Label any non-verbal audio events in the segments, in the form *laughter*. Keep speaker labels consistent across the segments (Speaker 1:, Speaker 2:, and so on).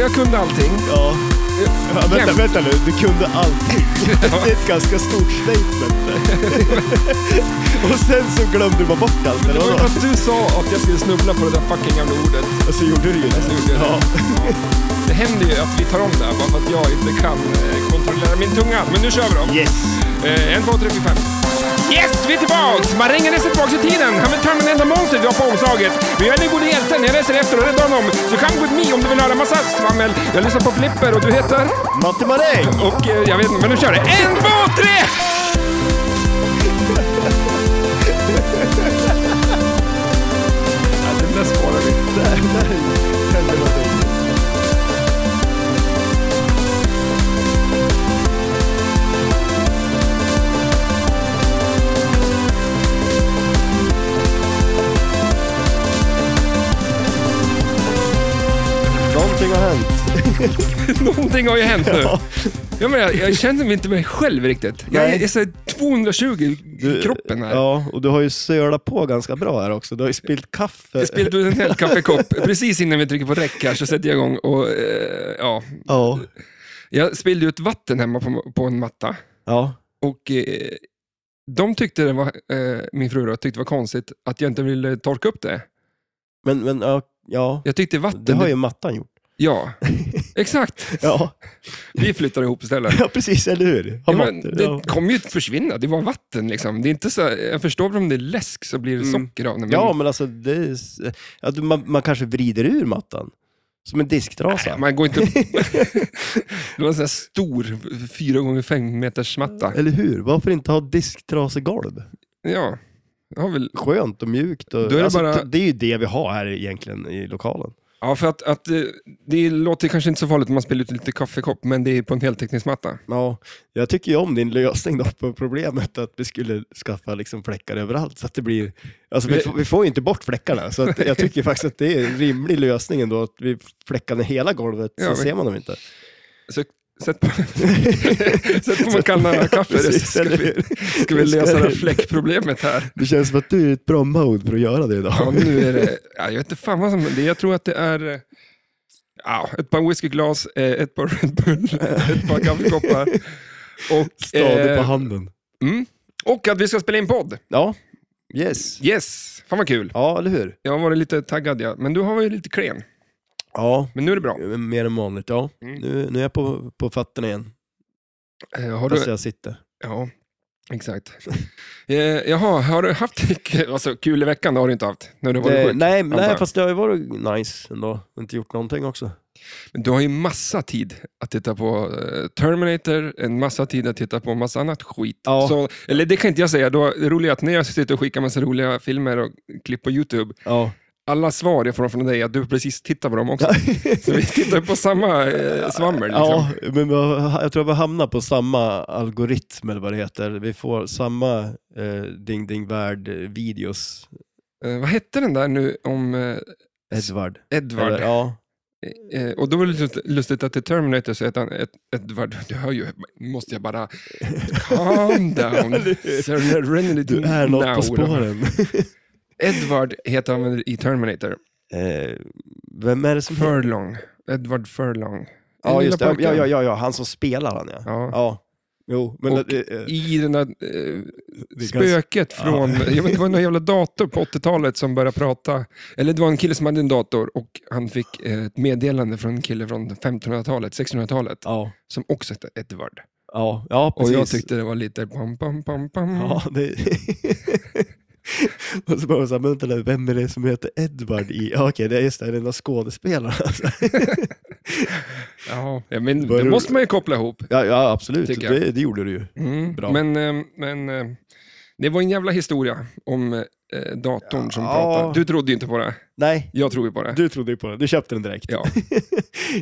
Speaker 1: jag kunde allting.
Speaker 2: Ja. Ja, vänta,
Speaker 1: Jämt.
Speaker 2: vänta nu, du kunde allting. Det är ett ganska stort statement. Och sen så glömde du bara bort allt,
Speaker 1: Men
Speaker 2: eller
Speaker 1: det var ju
Speaker 2: vadå?
Speaker 1: för att du sa att jag skulle snubbla på det där fucking gamla ordet.
Speaker 2: Och så gjorde du ju
Speaker 1: Så gjorde
Speaker 2: det.
Speaker 1: jag
Speaker 2: Ja.
Speaker 1: det. Ja. Det händer ju att vi tar om det här bara för att jag inte kan eh, kontrollera min tunga. Men nu kör vi då.
Speaker 2: Yes.
Speaker 1: Eh, en, två, tre, fyra, fem. Yes, vi är tillbaks! Marängen reser tillbaks i tiden. Han vill permanenta monstret vi har på omslaget. Men jag är den gode hjälten, jag reser efter och räddar honom. Så come with me om du vill höra massa svammel. Jag lyssnar på Flipper och du heter?
Speaker 2: Matte Maräng!
Speaker 1: Och eh, jag vet inte, men nu kör det. En, två, tre! Ja, den där sparar vi.
Speaker 2: Någonting har
Speaker 1: *laughs*
Speaker 2: hänt.
Speaker 1: Någonting har ju hänt nu.
Speaker 2: Ja.
Speaker 1: Ja, men jag, jag känner mig inte mig själv riktigt. Jag är,
Speaker 2: Nej.
Speaker 1: jag är så här 220 i
Speaker 2: Du-
Speaker 1: kroppen här.
Speaker 2: Ja, och du har ju sölat på ganska bra här också. Du har ju spillt kaffe.
Speaker 1: Jag spillde ut en hel kaffekopp. Precis innan vi trycker på räck här så sätter jag igång och eh, ja.
Speaker 2: Ja.
Speaker 1: Jag spillde ut vatten hemma på, på en matta
Speaker 2: Ja.
Speaker 1: och eh, de tyckte det var, eh, min fru då, tyckte det var konstigt att jag inte ville torka upp det.
Speaker 2: Men, men ja, ja.
Speaker 1: Jag tyckte vatten...
Speaker 2: Det har ju mattan gjort. *laughs*
Speaker 1: Ja, exakt.
Speaker 2: Ja, *laughs*
Speaker 1: Vi flyttar ihop istället.
Speaker 2: ja precis, eller hur? Har
Speaker 1: Ja, men
Speaker 2: matte,
Speaker 1: det
Speaker 2: ja.
Speaker 1: kommer ju att försvinna, det var vatten liksom. Det är inte så, jag förstår om det är läsk så blir det
Speaker 2: Mm.
Speaker 1: socker av det. men-
Speaker 2: ja, men alltså, det är, s- att man, man kanske vrider ur mattan. Som en disktrasa.
Speaker 1: Man går
Speaker 2: *laughs*
Speaker 1: inte... *laughs* det var en sån här stor, fyra gånger fem meters matta.
Speaker 2: Eller hur? Varför inte ha disktrasegolv?
Speaker 1: Ja, jag har väl
Speaker 2: Skönt och mjukt. Och,
Speaker 1: Då är det
Speaker 2: alltså,
Speaker 1: bara-
Speaker 2: det är ju det vi har här egentligen i lokalen.
Speaker 1: Ja, för att, att eh, det låter kanske inte så farligt om man spiller ut lite kaffekopp, men det är på en heltäckningsmatta.
Speaker 2: Ja, jag tycker ju om din lösning då på problemet att vi skulle skaffa liksom fläckar överallt. Så att det blir, alltså vi,
Speaker 1: Vi-
Speaker 2: får- vi får ju inte bort fläckarna, så att jag tycker faktiskt att det är en rimlig lösning ändå, att vi fläckar ner hela golvet så
Speaker 1: Ja, vi-
Speaker 2: ser man dem inte.
Speaker 1: Så sätt på, *laughs* sätt på en kanna *laughs* kaffe, så
Speaker 2: Precis,
Speaker 1: ska
Speaker 2: eller
Speaker 1: vi,
Speaker 2: hur?
Speaker 1: ska vi lösa det här
Speaker 2: Ska-
Speaker 1: fläckproblemet här.
Speaker 2: Det känns som att du är i ett bra mode för att göra det idag.
Speaker 1: Ja, nu är det, ja, jag vet inte fan vad som det är. Jag tror att det är eh, ja, ett par whiskyglas, eh, ett par Red Bull, *laughs* ett par kaffekoppar och,
Speaker 2: Stadig på
Speaker 1: eh,
Speaker 2: handen.
Speaker 1: mm, och att vi ska spela in podd.
Speaker 2: Ja, yes.
Speaker 1: Yes, fan vad kul.
Speaker 2: Ja, eller hur?
Speaker 1: Jag har varit lite taggad, ja. men du har varit lite klen.
Speaker 2: Ja,
Speaker 1: Men nu är det bra.
Speaker 2: mer än vanligt. Ja.
Speaker 1: Mm.
Speaker 2: Nu, nu är jag på, på fötterna igen,
Speaker 1: Eh, Har du,
Speaker 2: fast jag sitter.
Speaker 1: Ja, exakt. eh, jaha, har du haft *laughs* kul- alltså, kul i veckan? Det har du inte haft, när du var
Speaker 2: Det,
Speaker 1: sjuk.
Speaker 2: nej, nej,
Speaker 1: jag.
Speaker 2: fast det har ju varit nice ändå. Inte gjort någonting också.
Speaker 1: Men du har ju massa tid att titta på eh, Terminator, en massa tid att titta på massa annat skit.
Speaker 2: Ja.
Speaker 1: Så, eller det kan inte jag säga. Då, det roliga är att när jag sitter och skickar massa roliga filmer och klipp på YouTube,
Speaker 2: *laughs* Ja.
Speaker 1: alla svar jag får från dig är att du precis tittar på dem också. Så vi tittar på samma
Speaker 2: *laughs*
Speaker 1: eh, svammel. Liksom.
Speaker 2: Ja, men vi har- jag tror vi hamnar på samma algoritm eller vad det heter. Vi får samma eh, Ding Ding Värld-videos.
Speaker 1: Eh, vad hette den där nu om eh,
Speaker 2: Edvard.
Speaker 1: Edward?
Speaker 2: Eller, ja.
Speaker 1: Eh, och då var det lite lustigt att i Terminator så heter han Ed- Edward, du hör ju, måste jag
Speaker 2: *laughs*
Speaker 1: bara calm down, serenity
Speaker 2: Du är något
Speaker 1: now.
Speaker 2: på spåren.
Speaker 1: Edward heter han väl i Terminator,
Speaker 2: Eh, vem är det som...
Speaker 1: Furlong, Edward Furlong. Den
Speaker 2: ja,
Speaker 1: lilla
Speaker 2: just det. Ja,
Speaker 1: pojken.
Speaker 2: ja, ja, ja, han som spelar han ja.
Speaker 1: Ja.
Speaker 2: Ja. Jo, men...
Speaker 1: Och-
Speaker 2: det, eh,
Speaker 1: I den där eh,
Speaker 2: det är ganska-
Speaker 1: spöket från, jag vet, inte, det var någon jävla dator på 80-talet som började prata, eller det var en kille som hade en dator och han fick eh, ett meddelande från en kille från 1500-talet, 1600-talet,
Speaker 2: Ja,
Speaker 1: som också hette Edward.
Speaker 2: ja, ja,
Speaker 1: Och
Speaker 2: precis.
Speaker 1: jag tyckte det var lite pam, pam, pam, pam.
Speaker 2: Ja, det... *laughs* Och så bara så här, men vänta nu, vem är det som heter Edward i... Ja, Okej, det är just det, det är den där skådespelaren. alltså.
Speaker 1: Ja, ja, men
Speaker 2: Vad
Speaker 1: det
Speaker 2: är det-
Speaker 1: måste man ju koppla ihop.
Speaker 2: Ja, ja absolut.
Speaker 1: Tycker jag.
Speaker 2: Det, det gjorde du ju.
Speaker 1: Mm.
Speaker 2: Bra.
Speaker 1: Men, eh, men eh, det var en jävla historia om eh, datorn som
Speaker 2: Ja.
Speaker 1: pratade. Du trodde ju inte på det.
Speaker 2: Nej,
Speaker 1: Jag tror ju på det.
Speaker 2: du trodde ju på den. Du köpte den direkt.
Speaker 1: Ja.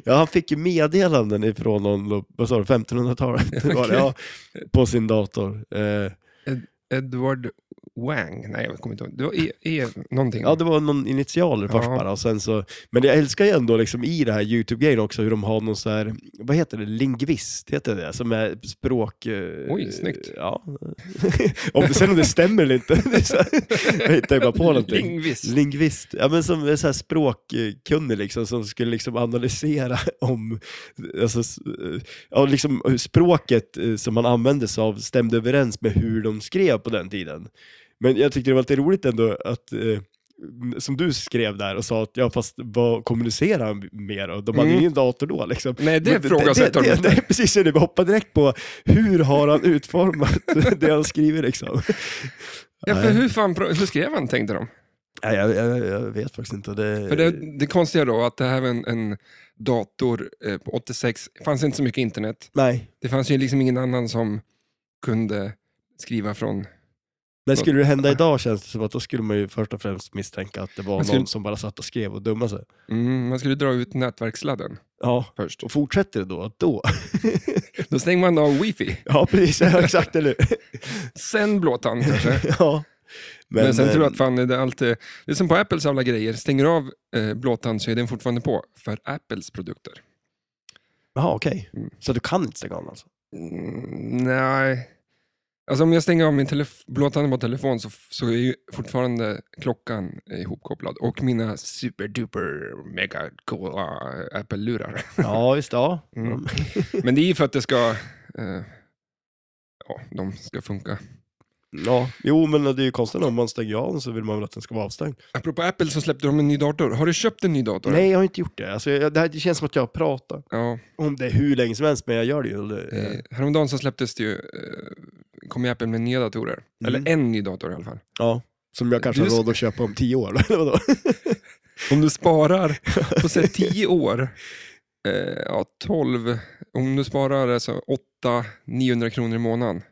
Speaker 2: Ja, han fick ju meddelanden ifrån någon, vad sa du, *laughs* 1500-talet? var det, Ja, på sin dator. Eh,
Speaker 1: *laughs* Edward Wang? Nej, jag kommer inte ihåg. Det var E, e någonting.
Speaker 2: Ja, det var någon initialer först
Speaker 1: Ja.
Speaker 2: bara. Och sen så, men jag älskar ju ändå liksom i det här YouTube-grejen också hur de har någon så här, vad heter det, lingvist, heter det som är språk... eh,
Speaker 1: Oj, snyggt.
Speaker 2: Ja. *laughs* om det, sen om det stämmer eller inte, *laughs* det är så här, jag hittar ju bara på någonting.
Speaker 1: Lingvist.
Speaker 2: Lingvist, ja men som är så här språkkunnig liksom, som skulle liksom analysera *laughs* om, alltså, s- eh, ja, liksom hur språket eh, som man använde sig av stämde överens med hur de skrev på den tiden. Men jag tyckte det var lite roligt ändå att, eh, som du skrev där och sa att, ja fast vad kommunicerar han med då? De hade
Speaker 1: Mm.
Speaker 2: ingen dator då liksom.
Speaker 1: Nej, det
Speaker 2: Men
Speaker 1: ifrågasätter de
Speaker 2: det,
Speaker 1: inte.
Speaker 2: det, Precis, det bara hoppar direkt på hur har han utformat *laughs* det han
Speaker 1: *laughs*
Speaker 2: skriver liksom.
Speaker 1: Ja, för hur fan pro- hur skrev han, tänkte de.
Speaker 2: Nej, jag, jag, jag vet faktiskt inte. Det,
Speaker 1: För det, det konstiga då, att det här var en, en dator eh, på 86. Det fanns inte så mycket internet.
Speaker 2: Nej.
Speaker 1: Det fanns ju liksom ingen annan som kunde skriva från...
Speaker 2: Men
Speaker 1: Så-
Speaker 2: skulle det hända idag känns det som att då skulle man ju först och främst misstänka att det var
Speaker 1: Man skulle-
Speaker 2: någon som bara satt och skrev och dummade sig.
Speaker 1: Mm, man skulle dra ut nätverkssladden
Speaker 2: Ja,
Speaker 1: först.
Speaker 2: och fortsätter det då
Speaker 1: *laughs*
Speaker 2: att då?
Speaker 1: Då stänger man av wifi.
Speaker 2: Ja, precis. Ja, exakt, eller
Speaker 1: *laughs*
Speaker 2: hur?
Speaker 1: Sen blåtand kanske.
Speaker 2: Ja.
Speaker 1: *laughs* Men, sen tror jag
Speaker 2: eh,
Speaker 1: att fan, det, är allt, eh, det är som på Apples alla grejer. Stänger du av eh, blåtand så är den fortfarande på för Apples produkter.
Speaker 2: Jaha, eh, okej.
Speaker 1: Mm.
Speaker 2: Så du kan inte stänga
Speaker 1: *laughs*
Speaker 2: av alltså?
Speaker 1: Mm, nej. Alltså om jag stänger av min telef- blåtand på telefon så, f- så är ju fortfarande klockan eh, ihopkopplad och mina superduper mega coola eh, Apple-lurar.
Speaker 2: Ja, just det. Ja.
Speaker 1: Mm. Men det är ju för att det ska... Eh, ja, de ska funka.
Speaker 2: ja. Jo, men det är ju konstigt om man stänger av den så vill man väl att den ska vara avstängd.
Speaker 1: Apropå Apple så släppte de en ny dator. Har du köpt en ny dator?
Speaker 2: Nej, jag har inte gjort det. Alltså, jag, det, här, det känns som att jag pratar
Speaker 1: Ja,
Speaker 2: om det hur länge som helst, men jag gör det ju. Det-
Speaker 1: eh, häromdagen så släpptes det ju... Eh, kom ju Apple med nya datorer.
Speaker 2: Mm.
Speaker 1: Eller en ny dator i alla fall.
Speaker 2: Ja. Som jag kanske
Speaker 1: Du-
Speaker 2: har råd att köpa om tio år, *laughs* eller vadå?
Speaker 1: Om du
Speaker 2: *laughs*
Speaker 1: sparar på säg 10 år, eh, ja 12, om du sparar alltså 8 900 kronor i månaden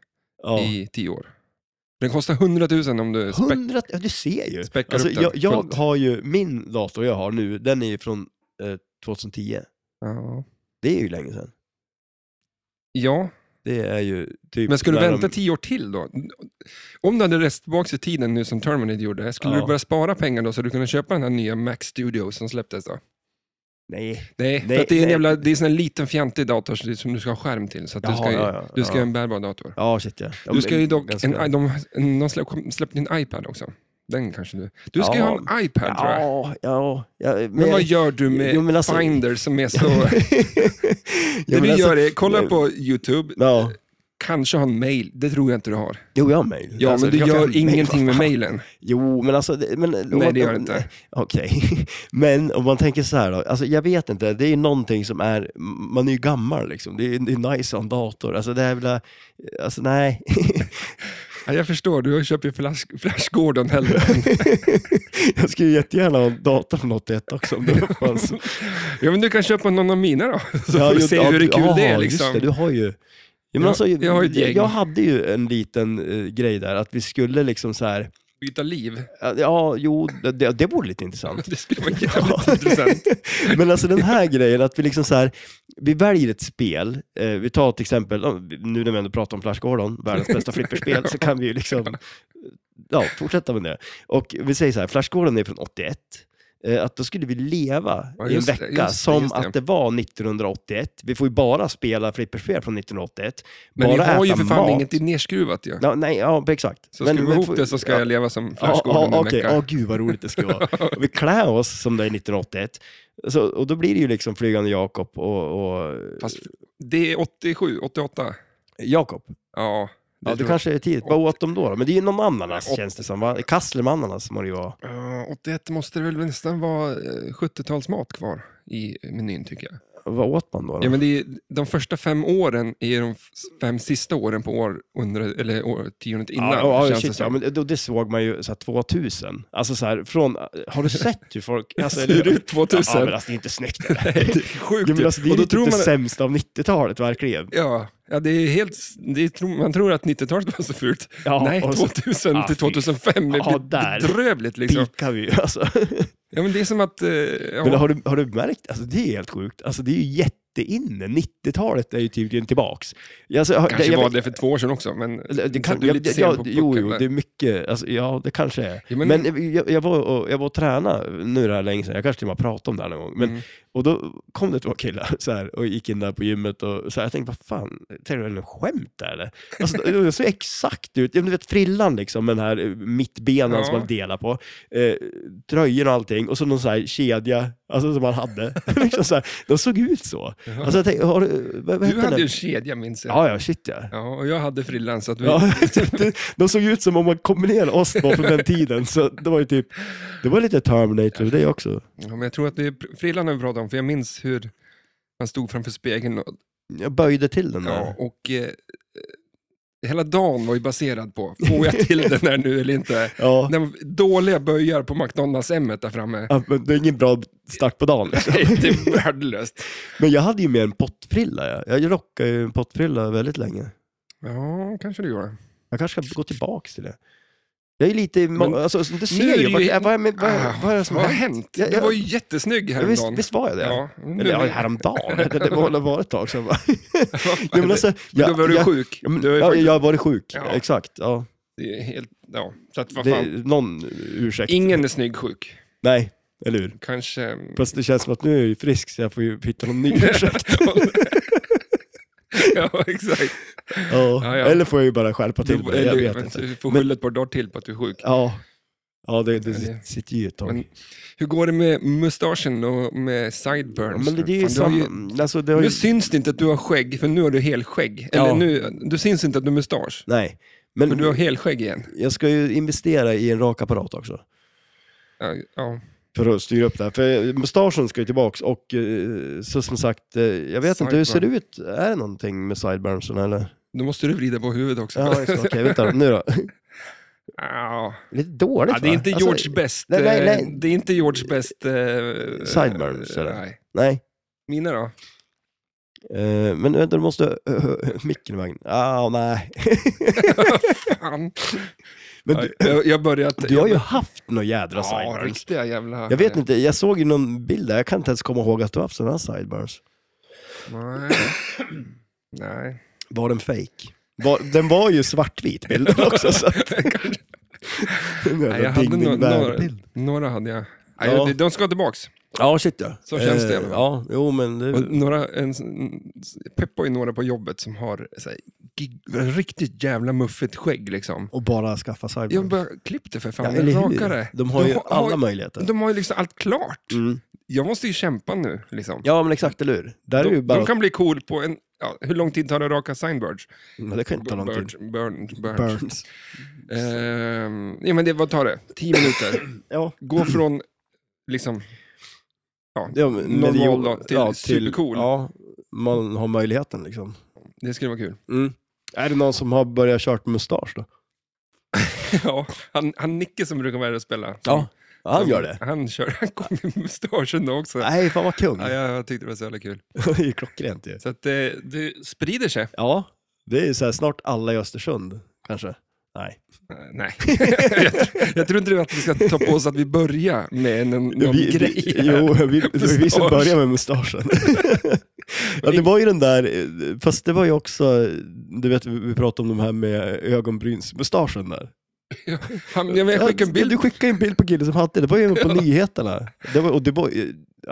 Speaker 2: Ja.
Speaker 1: i 10 år. Den kostar 100 000 om du spec-
Speaker 2: 100, ja du ser ju.
Speaker 1: späckar
Speaker 2: Alltså,
Speaker 1: upp den.
Speaker 2: jag jag
Speaker 1: fullt.
Speaker 2: har ju, min dator jag har nu, den är ju från eh, 2010.
Speaker 1: Ja.
Speaker 2: Det är ju länge sedan.
Speaker 1: ja,
Speaker 2: Det är ju typ...
Speaker 1: men skulle du
Speaker 2: när
Speaker 1: vänta
Speaker 2: de-
Speaker 1: 10 år till då? Om du hade rest tillbaka i tiden nu som Terminator gjorde, skulle
Speaker 2: Ja.
Speaker 1: du börja spara pengar då så du kunde köpa den här nya Mac Studio som släpptes då?
Speaker 2: Nej.
Speaker 1: Nej,
Speaker 2: Nej,
Speaker 1: för att det är en
Speaker 2: nej.
Speaker 1: jävla, det är en sån här liten fjantig dator så det är som du ska ha skärm till. Så att du
Speaker 2: Jaha,
Speaker 1: ska, ju-
Speaker 2: ja, ja,
Speaker 1: du ska
Speaker 2: ja.
Speaker 1: ha en bärbar dator.
Speaker 2: Ja, shit ja. ja
Speaker 1: Du
Speaker 2: men
Speaker 1: ska ju dock,
Speaker 2: ganska-
Speaker 1: en, de, de slä- kom- släppte ju en iPad också. Den kanske du... Du ska ju
Speaker 2: Ja.
Speaker 1: ha en iPad tror jag.
Speaker 2: Ja, ja. ja men
Speaker 1: Men vad gör du med
Speaker 2: Jo, men alltså- *laughs*
Speaker 1: Finder som är så...
Speaker 2: Ja,
Speaker 1: det
Speaker 2: men
Speaker 1: du
Speaker 2: alltså-
Speaker 1: gör är, kolla på YouTube,
Speaker 2: Ja,
Speaker 1: kanske ha en mail. Det tror jag inte du har.
Speaker 2: jo jag har mail.
Speaker 1: Ja,
Speaker 2: Alltså,
Speaker 1: men du
Speaker 2: klart jag har
Speaker 1: gör
Speaker 2: mail.
Speaker 1: ingenting med
Speaker 2: Vad fan.
Speaker 1: mailen.
Speaker 2: Jo, men alltså... det- Men,
Speaker 1: Nej, det gör det inte.
Speaker 2: Okej, *laughs* men om man tänker så här då. Alltså jag vet inte, det är ju någonting som är, man är ju gammal liksom. Det är, det är nice att ha en dator. Alltså det är väl, alltså nej. *laughs*
Speaker 1: Ja, jag förstår, du köper ju Flash, Flash Gordon hellre.
Speaker 2: jag skulle ju jättegärna ha en dator från 81 också om det
Speaker 1: *laughs*
Speaker 2: fanns.
Speaker 1: ja, men du kan köpa någon av mina då, *laughs* så får
Speaker 2: ju-
Speaker 1: du se hur
Speaker 2: du-
Speaker 1: kul det
Speaker 2: ja,
Speaker 1: är.
Speaker 2: just
Speaker 1: Liksom.
Speaker 2: Det, du har ju... Ja, men
Speaker 1: Jag-
Speaker 2: alltså,
Speaker 1: jag har ett gäng.
Speaker 2: jag hade ju en liten eh, grej där, att vi skulle liksom så här,
Speaker 1: Byta liv, *laughs*
Speaker 2: ja, jo, det, det vore lite intressant.
Speaker 1: det skulle vara jävligt
Speaker 2: Ja.
Speaker 1: intressant.
Speaker 2: *laughs* Men alltså den här grejen att vi liksom så här, vi väljer ett spel, eh, vi tar till exempel, ja, nu när vi ändå pratar om Flash Gordon, världens
Speaker 1: *laughs*
Speaker 2: bästa flipperspel, så kan vi ju liksom, eh, ja, fortsätta med det. Och vi säger så här, Flash Gordon är från 81, eh, att då skulle vi leva
Speaker 1: Ja,
Speaker 2: i en
Speaker 1: just det,
Speaker 2: vecka
Speaker 1: just det,
Speaker 2: som
Speaker 1: just det.
Speaker 2: att det var 1981. Vi får ju bara spela flipperspel från 1981,
Speaker 1: Men
Speaker 2: bara
Speaker 1: vi har ju
Speaker 2: äta
Speaker 1: för fan
Speaker 2: mat.
Speaker 1: inget nerskruvat ju.
Speaker 2: Ja, nej, ja, exakt.
Speaker 1: Så ska vi få ihop
Speaker 2: får-
Speaker 1: det så ska
Speaker 2: ja.
Speaker 1: jag leva som Flash
Speaker 2: Ja,
Speaker 1: Gordon
Speaker 2: ja,
Speaker 1: en
Speaker 2: okej.
Speaker 1: vecka.
Speaker 2: Ja, gud vad roligt det skulle vara. Och vi klär oss som det är 1981. Så, och då blir det ju liksom Flygande Jakob och, och
Speaker 1: Fast det är 87, 88.
Speaker 2: Jakob.
Speaker 1: Ja, det
Speaker 2: Ja, det
Speaker 1: tror
Speaker 2: kanske är tidigt. Vad åt de då? då? Men det är ju någon ananas känns det som. Va? Kassler med ananas må det ju vara.
Speaker 1: jag. Ja, 81 måste det väl nästan vara eh, 70-talsmat kvar i menyn tycker jag.
Speaker 2: Vad åt man då? då?
Speaker 1: Ja, men det är, de första fem åren är de f- fem sista åren på år, under, eller årtiondet innan.
Speaker 2: ja, ja,
Speaker 1: känns
Speaker 2: shit,
Speaker 1: det *laughs*
Speaker 2: ja,
Speaker 1: som.
Speaker 2: men det, det såg man ju så här, 2000. Alltså så här, från, har du sett
Speaker 1: *laughs*
Speaker 2: hur folk... Alltså,
Speaker 1: Ser det ut 2000?
Speaker 2: Ja, men alltså det är inte snyggt. eller?
Speaker 1: *laughs* Nej, det är sjukt
Speaker 2: Ja, men alltså, det
Speaker 1: ju.
Speaker 2: är
Speaker 1: Och då
Speaker 2: ju typ
Speaker 1: tror
Speaker 2: det
Speaker 1: man...
Speaker 2: sämsta av 90-talet, verkligen.
Speaker 1: Ja, ja, det är helt... s- Det är, tro- man tror att 90-talet var så fult.
Speaker 2: Ja,
Speaker 1: Nej,
Speaker 2: och så-
Speaker 1: 2000
Speaker 2: Ja,
Speaker 1: till
Speaker 2: fy.
Speaker 1: 2005 är
Speaker 2: Ja,
Speaker 1: ja,
Speaker 2: där.
Speaker 1: bedrövligt liksom.
Speaker 2: Pikar vi ju, alltså.
Speaker 1: Ja, men det är som att... Eh, ja.
Speaker 2: Men har du, har du märkt, alltså det är helt sjukt, alltså det är ju inne. 90-talet är ju tydligen tillbaks. Alltså, jag-
Speaker 1: Kanske
Speaker 2: jag-
Speaker 1: var det för två år sedan också, men...
Speaker 2: Det- Det
Speaker 1: liksom,
Speaker 2: kan,
Speaker 1: du är
Speaker 2: jag,
Speaker 1: lite
Speaker 2: jag,
Speaker 1: sen
Speaker 2: jag,
Speaker 1: på
Speaker 2: jo,
Speaker 1: pucken
Speaker 2: jo,
Speaker 1: där.
Speaker 2: det är mycket. Alltså, ja, det kanske är.
Speaker 1: Ja, men-
Speaker 2: men jag, jag, var och, jag var och tränade nu det här länge sedan. Jag kanske till och med har pratat om det här någon gång. Men,
Speaker 1: Mm.
Speaker 2: Och då kom det två killar så här, och gick in där på gymmet. Och, så här, jag tänkte, vad fan, tänkte du en skämt där, eller? Alltså, det såg exakt ut. Ja, men Du vet frillan liksom, med den här eh, mittbenan
Speaker 1: Ja.
Speaker 2: som man delar på. Eh, tröjor och allting. Och så någon så här kedja alltså, som man hade. *laughs* liksom, så här, de såg ut så.
Speaker 1: Jaha.
Speaker 2: Alltså, jag tänkte, har du, vad, vad
Speaker 1: Du
Speaker 2: hette
Speaker 1: hade ju
Speaker 2: den?
Speaker 1: en kedja, minns jag.
Speaker 2: Ja, ja, shit ja.
Speaker 1: Ja, och jag hade frillan, så att vi...
Speaker 2: Ja, *laughs* typ, det- de såg ut som om man kombinerade oss då från den tiden. Så det var ju typ, det var lite Terminator det också.
Speaker 1: Ja, men jag tror att det är frillan vi pratar om, för jag minns hur man stod framför spegeln och,
Speaker 2: Jag böjde till den där.
Speaker 1: ja, och eh, eh, hela dagen var ju baserad på, får jag till den här nu eller inte?
Speaker 2: *laughs* Ja.
Speaker 1: Den dåliga böjar på McDonalds M där framme.
Speaker 2: Ja, men det är ingen bra start på dagen. liksom.
Speaker 1: Nej, det är värdelöst.
Speaker 2: Men jag hade ju mer en pottfrilla. Jag, jag rockade ju en pottfrilla väldigt länge.
Speaker 1: Ja, kanske det gjorde.
Speaker 2: Jag kanske ska gå tillbaka till det. Jag är lite,
Speaker 1: Men-
Speaker 2: alltså, du
Speaker 1: Nu är
Speaker 2: ser ju,
Speaker 1: det
Speaker 2: vad,
Speaker 1: ju-
Speaker 2: vad, är- men vad,
Speaker 1: Ah,
Speaker 2: vad är det som
Speaker 1: Vad
Speaker 2: har
Speaker 1: har
Speaker 2: hänt?
Speaker 1: hänt?
Speaker 2: Jag-
Speaker 1: Du
Speaker 2: jag-
Speaker 1: var ju jättesnygg
Speaker 2: Ja, Visst,
Speaker 1: häromdagen.
Speaker 2: visst var jag det?
Speaker 1: Ja, nu,
Speaker 2: Eller ja,
Speaker 1: *laughs*
Speaker 2: häromdagen, det, det var, det var ett tag sedan. va?
Speaker 1: Vad
Speaker 2: Nej,
Speaker 1: fan,
Speaker 2: men alltså,
Speaker 1: Då
Speaker 2: jag,
Speaker 1: var du
Speaker 2: jag,
Speaker 1: sjuk.
Speaker 2: Ja, men-
Speaker 1: Du har ju
Speaker 2: ja,
Speaker 1: faktiskt-
Speaker 2: jag har varit sjuk,
Speaker 1: Ja.
Speaker 2: exakt. Ja.
Speaker 1: det är helt, ja. Så att, vad
Speaker 2: Det,
Speaker 1: fan.
Speaker 2: är någon ursäkt.
Speaker 1: Ingen är snygg sjuk.
Speaker 2: Nej, eller hur?
Speaker 1: Kanske...
Speaker 2: *laughs*
Speaker 1: mm,
Speaker 2: Fast det känns som att nu är jag ju frisk så jag får ju
Speaker 1: *laughs*
Speaker 2: hitta någon ny ursäkt.
Speaker 1: ja, exakt.
Speaker 2: ja.
Speaker 1: Ja, ja.
Speaker 2: Eller får jag ju bara skärpa till mig, jag vet
Speaker 1: men
Speaker 2: inte.
Speaker 1: Du får
Speaker 2: Men-
Speaker 1: skylla ett par dagar till på att du är sjuk.
Speaker 2: Ja, ja det,
Speaker 1: Ja,
Speaker 2: det
Speaker 1: det-
Speaker 2: sit- sitter ju ett tag.
Speaker 1: Men hur går det med mustaschen och med
Speaker 2: Ja,
Speaker 1: sideburns?
Speaker 2: men det är ju
Speaker 1: Fan, du har ju-
Speaker 2: samma... Alltså, det har
Speaker 1: Nu
Speaker 2: ju...
Speaker 1: syns det inte att du har skägg, för nu har du helskägg.
Speaker 2: Ja.
Speaker 1: Eller nu, du syns inte att du har mustasch,
Speaker 2: Nej, men,
Speaker 1: men du har helskägg igen.
Speaker 2: jag ska ju investera i en rakapparat också.
Speaker 1: Ja, ja.
Speaker 2: För att styra upp det här. För mustaschen ska ju tillbaks och eh, så som sagt, eh, jag vet inte, hur ser det ut? Är det någonting med sideburnsen eller?
Speaker 1: Då måste du vrida på huvudet också. *laughs*
Speaker 2: Ja, just det. okej, vänta nu då. *laughs*
Speaker 1: Ja.
Speaker 2: Lite dåligt
Speaker 1: Ja, det är
Speaker 2: va?
Speaker 1: inte
Speaker 2: Alltså,
Speaker 1: George bäst.
Speaker 2: nej, nej,
Speaker 1: eh,
Speaker 2: nej.
Speaker 1: Det är inte George bäst. eh,
Speaker 2: Sideburns, eller?
Speaker 1: Nej.
Speaker 2: Nej.
Speaker 1: Mina
Speaker 2: *laughs*
Speaker 1: då?
Speaker 2: Eh, men vänta, du måste... *laughs* Uh, micken i vägen. Ah, nej.
Speaker 1: Fan.
Speaker 2: Men du,
Speaker 1: jag, jag börjar att...
Speaker 2: du har ju haft några jädra
Speaker 1: Ja,
Speaker 2: sideburns.
Speaker 1: riktiga jävla...
Speaker 2: Jag vet inte, jag såg ju någon bild där, jag kan inte ens komma ihåg att du har haft sådana sideburns.
Speaker 1: Nej. *clears throat* Nej.
Speaker 2: Var den fake? Var, den var ju
Speaker 1: *laughs*
Speaker 2: svartvit bilden också. Så att, *laughs*
Speaker 1: Nej, jag hade några, några, några hade jag. Nej,
Speaker 2: Ja.
Speaker 1: de- De ska tillbaks.
Speaker 2: Ja, shit ja.
Speaker 1: Så känns det,
Speaker 2: Eh,
Speaker 1: eller?
Speaker 2: Ja, jo men... Det,
Speaker 1: Och några, en, en- Peppa är några på jobbet som har så här, gig, riktigt jävla muffigt skägg liksom.
Speaker 2: och bara skaffa sideburns.
Speaker 1: Jag bara, klipp det för
Speaker 2: Mm. Ja,
Speaker 1: fan,
Speaker 2: eller hur?
Speaker 1: raka det.
Speaker 2: De har ju
Speaker 1: har-
Speaker 2: alla
Speaker 1: har-
Speaker 2: möjligheter.
Speaker 1: De har ju liksom allt klart.
Speaker 2: Mm.
Speaker 1: Jag måste ju kämpa nu liksom.
Speaker 2: Ja, men exakt, eller hur? Där är ju
Speaker 1: de,
Speaker 2: bara...
Speaker 1: de kan bli cool på en, ja, hur lång tid tar det att raka signbirds?
Speaker 2: Men det kan inte ta någon tid.
Speaker 1: Birds, burn, burns.
Speaker 2: Burns.
Speaker 1: Ehm, ja, men det, vad tar det? 10
Speaker 2: *laughs*
Speaker 1: minuter.
Speaker 2: Ja,
Speaker 1: Gå från liksom,
Speaker 2: ja men, men det-
Speaker 1: Normal då, till supercool.
Speaker 2: Ja, man har möjligheten liksom.
Speaker 1: det skulle vara
Speaker 2: *laughs*
Speaker 1: kul.
Speaker 2: Mm. Är det någon som har börjat kört mustasch då?
Speaker 1: ja, han, han Nicke som brukar vara där och spela.
Speaker 2: Han
Speaker 1: Som-
Speaker 2: gör det?
Speaker 1: Han kör, han kom med mustaschen då också.
Speaker 2: Nej, fan vad kung.
Speaker 1: Ja, jag, jag tyckte det var så jävla kul.
Speaker 2: *laughs* det är ju klockrent ju.
Speaker 1: Så att eh, det sprider sig. Eh,
Speaker 2: Ja, det är ju så här, snart alla i Östersund kanske. Nej.
Speaker 1: Eh,
Speaker 2: *laughs*
Speaker 1: Nej, jag, jag tror inte det att vi ska ta på oss att vi börjar med en, en, någon
Speaker 2: vi,
Speaker 1: grej.
Speaker 2: vi,
Speaker 1: här. *laughs*
Speaker 2: jo, vi, det var vi som
Speaker 1: Mustasch.
Speaker 2: började med mustaschen. *laughs* ja, det var ju den där, eh, fast det var ju också, du vet vi vi pratade om de här med ögonbrynsmustaschen där.
Speaker 1: Han, jag, men jag skickade en bild.
Speaker 2: Du skickade en bild på killen som hade det, det var ju på nyheterna. Det var, och det var, eh,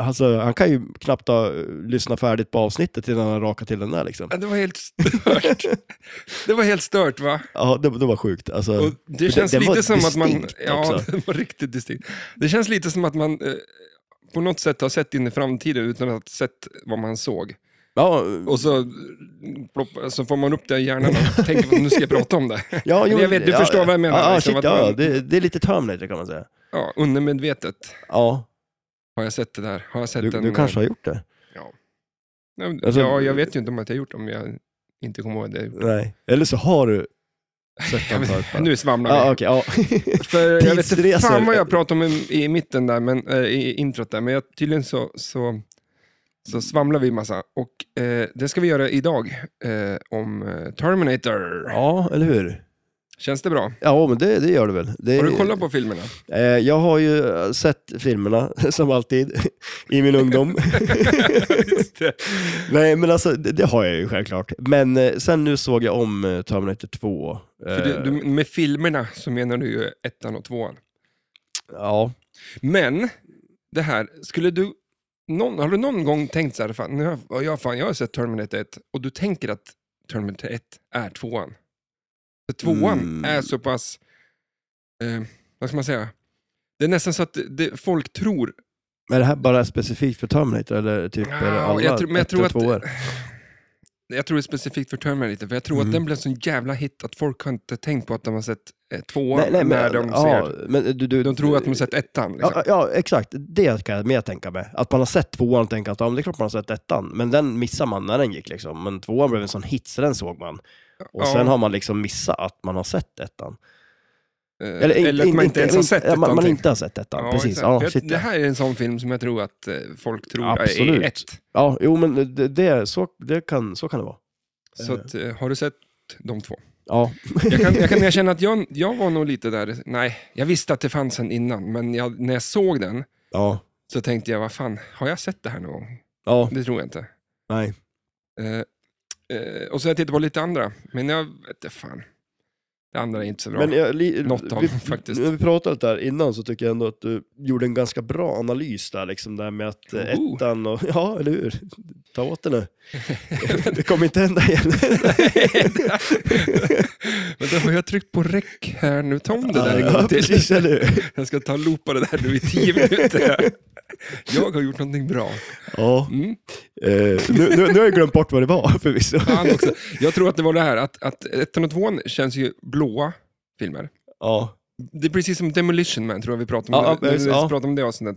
Speaker 2: alltså, han kan ju knappt ha eh, lyssnat färdigt på avsnittet innan han rakade till den där liksom.
Speaker 1: Ja, Det var helt stört.
Speaker 2: *laughs*
Speaker 1: Det var helt stört va?
Speaker 2: Ja, det, det var sjukt. Alltså,
Speaker 1: Och det
Speaker 2: den-
Speaker 1: känns
Speaker 2: den var
Speaker 1: lite som att man...
Speaker 2: distinkt
Speaker 1: Ja, *laughs*
Speaker 2: också.
Speaker 1: det var riktigt distinkt. Det känns lite som att man eh, på något sätt har sett in i framtiden utan att ha sett vad man såg.
Speaker 2: ja,
Speaker 1: Och så, eh, plopp, så får man upp det i hjärnan
Speaker 2: *laughs*
Speaker 1: och tänker "Vad, nu ska jag prata om det.
Speaker 2: ja,
Speaker 1: jag vet, du förstår vad jag menar,
Speaker 2: Ja, ja,
Speaker 1: liksom, att
Speaker 2: shit, ja,
Speaker 1: man-
Speaker 2: det, det är lite Terminator kan man säga.
Speaker 1: Ja, undermedvetet
Speaker 2: Ja,
Speaker 1: har jag sett det där. Har jag sett
Speaker 2: du,
Speaker 1: den,
Speaker 2: du kanske har gjort det.
Speaker 1: Ja,
Speaker 2: Alltså-
Speaker 1: ja, jag vet ju inte om att jag gjort det, om jag inte kommer ihåg det.
Speaker 2: Nej, eller så har du
Speaker 1: *laughs*
Speaker 2: sett
Speaker 1: Jag
Speaker 2: den
Speaker 1: vet-
Speaker 2: förut.
Speaker 1: *laughs*
Speaker 2: bara.
Speaker 1: Nu svamlar vi.
Speaker 2: Ja, okej, ja. *laughs*
Speaker 1: För jag vet inte
Speaker 2: Tidsresor.
Speaker 1: fan vad jag pratade om i, i mitten där, men, eh, i introt där, men jag, tydligen så, så, så svamlar vi massa. Och eh, det ska vi göra idag, eh, om eh, Terminator.
Speaker 2: ja, eller hur?
Speaker 1: Känns det bra?
Speaker 2: Ja, men det, det gör det väl. Det,
Speaker 1: Har du kollat på filmerna?
Speaker 2: Eh, jag har ju eh, sett filmerna, *laughs* som alltid, i min ungdom.
Speaker 1: *laughs* Just det.
Speaker 2: *laughs* Nej, men alltså det, det har jag ju självklart. Men eh, sen nu såg jag om eh, Terminator 2. Eh,
Speaker 1: För du, du, med filmerna så menar du ju ettan och tvåan.
Speaker 2: Ja.
Speaker 1: Men, det här, skulle du... Någon, har du någon gång tänkt så här, fan, nu har, ja, jag- fan, jag har sett Terminator 1 och du tänker att Terminator 1 är tvåan? För tvåan
Speaker 2: Mm.
Speaker 1: är så pass, eh, vad ska man säga, det är nästan så att det, det, folk tror...
Speaker 2: Men är det här bara specifikt för Terminator eller typ är det
Speaker 1: Ja,
Speaker 2: alla
Speaker 1: jag tror- men jag
Speaker 2: ett
Speaker 1: tror
Speaker 2: och
Speaker 1: att-
Speaker 2: tvåor?
Speaker 1: Jag tror det är specifikt för Terminator, för jag tror
Speaker 2: Mm.
Speaker 1: att den blev en sån jävla hit att folk har inte tänkt på att de har sett eh, tvåan
Speaker 2: Nej, nej, men,
Speaker 1: när de
Speaker 2: ja,
Speaker 1: ser...
Speaker 2: men du, du,
Speaker 1: De tror att de har sett ettan. Liksom.
Speaker 2: Ja, ja, exakt. Det kan jag mer tänka mig. Att man har sett tvåan och tänker att ja, men det är klart man har sett ettan. Men den missar man när den gick liksom. Men tvåan blev en sån hit så den såg man. Och
Speaker 1: Ja.
Speaker 2: sen har man liksom missat att man har sett ettan.
Speaker 1: Eh, Eller, att man inte ens har sett
Speaker 2: ja, man, man
Speaker 1: någonting.
Speaker 2: inte har sett ettan, precis.
Speaker 1: exakt.
Speaker 2: Ja,
Speaker 1: För jag-
Speaker 2: shit,
Speaker 1: det
Speaker 2: ja.
Speaker 1: här är en sån film som jag tror att eh, folk tror
Speaker 2: Absolut.
Speaker 1: är ett.
Speaker 2: ja, jo men det, det, så, det kan, så kan det vara.
Speaker 1: Så att, eh, har du sett de två? *laughs*
Speaker 2: Ja,
Speaker 1: Jag kan, jag kan erkänna att jag, jag var nog lite där, nej, jag visste att det fanns en innan, men jag, när jag såg den
Speaker 2: ja,
Speaker 1: så tänkte jag, vad fan, har jag sett det här någon gång?
Speaker 2: ja,
Speaker 1: Det tror jag inte.
Speaker 2: nej.
Speaker 1: Eh, eh, och så har jag tittat på lite andra, men jag vet inte fan. Det andra är inte så bra.
Speaker 2: Men jag, li,
Speaker 1: Något av
Speaker 2: vi,
Speaker 1: dem, faktiskt.
Speaker 2: När vi pratade lite där innan så tycker jag ändå att du gjorde en ganska bra analys där, liksom där med att eh,
Speaker 1: Oho.
Speaker 2: ettan och, *laughs* ja eller hur? Ta åt
Speaker 1: *laughs*
Speaker 2: det nu. det kommer inte hända igen.
Speaker 1: *laughs* men då har jag tryckt på räck här nu, ta om det där en
Speaker 2: ja,
Speaker 1: gång till.
Speaker 2: precis, eller hur?
Speaker 1: Jag ska ta och loopa det där nu i tio minuter. Jag har gjort någonting bra.
Speaker 2: Ja,
Speaker 1: Mm.
Speaker 2: eh, nu, nu, nu har jag glömt bort vad det var *laughs* förvisso.
Speaker 1: Fan också. Jag tror att det var det här att, att ettan och tvåan känns ju blåa filmer.
Speaker 2: Ja,
Speaker 1: Det är precis som Demolition Man, tror jag vi pratade om,
Speaker 2: Ja,
Speaker 1: det, när vi
Speaker 2: precis, ja.
Speaker 1: pratade om det avsnittet.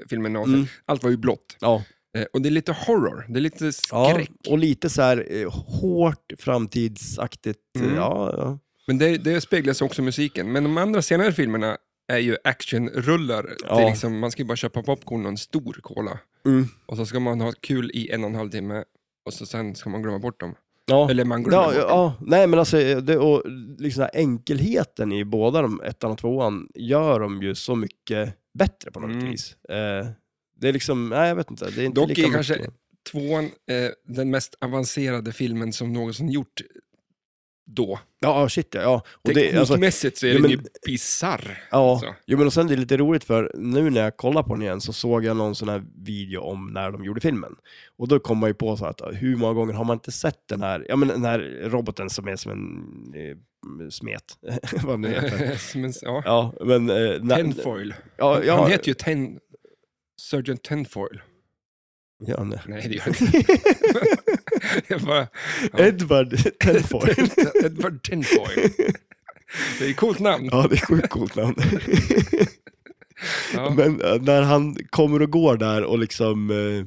Speaker 1: eh, Filmen någonsin.
Speaker 2: mm,
Speaker 1: Allt var ju blått.
Speaker 2: ja.
Speaker 1: Eh, och det är lite horror, det är lite
Speaker 2: ja.
Speaker 1: skräck.
Speaker 2: Och lite så här eh, hårt framtidsaktigt. eh,
Speaker 1: Mm.
Speaker 2: Ja, ja.
Speaker 1: Men det, det speglas också i musiken. Men de andra senare filmerna är ju actionrullar. Det
Speaker 2: Ja.
Speaker 1: är liksom, man ska ju bara köpa popcorn och en stor cola.
Speaker 2: Mm.
Speaker 1: Och så ska man ha kul i en och en halv timme. Och så sen ska man glömma bort dem.
Speaker 2: ja.
Speaker 1: Eller man glömmer
Speaker 2: Ja,
Speaker 1: bort
Speaker 2: ja,
Speaker 1: dem.
Speaker 2: ja, nej men alltså det, och liksom den här enkelheten i båda de ettan och tvåan gör dem ju så mycket bättre på något
Speaker 1: Mm.
Speaker 2: vis. Eh, det är liksom, nej jag vet inte, det är inte
Speaker 1: Dock
Speaker 2: lika
Speaker 1: är
Speaker 2: mycket.
Speaker 1: kanske- Tvåan, eh, den mest avancerade filmen som någonsin gjort då.
Speaker 2: Ja, ja, shit ja. ja. Och det, alltså,
Speaker 1: Teknikmässigt så är
Speaker 2: ja,
Speaker 1: den
Speaker 2: men-
Speaker 1: ju bisarr.
Speaker 2: ja.
Speaker 1: alltså.
Speaker 2: Jo men och sen det är lite roligt för nu när jag kollar på den igen så såg jag någon sån här video om när de gjorde filmen. Och då kom man ju på så här att hur många gånger har man inte sett den här, ja men den här roboten som är som en eh, smet, *laughs* vad nu
Speaker 1: *laughs*
Speaker 2: heter.
Speaker 1: Som en- ja.
Speaker 2: Ja, men... Eh, na-
Speaker 1: Tenfoil.
Speaker 2: ja, ja,
Speaker 1: Han heter ju Ten... Sergeant Tenfoil. *laughs*
Speaker 2: Ja, nej.
Speaker 1: Nej, det gör han
Speaker 2: *laughs*
Speaker 1: inte. Jag bara, Ja.
Speaker 2: Edward
Speaker 1: *laughs*
Speaker 2: Tenfoil.
Speaker 1: Edward Tenfoil. Det är ett coolt namn.
Speaker 2: ja, det är sjukt coolt namn.
Speaker 1: Ja.
Speaker 2: Men eh, när han kommer och går där och liksom, eh,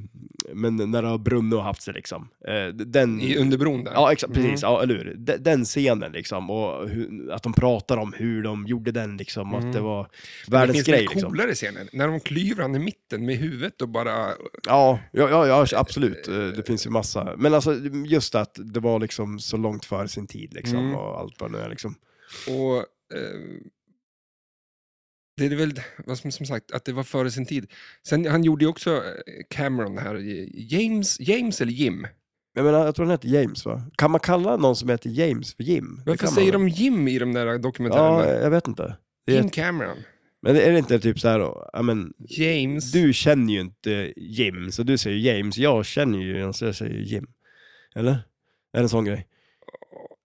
Speaker 2: men när det har brunnit och haft sig liksom. eh, Den,
Speaker 1: I Underbron där.
Speaker 2: ja, exakt, precis,
Speaker 1: Mm.
Speaker 2: ja, eller hur? De- Den scenen liksom, och hur, att de pratar om hur de gjorde den liksom, och
Speaker 1: Mm.
Speaker 2: att det var
Speaker 1: det
Speaker 2: världens
Speaker 1: finns
Speaker 2: grej
Speaker 1: väl
Speaker 2: liksom.
Speaker 1: coolare scener? När de klyver han i mitten med huvudet och bara...
Speaker 2: Ja, ja, ja, ja, absolut. Eh, Det finns ju massa. Men alltså just att det var liksom så långt före sin tid liksom,
Speaker 1: Mm.
Speaker 2: och allt vad det nu är liksom.
Speaker 1: Och, eh, det är väl, vad som, som sagt, att det var före sin tid. Sen, han gjorde ju också eh, Cameron här, eh, James, James eller Jim?
Speaker 2: Jag menar, jag tror han heter James va? Kan man kalla någon som heter James för Jim? Det
Speaker 1: Varför
Speaker 2: kan man
Speaker 1: säger
Speaker 2: väl?
Speaker 1: de Jim i de där
Speaker 2: Ja,
Speaker 1: dokumentärerna?
Speaker 2: jag vet inte. det är
Speaker 1: Jim Cameron,
Speaker 2: Men är det inte typ så här då, ja men,
Speaker 1: James,
Speaker 2: du känner ju inte Jim, så du säger James, jag känner ju, så jag säger Jim. Eller? Är det en sån grej?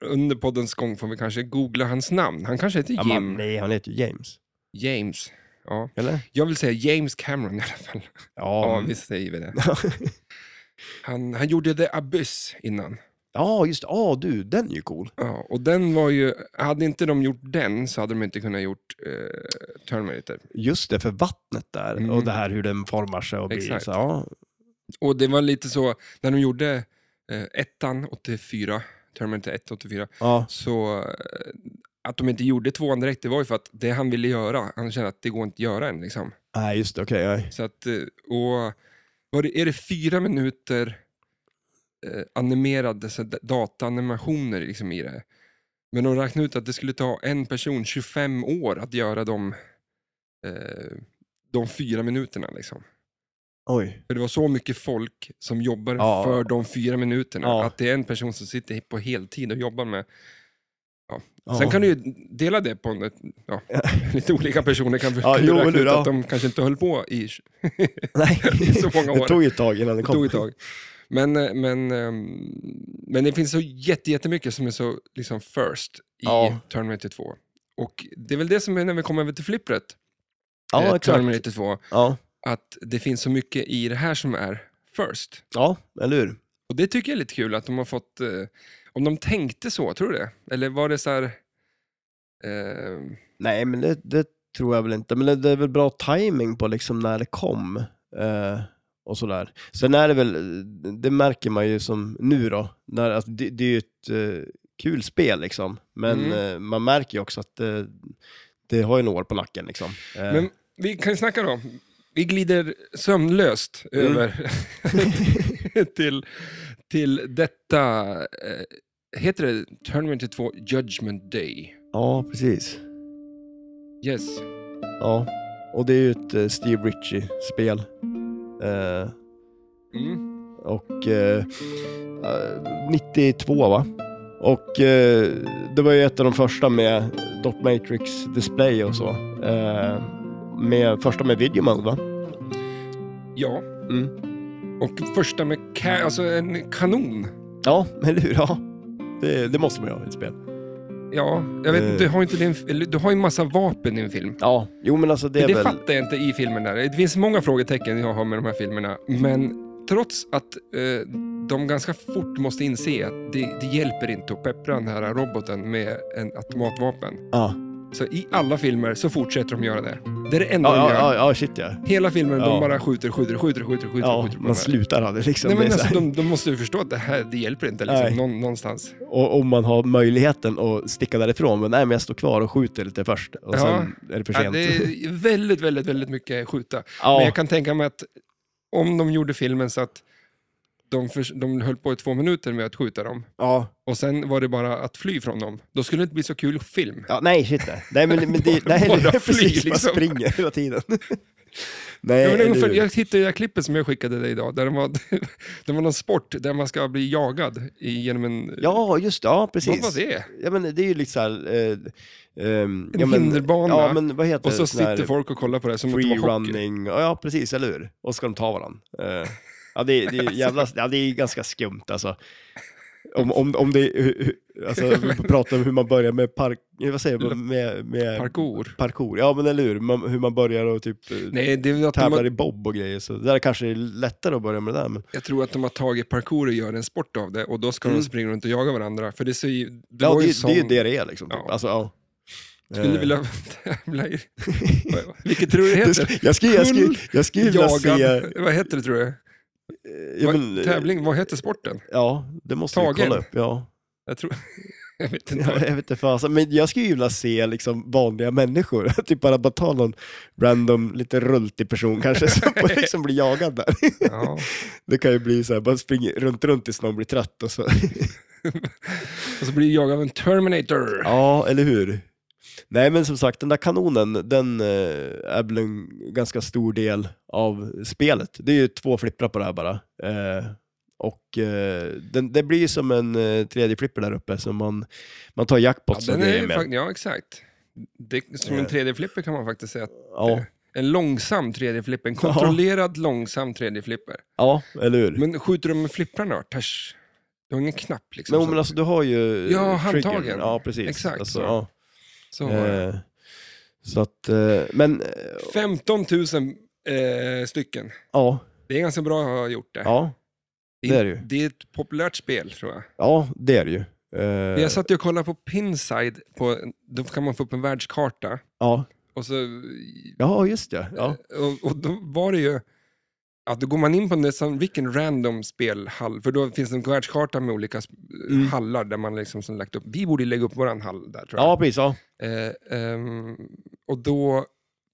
Speaker 1: under poddens gång får vi kanske googla hans namn. Han kanske heter
Speaker 2: Ja,
Speaker 1: Jim,
Speaker 2: men, nej, han heter ju James.
Speaker 1: James. Ja.
Speaker 2: Eller?
Speaker 1: Jag vill säga James Cameron i alla fall. Ja, visst säger vi
Speaker 2: *laughs*
Speaker 1: det. Han, han gjorde The Abyss innan.
Speaker 2: ja just Ja, du, den är ju cool.
Speaker 1: Ja, och den var ju, hade inte de gjort den så hade de inte kunnat gjort eh, Terminator.
Speaker 2: Just det, för vattnet där
Speaker 1: Mm.
Speaker 2: och det här hur den formar sig och blir
Speaker 1: Exakt.
Speaker 2: så, ja.
Speaker 1: Och det var lite så, när de gjorde eh, ettan 84, Terminator 1 84,
Speaker 2: ja.
Speaker 1: så eh, att de inte gjorde tvåan direkt, det var ju för att det han ville göra, han kände att det går inte att göra än. Liksom.
Speaker 2: Nej, just det, okej. nej.
Speaker 1: Så att, eh, och var det, är det fyra minuter eh, animerade så att datanimationer liksom i det? Men de räknade ut att det skulle ta en person 25 år att göra de, eh, de fyra minuterna. Liksom.
Speaker 2: Oj.
Speaker 1: För det var så mycket folk som jobbade
Speaker 2: Ja.
Speaker 1: för de fyra minuterna.
Speaker 2: Ja.
Speaker 1: Att det är en person som sitter på heltid och jobbar med.
Speaker 2: Ja.
Speaker 1: Sen kan du ju dela det på en,
Speaker 2: *laughs*
Speaker 1: ja, lite olika personer. Kan,
Speaker 2: Ja,
Speaker 1: kan
Speaker 2: jo,
Speaker 1: du räkna
Speaker 2: eller
Speaker 1: ut
Speaker 2: hur, ja.
Speaker 1: att de kanske inte höll på i
Speaker 2: *laughs*
Speaker 1: *laughs*
Speaker 2: Nej.
Speaker 1: så många år.
Speaker 2: Det tog ju ett tag
Speaker 1: *laughs*
Speaker 2: innan det
Speaker 1: Det
Speaker 2: kom.
Speaker 1: tog ett tag. Men, eh, men, ehm, men det finns så jätte- jättemycket som är så liksom first i
Speaker 2: Ja.
Speaker 1: Terminator 2. Och det är väl det som är när vi kommer över till flippret, eh,
Speaker 2: Ja, exakt.
Speaker 1: Terminator 2,
Speaker 2: Ja.
Speaker 1: att det finns så mycket i det här som är first.
Speaker 2: ja, eller hur?
Speaker 1: Och det tycker jag är lite kul att de har fått, eh, om de tänkte så, tror du det? Eller var det så här, ehm,
Speaker 2: Nej, men det, det tror jag väl inte. Men det, det är väl bra timing på liksom när det kom eh, och sådär. Sen är det väl, det märker man ju som nu då, när, att det, det är ju ett eh, kul spel liksom. Men
Speaker 1: Mm.
Speaker 2: eh, man märker ju också att det, det har ju några år på nacken liksom. Eh,
Speaker 1: Men vi kan ju snacka då. Vi glider sömnlöst
Speaker 2: Mm.
Speaker 1: över *laughs* till, till detta, eh, heter det Tournament 2 Judgment Day?
Speaker 2: Ja, precis.
Speaker 1: Yes.
Speaker 2: Ja, och det är ju ett eh, Steve Ritchie-spel. Eh,
Speaker 1: Mm.
Speaker 2: och eh, eh, 92 va? Och eh, det var ju ett av de första med Dot Matrix display och så. Eh, med, första med video mode va?
Speaker 1: Ja.
Speaker 2: Mm.
Speaker 1: Och första med ka- alltså en kanon.
Speaker 2: Ja, *laughs* eller hur? Ja. Det, det måste man ju ha i ett spel.
Speaker 1: Ja, jag vet,
Speaker 2: Eh.
Speaker 1: du har inte din, eller du har ju en massa vapen i en film.
Speaker 2: Ja, jo men alltså det
Speaker 1: Det,
Speaker 2: är
Speaker 1: det
Speaker 2: väl...
Speaker 1: fattar jag inte i filmen där. Det finns många frågetecken jag har med de här filmerna, men trots att eh, de ganska fort måste inse att det, det hjälper inte att peppra den här roboten med en automatvapen.
Speaker 2: Ja,
Speaker 1: Så i alla filmer så fortsätter de göra det. Det är det enda
Speaker 2: ja,
Speaker 1: de
Speaker 2: ja,
Speaker 1: gör.
Speaker 2: ja, ja shit ja.
Speaker 1: Hela filmen, de
Speaker 2: Ja.
Speaker 1: bara skjuter, skjuter, skjuter, skjuter, skjuter.
Speaker 2: Ja,
Speaker 1: skjuter på
Speaker 2: man
Speaker 1: de här.
Speaker 2: slutar aldrig liksom.
Speaker 1: Nej,
Speaker 2: Det
Speaker 1: men
Speaker 2: är så
Speaker 1: alltså,
Speaker 2: här-
Speaker 1: de, de måste ju förstå att det här, det hjälper inte liksom,
Speaker 2: Nej.
Speaker 1: någon, någonstans.
Speaker 2: Och om man har möjligheten att sticka därifrån, men nej men jag står kvar och skjuter lite först och
Speaker 1: Ja.
Speaker 2: sen är det för
Speaker 1: Ja,
Speaker 2: sent.
Speaker 1: det är väldigt, väldigt, väldigt mycket skjuta.
Speaker 2: *laughs* Ja.
Speaker 1: Men jag kan tänka mig att om de gjorde filmen så att de, förs- de höll på i två minuter med att skjuta dem
Speaker 2: ja.
Speaker 1: och sen var det bara att fly från dem, då skulle det inte bli så kul film.
Speaker 2: Ja, nej, shit nej. Nej, men, men
Speaker 1: *laughs*
Speaker 2: det,
Speaker 1: Bara-
Speaker 2: nej,
Speaker 1: bara
Speaker 2: det är
Speaker 1: fly,
Speaker 2: precis, man
Speaker 1: liksom.
Speaker 2: springer
Speaker 1: *laughs*
Speaker 2: hela tiden. nej,
Speaker 1: Jag,
Speaker 2: eller
Speaker 1: menar, ungefär,
Speaker 2: hur?
Speaker 1: jag hittade det här klippet som jag skickade dig idag, där det var, *laughs* det var någon sport där man ska bli jagad i- genom en...
Speaker 2: Ja, just det, ja
Speaker 1: Vad var
Speaker 2: precis.
Speaker 1: det?
Speaker 2: Ja, men det är ju lite så här... Eh, ehm,
Speaker 1: En
Speaker 2: ja, men,
Speaker 1: hinderbana.
Speaker 2: Ja, men vad heter
Speaker 1: Och så
Speaker 2: det? Sån här
Speaker 1: sitter folk och kollar på det som att det
Speaker 2: Free
Speaker 1: var hockey.
Speaker 2: running, ja ja, precis, eller hur? Och så ska de ta varandra. Eh, ja, det, är-
Speaker 1: *laughs*
Speaker 2: det är ju jävla, ja, det är ju ganska skumt alltså. Om, om, om det är- hur- hur- alltså, vi pratar om hur man börjar med park, vad
Speaker 1: *laughs*
Speaker 2: säger man, med, med
Speaker 1: Parkour.
Speaker 2: parkour, ja men eller hur, man, hur man börjar och typ eh,
Speaker 1: Nej, det är att de
Speaker 2: tävlar
Speaker 1: har,
Speaker 2: i bob och grejer, så det där kanske är lättare att börja med det där. Men...
Speaker 1: jag tror att de har tagit parkour och gör en sport av det och då ska de
Speaker 2: Mm.
Speaker 1: springa runt och jaga varandra. För det, ser ju, det
Speaker 2: Ja,
Speaker 1: var
Speaker 2: det,
Speaker 1: ju
Speaker 2: är-
Speaker 1: en sån...
Speaker 2: det är ju det det är liksom. typ.
Speaker 1: Ja.
Speaker 2: Alltså, ja.
Speaker 1: Skulle du
Speaker 2: Eh,
Speaker 1: vilja tävla
Speaker 2: *laughs*
Speaker 1: i... Vilket tror du det
Speaker 2: det
Speaker 1: heter?
Speaker 2: sk- jag skulle, jag skulle, jag skulle vilja se...
Speaker 1: Jagad.
Speaker 2: eh,
Speaker 1: Vad heter det tror du?
Speaker 2: Ja,
Speaker 1: Vad-
Speaker 2: men, eh,
Speaker 1: Tävling, vad heter sporten?
Speaker 2: ja, det måste vi
Speaker 1: Tagen.
Speaker 2: kolla upp. Ja.
Speaker 1: Jag tror... *laughs* Jag vet inte.
Speaker 2: Ja, jag vet inte fasen, men jag skulle ju vilja se liksom vanliga människor. *laughs* typ bara, bara ta någon random, lite rultig person kanske som
Speaker 1: *laughs*
Speaker 2: får liksom blir jagad där. *laughs*
Speaker 1: Ja.
Speaker 2: Det kan ju bli så här, bara springa runt, runt tills någon blir trött och så.
Speaker 1: Och så blir jag jagad av en Terminator.
Speaker 2: Ja, eller hur? Nej, men som sagt, den där kanonen, den eh, är väl en ganska stor del av spelet. Det är ju två flipprar på det här bara. Eh, och eh, den, det blir ju som en eh, tredje flipper där uppe som man, man tar
Speaker 1: Ja,
Speaker 2: jackpots och
Speaker 1: den är
Speaker 2: grejer
Speaker 1: ju
Speaker 2: med. Eh.
Speaker 1: fakt- ja exakt. Det, som en 3D-flipper kan man faktiskt säga. att- eh,
Speaker 2: Ja,
Speaker 1: En långsam 3D-flipper, en
Speaker 2: Ja.
Speaker 1: kontrollerad långsam 3D-flipper.
Speaker 2: ja, eller hur?
Speaker 1: Men skjuter de med flipprarna då? Tash. Du har ingen knapp liksom.
Speaker 2: Nej,
Speaker 1: så-
Speaker 2: men alltså du har ju...
Speaker 1: Ja,
Speaker 2: eh, triggern.
Speaker 1: handtagen.
Speaker 2: Ja, precis.
Speaker 1: Exakt
Speaker 2: Alltså,
Speaker 1: så.
Speaker 2: ja.
Speaker 1: så var det.
Speaker 2: Eh, så att, eh, men eh,
Speaker 1: 15 000 eh, stycken.
Speaker 2: ja,
Speaker 1: Det är ganska bra att ha gjort det.
Speaker 2: ja, det är det ju.
Speaker 1: Det är ett populärt spel tror jag.
Speaker 2: ja, det är det ju. Eh,
Speaker 1: Jag satt ju och kollade på Pinside, på, då kan man få upp en världskarta.
Speaker 2: ja.
Speaker 1: Och, så,
Speaker 2: ja, just det.
Speaker 1: Eh,
Speaker 2: Ja.
Speaker 1: och, och då var det ju, att då går man in på nästan vilken random spelhall, för då finns det en världskarta med olika sp-
Speaker 2: Mm.
Speaker 1: hallar där man liksom som lagt upp, vi borde lägga upp våran hall där tror jag.
Speaker 2: ja, precis. Ja.
Speaker 1: Eh, ehm, och då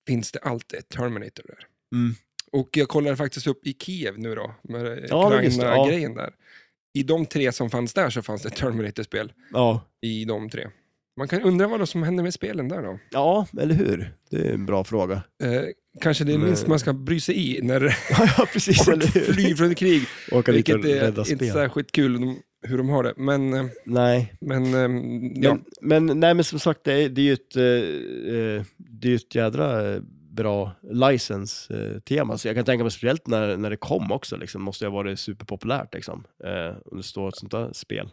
Speaker 1: finns det alltid ett Terminator där.
Speaker 2: Mm.
Speaker 1: Och jag kollade faktiskt upp i Kiev nu då, med
Speaker 2: Ja, men just det, ja.
Speaker 1: Ukraina-grejen där. I de tre som fanns där så fanns det ett Terminator-spel
Speaker 2: ja.
Speaker 1: i de tre. Man kan undra vad som händer med spelen där då.
Speaker 2: Ja, eller hur? Det är en bra fråga.
Speaker 1: Eh, kanske det är minst man ska bry sig i
Speaker 2: *laughs*
Speaker 1: när
Speaker 2: ja, precis. Eller
Speaker 1: folk
Speaker 2: hur?
Speaker 1: flyr från krig.
Speaker 2: Åka dit och
Speaker 1: Vilket
Speaker 2: rädda
Speaker 1: är inte
Speaker 2: spel.
Speaker 1: särskilt kul de- hur de har det. Men, eh,
Speaker 2: Nej,
Speaker 1: men eh, ja.
Speaker 2: Men, men, nej, men som sagt, det är, det är ju ett, eh, eh, det är ju ett jädra eh, bra license-tema. Så jag kan tänka mig speciellt när, när det kom också, liksom, måste det ha varit superpopulärt. Liksom, eh, om det står ett sånt där spel.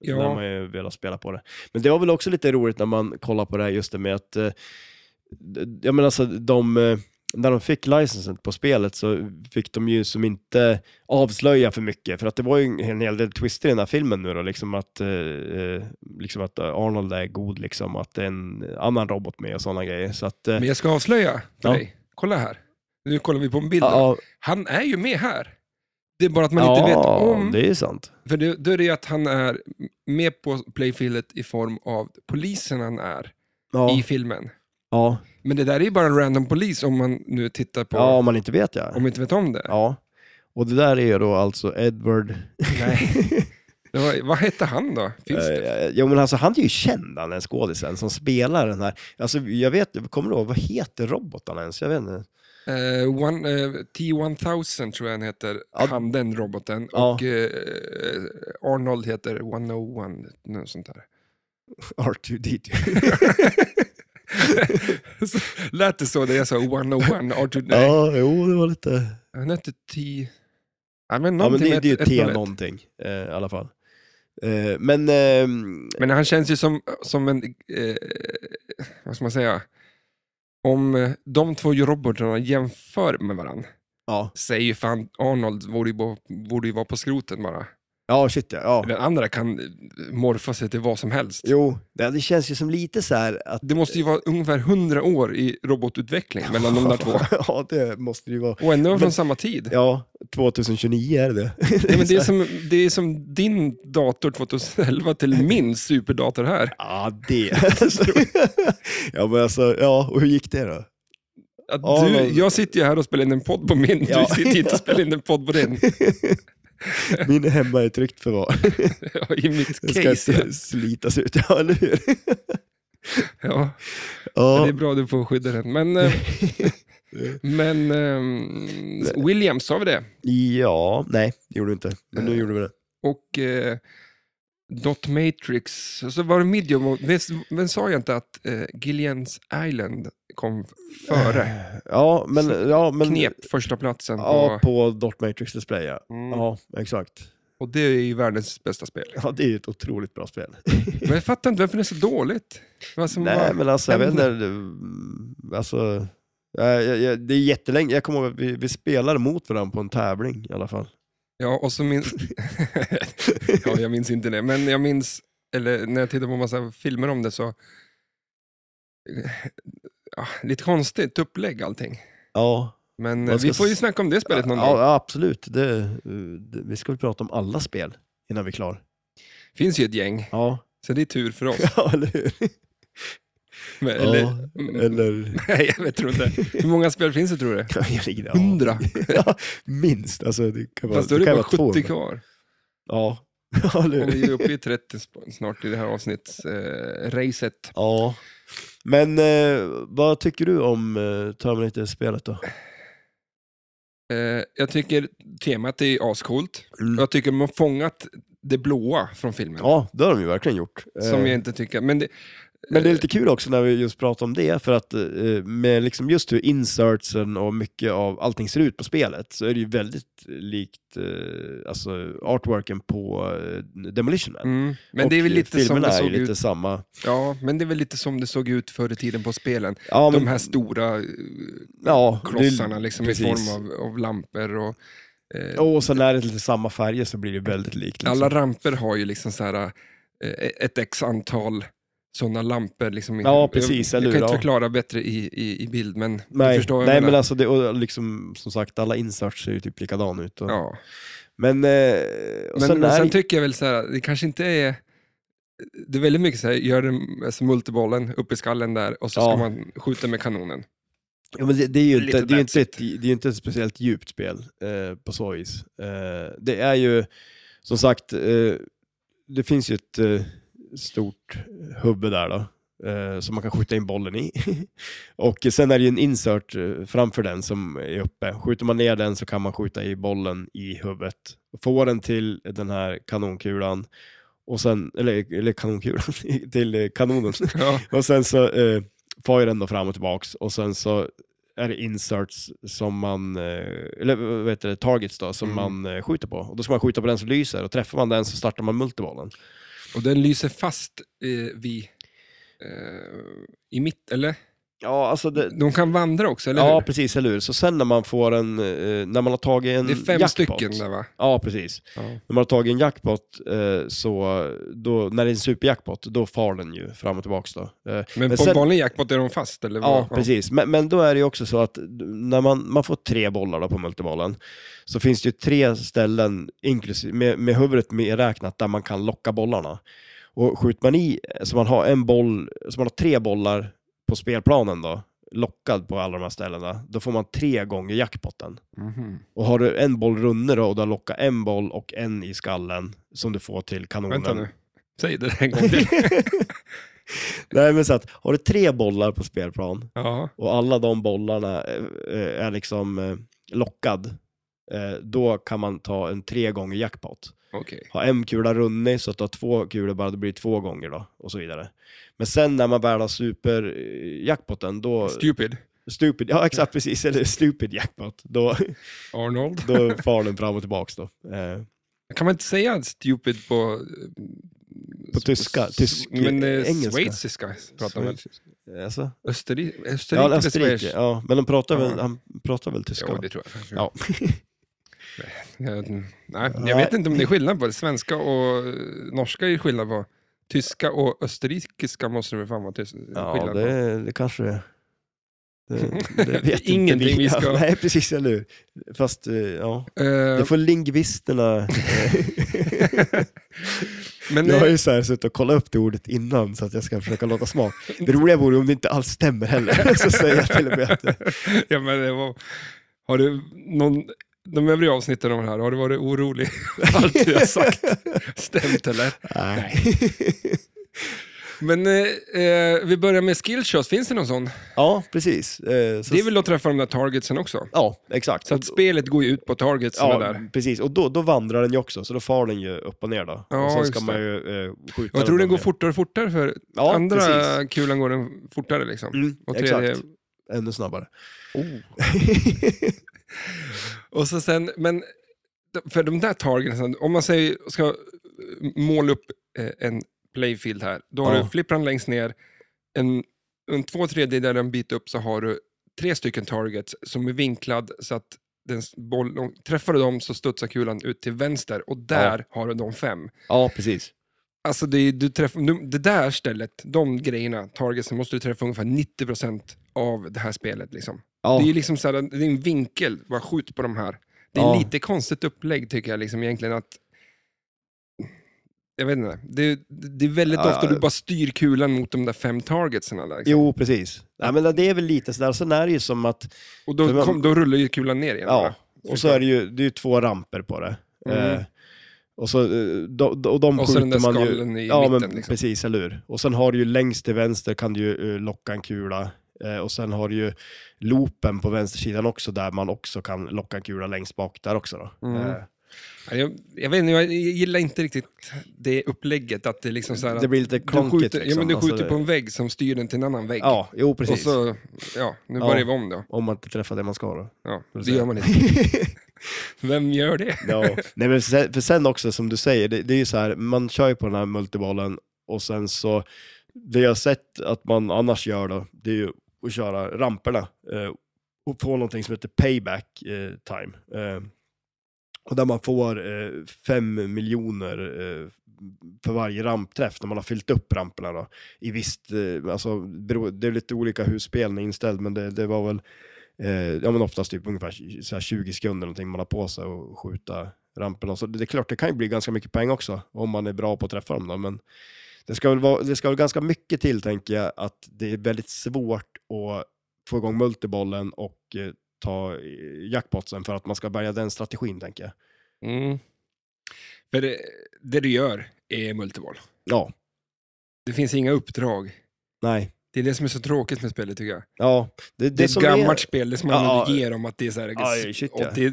Speaker 1: Ja.
Speaker 2: Då har man ju velat spela på det. Men det var väl också lite roligt när man kollar på det här, just det med att, eh, d- jag menar alltså de, eh, när de fick licensen på spelet så fick de ju som inte avslöja för mycket, för att det var ju en- en hel del twister i den här filmen nu då, liksom att, eh, eh, liksom att Arnold är god liksom, att det är en annan robot med och sådana grejer. Så att, eh,
Speaker 1: men jag ska avslöja för
Speaker 2: Ja.
Speaker 1: dig. Kolla här. Nu kollar vi på en bild.
Speaker 2: ja, ja,
Speaker 1: Han är ju med här. Det är bara att man
Speaker 2: ja,
Speaker 1: inte vet om.
Speaker 2: det är ju sant.
Speaker 1: För det, då är det ju att han är med på playfieldet i form av polisen han är
Speaker 2: Ja,
Speaker 1: i filmen.
Speaker 2: ja.
Speaker 1: Men det där är ju bara en random polis om man nu tittar på,
Speaker 2: ja om man inte vet ja.
Speaker 1: om man inte vet om det.
Speaker 2: ja. Och det där är ju då alltså Edward *laughs*
Speaker 1: Nej. Det var, vad hette han då? Finns det?
Speaker 2: Eh, Ja, men alltså han är ju känd han den skådisen som spelar den här. Alltså jag vet, kommer du ihåg, vad heter robotarna ens? Jag vet inte. *laughs*
Speaker 1: Eh, one, eh, T-1000 tror jag han heter,
Speaker 2: Ja.
Speaker 1: han den roboten.
Speaker 2: Ja.
Speaker 1: Och eh, Arnold heter 101, något sånt
Speaker 2: *laughs*
Speaker 1: där.
Speaker 2: R2D2.
Speaker 1: Så Lät det så när jag sa 101, R2, nej.
Speaker 2: *laughs* Ja, jo det var lite...
Speaker 1: Han hette T... Nej, men
Speaker 2: Ja men
Speaker 1: någonting
Speaker 2: det, det är ju
Speaker 1: med ett- ett
Speaker 2: T
Speaker 1: noll ett.
Speaker 2: någonting eh, i alla fall. Eh, men, ehm,
Speaker 1: Men han känns ju som, som en, eh, vad ska man säga, om eh, de två robotarna jämför med varandra,
Speaker 2: ja.
Speaker 1: säger ju fan Arnold borde ju, bo- borde ju vara på skroten bara.
Speaker 2: Ja, shit ja. ja.
Speaker 1: Den andra kan eh, morfa sig till vad som helst.
Speaker 2: Jo, det, det känns ju som lite så här att...
Speaker 1: Det måste ju vara ungefär 100 år i robotutveckling mellan de där två.
Speaker 2: *laughs* ja, det måste det ju vara.
Speaker 1: Och ändå från
Speaker 2: Men-
Speaker 1: samma tid.
Speaker 2: Ja, 2029 är det
Speaker 1: Nej, men det, är
Speaker 2: så här-
Speaker 1: som, det är som din dator 2011 till min superdator här.
Speaker 2: *laughs* Ja, det. *laughs* ja, men alltså, ja, och hur gick det då?
Speaker 1: Att
Speaker 2: Ja,
Speaker 1: du,
Speaker 2: men-
Speaker 1: jag sitter ju här och spelar in en podd på min,
Speaker 2: Ja.
Speaker 1: du sitter hit och spelar in en podd på
Speaker 2: *laughs*
Speaker 1: din.
Speaker 2: Min är hemma i tryggt förvar.
Speaker 1: Ja, I mitt
Speaker 2: Den ska
Speaker 1: case.
Speaker 2: inte slitas ut, *laughs* ja eller hur?
Speaker 1: Ja. Ja. Det är
Speaker 2: Ja,
Speaker 1: bra du får skydda den. Men,
Speaker 2: *laughs*
Speaker 1: eh, men eh, Williams, sa vi det?
Speaker 2: ja nej, det gjorde du inte. Men
Speaker 1: Eh,
Speaker 2: nu gjorde vi det.
Speaker 1: Och eh, Dot Matrix, och så var det Medium. Och, visst- men sa jag inte att eh, Gillians Island kom före?
Speaker 2: Ja,
Speaker 1: Så
Speaker 2: men... Ja, *laughs* men
Speaker 1: Knep första platsen
Speaker 2: Ja,
Speaker 1: på...
Speaker 2: på Dot Matrix Display, ja.
Speaker 1: Mm.
Speaker 2: Ja, exakt.
Speaker 1: Och det är ju världens bästa
Speaker 2: *laughs*
Speaker 1: spel.
Speaker 2: Ja, det är ju ett otroligt bra spel.
Speaker 1: Men jag fattar inte varför det är så dåligt. Vad som
Speaker 2: Nej,
Speaker 1: var...
Speaker 2: men alltså jag vet
Speaker 1: händer?
Speaker 2: inte. det- Alltså, ja, jag, jag, det är jättelänge. Jag kommer ihåg att vi, vi spelade mot varandra på en tävling i alla fall.
Speaker 1: Ja, och så minns... *laughs* ja, jag minns inte det, men jag minns, eller när jag tittar på massa filmer om det så... Ja, lite konstigt upplägg allting.
Speaker 2: Ja,
Speaker 1: Men
Speaker 2: Man
Speaker 1: eh, vi
Speaker 2: ska
Speaker 1: får ju
Speaker 2: s-
Speaker 1: snacka om det spelet någon
Speaker 2: ja,
Speaker 1: dag.
Speaker 2: ja absolut. Det, det, vi ska väl prata om alla spel innan vi är klar.
Speaker 1: finns ju ett gäng,
Speaker 2: Ja, *laughs*
Speaker 1: så det är tur för oss.
Speaker 2: ja eller hur?
Speaker 1: Men, eller, Mm,
Speaker 2: Eller, ja, eller... *laughs*
Speaker 1: nej, jag vet- tror inte. Hur många spel finns det tror du?
Speaker 2: Ja.
Speaker 1: Hundra?
Speaker 2: Ja, minst. Alltså, det kan vara,
Speaker 1: Fast då är det
Speaker 2: kan
Speaker 1: bara
Speaker 2: vara 200.
Speaker 1: 70 kvar.
Speaker 2: Ja. *laughs* Ja, eller
Speaker 1: Och
Speaker 2: hur?
Speaker 1: vi är uppe i 30 sp- snart i det här avsnittsracet.
Speaker 2: ja. Men eh, vad tycker du om eh, Terminator-spelet då?
Speaker 1: Eh, jag tycker temat är ascoolt.
Speaker 2: Mm.
Speaker 1: Jag tycker de har fångat det blåa från filmen.
Speaker 2: Ja, det har de ju verkligen gjort.
Speaker 1: Som
Speaker 2: Eh,
Speaker 1: jag inte tycker, men det,
Speaker 2: Men det är lite kul också när vi just pratar om det, för att eh, med liksom just hur insertsen och mycket av allting ser ut på spelet så är det ju väldigt likt eh, alltså artworken på eh, Demolition Man.
Speaker 1: mm, men
Speaker 2: Och
Speaker 1: det är väl lite som
Speaker 2: filmerna
Speaker 1: det
Speaker 2: är
Speaker 1: såg
Speaker 2: ju lite
Speaker 1: ut.
Speaker 2: samma.
Speaker 1: Ja, men det är väl lite som det såg ut förr i tiden på spelen.
Speaker 2: Ja, men-
Speaker 1: De här stora eh,
Speaker 2: ja, det är-
Speaker 1: klossarna liksom, i
Speaker 2: precis.
Speaker 1: form av, av lampor och eh,
Speaker 2: Och sen när det är lite samma färger så blir det väldigt likt. Liksom.
Speaker 1: alla ramper har ju liksom så här eh, ett x antal sådana lampor. Liksom, i-
Speaker 2: Ja, precis,
Speaker 1: Jag,
Speaker 2: eller
Speaker 1: jag kan
Speaker 2: hur?
Speaker 1: inte
Speaker 2: Ja.
Speaker 1: förklara bättre i, i, i bild, men du
Speaker 2: Nej,
Speaker 1: förstår vad jag
Speaker 2: nej
Speaker 1: menar.
Speaker 2: men alltså det, och liksom, som sagt alla inserts ser ju typ likadana ut. Och,
Speaker 1: ja.
Speaker 2: Men, eh, och
Speaker 1: Men
Speaker 2: sen
Speaker 1: sen,
Speaker 2: är,
Speaker 1: sen tycker jag väl så här, det kanske inte är... Det är väldigt mycket så här, gör den, alltså multibollen upp i skallen där och så ska
Speaker 2: Ja.
Speaker 1: man skjuta med kanonen.
Speaker 2: ja, men det, det är ju inte,
Speaker 1: lite
Speaker 2: det är ju inte, ett,
Speaker 1: that's
Speaker 2: det är ju inte ett speciellt djupt spel eh, på så vis. Eh, det är ju, som sagt, eh, det finns ju ett eh, stort hubbe där då. eh, Som man kan skjuta in bollen i. *laughs* och sen är det ju en insert eh, framför den som är uppe. Skjuter man ner den så kan man skjuta i bollen i huvudet. Få den till den här kanonkulan. Och sen, eller, eller kanonkulan, *laughs* till eh, kanonen.
Speaker 1: Ja.
Speaker 2: Och sen så eh, far ju den då fram och tillbaks och sen så är det inserts som man, eh, eller vad heter det, targets då, som
Speaker 1: Mm.
Speaker 2: man eh, skjuter på. Och då ska man skjuta på den som lyser och träffar man den så startar man multibollen.
Speaker 1: Och den lyser fast eh, vid... Eh, I mitt, eller?
Speaker 2: Ja, alltså det,
Speaker 1: De kan vandra också, eller
Speaker 2: ja
Speaker 1: hur?
Speaker 2: precis, eller hur? Så sen när man får en, eh, när man har tagit en
Speaker 1: Det är fem
Speaker 2: jackpot,
Speaker 1: stycken där va?
Speaker 2: Ja, precis.
Speaker 1: Ja.
Speaker 2: När man har tagit en jackpot, eh, så då, när det är en superjackpot, då far den ju fram och tillbaks då. Eh,
Speaker 1: Men,
Speaker 2: Men
Speaker 1: på
Speaker 2: sen-
Speaker 1: en vanlig jackpot är de fast, eller? vad?
Speaker 2: Ja, precis. Men, men då är det ju också så att d- när man, man får tre bollar då på multibollen så finns det ju tre ställen inklusive, med, med huvudet medräknat där man kan locka bollarna. Och skjuter man i, så man har en boll, så man har tre bollar på spelplanen då, lockad på alla de här ställena, då får man tre gånger jackpotten.
Speaker 1: Mhm.
Speaker 2: Och har du en boll runnor då och du har lockat en boll och en i skallen som du får till kanonen.
Speaker 1: Vänta nu. Säg det en
Speaker 2: *laughs*
Speaker 1: gång till.
Speaker 2: Nej men så att, har du tre bollar på spelplan
Speaker 1: ja.
Speaker 2: och alla de bollarna eh, eh, är liksom eh, lockad, eh, då kan man ta en tre gånger jackpot.
Speaker 1: Okej.
Speaker 2: Ha en kula runnig så att du har två kulor bara, det blir två gånger då och så vidare. Men sen när man väl har superjackpoten, då...
Speaker 1: Stupid.
Speaker 2: stupid, ja exakt precis, eller stupid jackpot, då,
Speaker 1: Arnold. *laughs*
Speaker 2: då far den fram och tillbaks då. Eh,
Speaker 1: Kan man inte säga stupid på... eh,
Speaker 2: På tyska,
Speaker 1: s-
Speaker 2: tysk-
Speaker 1: men, eh,
Speaker 2: engelska.
Speaker 1: Schweiziska pratar man.
Speaker 2: alltså,
Speaker 1: Österrike? Österrike?
Speaker 2: ja,
Speaker 1: eller
Speaker 2: Österrike,
Speaker 1: Schweiz?
Speaker 2: ja, men de pratar väl,
Speaker 1: Ja.
Speaker 2: han pratar väl tyska?
Speaker 1: Jo,
Speaker 2: va?
Speaker 1: det tror jag.
Speaker 2: Ja.
Speaker 1: Jag- Nej, jag
Speaker 2: Nej.
Speaker 1: vet inte om det är skillnad på det. Svenska och eh, norska är skillnad på. Tyska och österrikiska måste det väl fan vara tys-
Speaker 2: Ja,
Speaker 1: skillnad på.
Speaker 2: det, det kanske det
Speaker 1: *laughs*
Speaker 2: det, det vet inte
Speaker 1: Ingenting vi ska-
Speaker 2: Nej, precis, eller hur? Fast, eh, ja.
Speaker 1: Eh,
Speaker 2: Det får lingvisterna... eh,
Speaker 1: *laughs*
Speaker 2: *laughs*
Speaker 1: men
Speaker 2: jag har
Speaker 1: eh,
Speaker 2: ju så här suttit och kollat upp det ordet innan så att jag ska försöka låta smart.
Speaker 1: *laughs*
Speaker 2: Det roliga vore om det inte alls stämmer heller. *laughs* så säger jag till och med att...
Speaker 1: ja, men det var, har du någon, de övriga avsnitten av den här, har du varit orolig? *laughs* Allt du har
Speaker 2: *laughs*
Speaker 1: sagt stämt eller?
Speaker 2: Nej.
Speaker 1: Men eh, eh, vi börjar med skillshots, finns det någon sån?
Speaker 2: Ja, precis. Eh, så-
Speaker 1: Det är väl att träffa de där targetsen också?
Speaker 2: Ja, exakt.
Speaker 1: Så att spelet går ju ut på targetsen
Speaker 2: Ja,
Speaker 1: där.
Speaker 2: precis. Och då, då vandrar den ju också, så då far den ju upp och ner då.
Speaker 1: Ja,
Speaker 2: och sen ska
Speaker 1: just
Speaker 2: man
Speaker 1: det.
Speaker 2: ju eh, skjuta
Speaker 1: Jag tror
Speaker 2: den
Speaker 1: den går
Speaker 2: ner.
Speaker 1: fortare och fortare för
Speaker 2: Ja,
Speaker 1: andra
Speaker 2: precis.
Speaker 1: kulan går den fortare liksom.
Speaker 2: Mm, Oh.
Speaker 1: Och tredje...
Speaker 2: exakt. Ännu snabbare.
Speaker 1: Och så sen, men för de där targetsen, om man säger, ska måla upp eh, en playfield här, då har
Speaker 2: Ja.
Speaker 1: du flippran längst ner, en, en två tredjedelar en bit upp så har du tre stycken targets som är vinklad så att den s- boll, om- träffar du dem så studsar kulan ut till vänster och där har du de fem.
Speaker 2: *laughs* Ja, precis.
Speaker 1: Alltså det, är- du träffar, nu- det där stället, de grejerna, targetsen, måste du träffa ungefär 90% av det här spelet. Liksom.
Speaker 2: Ja.
Speaker 1: Det är ju liksom så här, det är en vinkel, bara skjut på de här. Det är
Speaker 2: Ja.
Speaker 1: lite konstigt upplägg tycker jag liksom egentligen att... Jag vet inte, det, det är väldigt
Speaker 2: Ja,
Speaker 1: ofta
Speaker 2: ja.
Speaker 1: du bara styr kulan mot de där fem targetsen. Liksom.
Speaker 2: Jo, precis. Nej, men det är väl lite sådär. Sen är det ju som att,
Speaker 1: Och
Speaker 2: för
Speaker 1: då,
Speaker 2: man-
Speaker 1: kom, då rullar ju kulan ner igen.
Speaker 2: ja,
Speaker 1: bara.
Speaker 2: och så är det ju, det är ju två ramper på det.
Speaker 1: Mm.
Speaker 2: Eh, och, så, eh, då, då, och de
Speaker 1: Och så den
Speaker 2: skjuter
Speaker 1: där
Speaker 2: man ju...
Speaker 1: skallen i
Speaker 2: ja,
Speaker 1: mitten.
Speaker 2: men
Speaker 1: liksom.
Speaker 2: precis, eller hur? Och sen har du ju längst till vänster kan du ju eh, locka en kula. Eh, och sen har du ju loopen på vänstersidan också där man också kan locka en kula längst bak där också då.
Speaker 1: Mm.
Speaker 2: Eh,
Speaker 1: Ja, Jag, jag vet inte, jag gillar inte riktigt det upplägget att det är liksom så här... att-
Speaker 2: det blir lite
Speaker 1: Du
Speaker 2: klonkigt
Speaker 1: skjuter,
Speaker 2: liksom.
Speaker 1: ja, men du
Speaker 2: Alltså,
Speaker 1: skjuter på en vägg som styr den till en annan vägg.
Speaker 2: Ja, jo
Speaker 1: och
Speaker 2: precis.
Speaker 1: så, ja, nu
Speaker 2: Ja.
Speaker 1: börjar vi om då.
Speaker 2: Om man inte träffar det man ska då.
Speaker 1: Ja,
Speaker 2: Får
Speaker 1: det
Speaker 2: du säga.
Speaker 1: gör
Speaker 2: *laughs*
Speaker 1: man inte. Vem gör det?
Speaker 2: Ja, *laughs* nej men sen, för sen också som du säger, det, det är ju så här, man kör ju på den här multibollen och sen så, det jag har sett att man annars gör då, det är ju att köra ramperna eh, och få någonting som heter payback eh, time. Eh, och där man får eh, fem miljoner eh, för varje rampträff när man har fyllt upp ramperna då. I visst, eh, alltså, bero- det är lite olika hur spelen är inställd, men det, det var väl eh, ja, men oftast typ ungefär tj- så här 20 sekunder någonting man har på sig och skjuta ramperna. Så det, det är klart, det kan ju bli ganska mycket poäng också om man är bra på att träffa dem. Då, men det ska, väl vara, det ska väl ganska mycket till, tänker jag, att det är väldigt svårt att få igång multibollen och eh, ta eh, jackpotsen för att man ska bärga den strategin, tänker jag.
Speaker 1: Mm. För det, det du gör är multiboll.
Speaker 2: Ja,
Speaker 1: Det finns inga uppdrag.
Speaker 2: Nej.
Speaker 1: Det är det som är så tråkigt med spelet tycker jag.
Speaker 2: Ja, det,
Speaker 1: Det är ett
Speaker 2: som
Speaker 1: gammalt spel, det som man
Speaker 2: Ja.
Speaker 1: ändå ger om att det är så här,
Speaker 2: Aj, shit,
Speaker 1: och
Speaker 2: ja.
Speaker 1: det är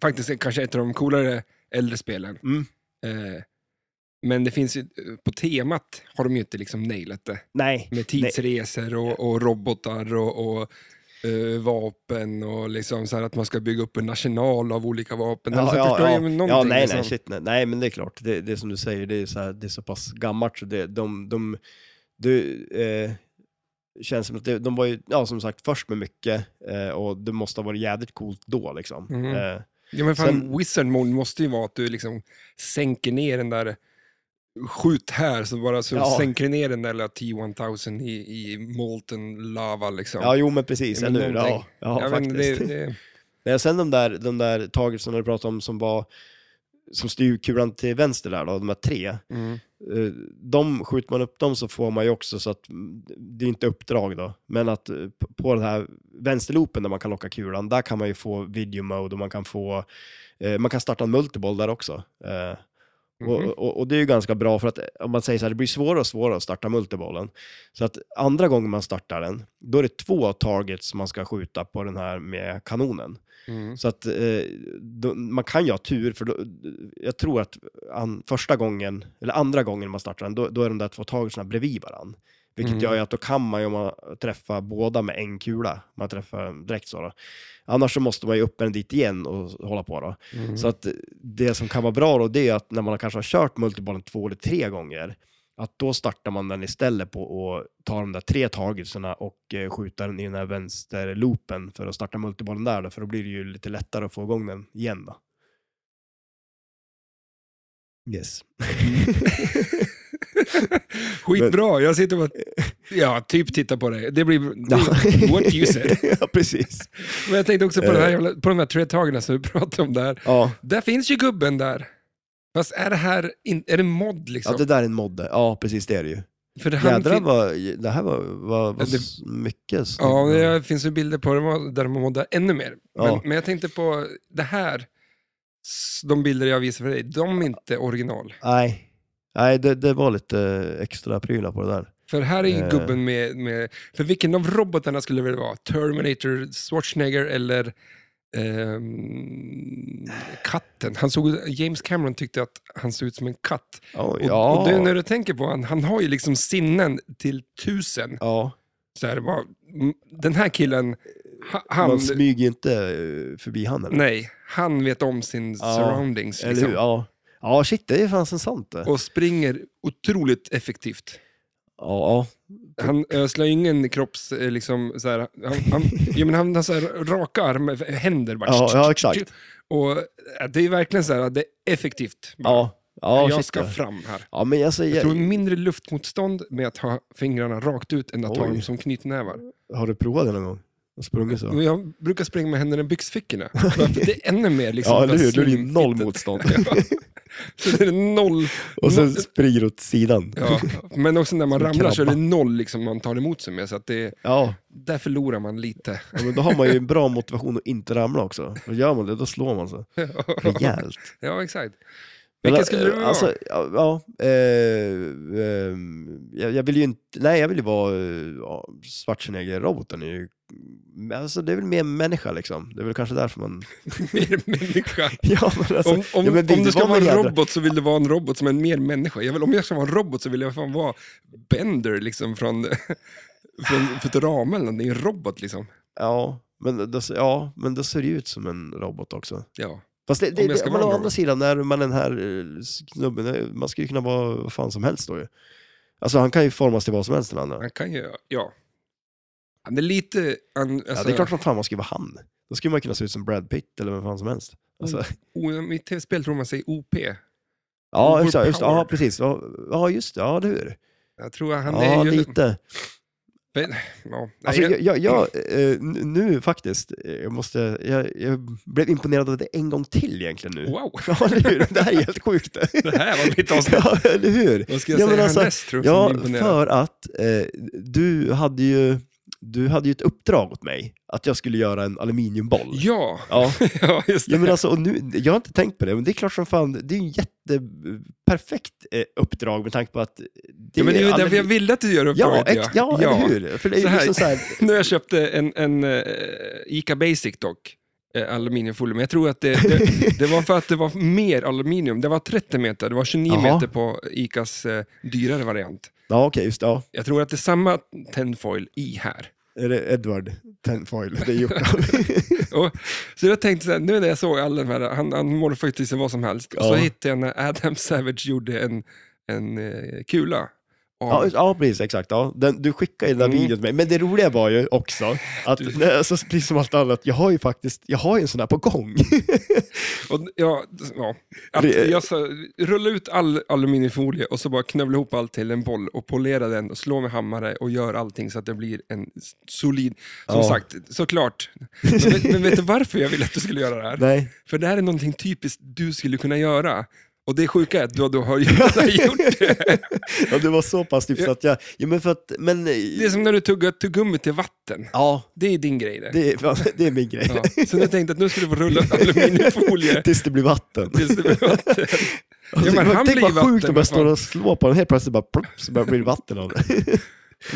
Speaker 1: faktiskt kanske ett av de coolare äldre spelen.
Speaker 2: Mm.
Speaker 1: Eh, men det finns ju, eh, på temat har de ju inte liksom nailat det.
Speaker 2: Nej.
Speaker 1: Med tidsresor och, och robotar och, och eh, vapen och liksom så här att man ska bygga upp en arsenal av olika vapen. alltså, förstår jag, men
Speaker 2: ja,
Speaker 1: någonting
Speaker 2: nej,
Speaker 1: liksom.
Speaker 2: nej, shit, nej, nej, men det är klart. Det, det är som du säger, det är så, här, det är så pass gammalt så det, de, de, du, eh, känns som att det, de var ju, ja, som sagt, först med mycket eh, och det måste ha varit jädrigt coolt då liksom.
Speaker 1: Mm.
Speaker 2: Eh,
Speaker 1: Ja, men fan,
Speaker 2: Sen-
Speaker 1: wizard mode måste ju vara att du liksom sänker ner den där skjut här, så bara så
Speaker 2: Ja.
Speaker 1: sänker du ner den där lilla T-1000 i, i molten lava liksom.
Speaker 2: ja, jo, men precis,
Speaker 1: Ja, men
Speaker 2: eller hur? Ja,
Speaker 1: någonting.
Speaker 2: ja,
Speaker 1: Ja, men
Speaker 2: faktiskt.
Speaker 1: det, det,
Speaker 2: Nej, sen de där, de där taget som du pratade om som var, som styr kulan till vänster där då, de här tre.
Speaker 1: mm.
Speaker 2: Eh, de skjuter man upp dem så får man ju också så att mm, det är inte uppdrag då, men att eh, p- på den här vänsterloopen där man kan locka kulan, där kan man ju få video mode och man kan få, eh, man kan starta en multiboll där också. Eh, och,
Speaker 1: Mhm.
Speaker 2: och, och det är ju ganska bra för att eh, om man säger så här, det blir svårare och svårare att starta multibollen. Så att andra gången man startar den, då är det två targets man ska skjuta på den här med kanonen.
Speaker 1: Mm.
Speaker 2: Så att eh, då, man kan ju ha tur, för då, jag tror att an, första gången, eller andra gången man startar den, då, då är de där två tagelserna bredvid varann. Vilket
Speaker 1: Mm.
Speaker 2: gör ju att då kan man ju om man träffar båda med en kula, man träffar dem direkt så då. Annars så måste man ju upp den dit igen och hålla på då.
Speaker 1: Mm.
Speaker 2: Så att det som kan vara bra då, det är att när man kanske har kört multibollen två eller tre gånger, att då startar man den istället på att ta de där tre tagelserna och eh, skjuta den i den här vänsterloopen för att starta multibollen där då, för då blir det ju lite lättare att få igång den igen då. Yes.
Speaker 1: *laughs* Skitbra, jag sitter och
Speaker 2: *laughs*
Speaker 1: bara, ja, typ tittar på dig. Det blir, det, *laughs* what you said.
Speaker 2: *laughs* ja, precis.
Speaker 1: Men jag tänkte också på, det här,
Speaker 2: Eh.
Speaker 1: jävla- på de här trätagarna som du *laughs* pratade om där.
Speaker 2: Ja.
Speaker 1: Där finns ju gubben där. Fast är det här, in, är det mod liksom?
Speaker 2: ja, det där är en modde. Ja, precis det är det ju.
Speaker 1: För han
Speaker 2: Jädrar
Speaker 1: fin-
Speaker 2: vad, det här var, var, var
Speaker 1: Ja, det-
Speaker 2: s- mycket snyggt.
Speaker 1: Ja, det finns ju bilder på dem där de moddar ännu mer.
Speaker 2: Ja.
Speaker 1: Men, men jag tänkte på det här, s- de bilder jag visar för dig, de är inte original.
Speaker 2: Nej, Nej det, det var lite eh, extra prylar på det där.
Speaker 1: För här är ju
Speaker 2: Eh.
Speaker 1: gubben med, med, för vilken av robotarna skulle det väl vara? Terminator, Schwarzenegger eller ehm, katten? Han såg, James Cameron tyckte att han såg ut som en katt.
Speaker 2: Oh,
Speaker 1: Och, och det, när du tänker på han, han har ju liksom sinnen till tusen.
Speaker 2: ja.
Speaker 1: Så här, bara, m- den här killen, ha- han...
Speaker 2: Man smyger ju inte eh, förbi han eller?
Speaker 1: Nej, han vet om sin
Speaker 2: Ja,
Speaker 1: surroundings.
Speaker 2: eller
Speaker 1: Liksom,
Speaker 2: hur? Ja. ja, shit det är fan sant det.
Speaker 1: Och springer otroligt effektivt.
Speaker 2: Ja,
Speaker 1: Han öslar ju ingen kropps... eh, Liksom, så här, han,
Speaker 2: *laughs*
Speaker 1: han, ja, men han har så här, raka armar, händer bara.
Speaker 2: ja, ja exakt.
Speaker 1: Och eh, det är verkligen så här, det är effektivt.
Speaker 2: Ja, ja
Speaker 1: jag
Speaker 2: shit
Speaker 1: ska
Speaker 2: ja.
Speaker 1: fram här.
Speaker 2: Ja, men alltså, jag säger,
Speaker 1: Jag tror mindre luftmotstånd med att ha fingrarna rakt ut än att ha
Speaker 2: Oj.
Speaker 1: dem som knytnävar.
Speaker 2: har du provat det någon gång? Och sprungit så?
Speaker 1: Men Jag brukar springa med händerna i
Speaker 2: *laughs*
Speaker 1: byxfickorna. Bara för Det är ännu mer liksom...
Speaker 2: Ja, eller hur? Då är det ju
Speaker 1: slim-
Speaker 2: noll motstånd. *laughs*
Speaker 1: *laughs* Så det är noll...
Speaker 2: Och sen springer du åt sidan. *laughs*
Speaker 1: Ja, men också när man
Speaker 2: Som
Speaker 1: ramlar så är det
Speaker 2: krabba.
Speaker 1: noll liksom man tar emot sig med, så att det,
Speaker 2: Ja,
Speaker 1: där förlorar man
Speaker 2: *laughs*
Speaker 1: lite.
Speaker 2: ja, men då har man ju en bra motivation att inte ramla också. Och gör man det, då slår man sig rejält.
Speaker 1: ja, exakt.
Speaker 2: Men,
Speaker 1: Vilken skulle
Speaker 2: eh,
Speaker 1: du vara?
Speaker 2: alltså, ja, ja, eh, ehm, jag, jag vill ju inte, nej jag vill ju vara eh, ja, Schwarzenegger-roboten. är ju- men Alltså, det är väl mer människa liksom. Det är väl kanske
Speaker 1: *laughs*
Speaker 2: därför man...
Speaker 1: *laughs* mer människa.
Speaker 2: ja, men alltså,
Speaker 1: Om, om,
Speaker 2: ja, men vill
Speaker 1: om du ska
Speaker 2: vara
Speaker 1: vara en
Speaker 2: jädra-
Speaker 1: robot så vill du vara en robot som är en mer människa. Jag vill, om jag ska vara en robot så vill jag fan vara Bender liksom från, *laughs* från Futurama eller någonting. En robot liksom.
Speaker 2: Ja, men då, ja, men då ser det ju ut som en robot också.
Speaker 1: Ja.
Speaker 2: Fast det, det,
Speaker 1: jag ska
Speaker 2: det,
Speaker 1: vara
Speaker 2: men å
Speaker 1: en
Speaker 2: andra
Speaker 1: robot.
Speaker 2: sidan, när man är den här eh, snubben, eh, man ska ju kunna vara vad fan som helst då ju. Alltså han kan ju formas till vad som helst den andra.
Speaker 1: Han kan ju, ja. Han är lite, han, alltså,
Speaker 2: ja, det är klart som fan man ska vara han. Då skulle man kunna se ut som Brad Pitt eller vem fan som helst. Alltså,
Speaker 1: o- i tv-spel tror man sig OP.
Speaker 2: Ja, just, det, just, det. ja,
Speaker 1: Overpowered.
Speaker 2: precis. Ja, ja, just det. Ja, det är det.
Speaker 1: Jag tror han
Speaker 2: Ja,
Speaker 1: är ju...
Speaker 2: lite.
Speaker 1: Ja, nej,
Speaker 2: Alltså,
Speaker 1: jag-
Speaker 2: jag, jag, jag, eh, n- nu faktiskt, eh, jag, måste, jag, jag blev imponerad av det en gång till egentligen nu.
Speaker 1: Wow,
Speaker 2: *laughs* Ja, eller hur? Det här är helt sjukt.
Speaker 1: det här var mitt avsnitt.
Speaker 2: *laughs* ja, eller hur?
Speaker 1: *laughs* Vad ska jag
Speaker 2: Ja, men
Speaker 1: säga
Speaker 2: alltså,
Speaker 1: härnäst tror jag som
Speaker 2: Ja,
Speaker 1: imponerar?
Speaker 2: för att eh, du hade ju du hade ju ett uppdrag åt mig, att jag skulle göra en aluminiumboll.
Speaker 1: Ja,
Speaker 2: Ja.
Speaker 1: ja just det.
Speaker 2: Ja, men alltså, och nu, jag har inte tänkt på det, men det är klart som fan, det är ju jätteperfekt eh, uppdrag med tanke på att... Det
Speaker 1: Ja, men det är ju
Speaker 2: alla-
Speaker 1: därför jag ville att du gör
Speaker 2: Ja,
Speaker 1: uppdraget.
Speaker 2: ex, ja, eller hur? För det är
Speaker 1: Så
Speaker 2: ju
Speaker 1: här.
Speaker 2: liksom så här,
Speaker 1: *laughs* Nu har jag köpt eh, en, en eh, Ica Basic dock, eh, aluminiumfolie, men jag tror att det, det, det var för att det var mer aluminium. Det var 30 meter, det var 29
Speaker 2: Jaha.
Speaker 1: meter på Icas eh, dyrare variant.
Speaker 2: ja okej, just det, ja.
Speaker 1: Jag tror att det är samma tinfoil i här.
Speaker 2: Är det Edward Tenfoil? Det
Speaker 1: *laughs*
Speaker 2: är gjort av.
Speaker 1: Och, så jag tänkte så här, nu när jag såg alla de här, han, han morfar ju till sig vad som helst, och så
Speaker 2: Ja.
Speaker 1: hittade jag när Adam Savage gjorde en, en eh, kula. av-
Speaker 2: ja, just- ja, precis, exakt. Ja. Den, du skickade ju den där
Speaker 1: Mm.
Speaker 2: videon till mig, men det roliga var ju också att,
Speaker 1: Du-
Speaker 2: nej, alltså, precis som allt annat, jag har ju faktiskt, jag har ju en sån här
Speaker 1: *laughs*
Speaker 2: på gång.
Speaker 1: Och, ja, ja. Att
Speaker 2: Det-
Speaker 1: jag så, rulla ut all aluminiumfolie och så bara knövla ihop allt till en boll och polera den och slå med hammare och gör allting så att det blir en s- solid... Som
Speaker 2: Ja.
Speaker 1: sagt,
Speaker 2: *laughs*
Speaker 1: såklart. Men, vet- men vet du varför jag ville att du skulle göra det här?
Speaker 2: nej.
Speaker 1: För det här är någonting typiskt du skulle kunna göra. Och det sjuka är att du, du har ju
Speaker 2: *laughs*
Speaker 1: redan gjort det.
Speaker 2: *laughs* Ja, det var så pass typ så att jag, ja, men för att, men... eh,
Speaker 1: Det är som när du tuggar tuggummi till vatten.
Speaker 2: Ja,
Speaker 1: Det är din grej det.
Speaker 2: det, är- fan, det är min grej.
Speaker 1: Ja. Så nu tänkte jag att nu skulle du få rulla upp aluminiumfolie
Speaker 2: *laughs* Tills det blir vatten.
Speaker 1: tills det blir vatten. men
Speaker 2: Alltså, tänk-
Speaker 1: han
Speaker 2: tänk
Speaker 1: blir
Speaker 2: vad
Speaker 1: vatten,
Speaker 2: sjukt om
Speaker 1: vad
Speaker 2: jag
Speaker 1: fan.
Speaker 2: står och slår på den, helt plötsligt bara plopp, så bara blir det vatten av det.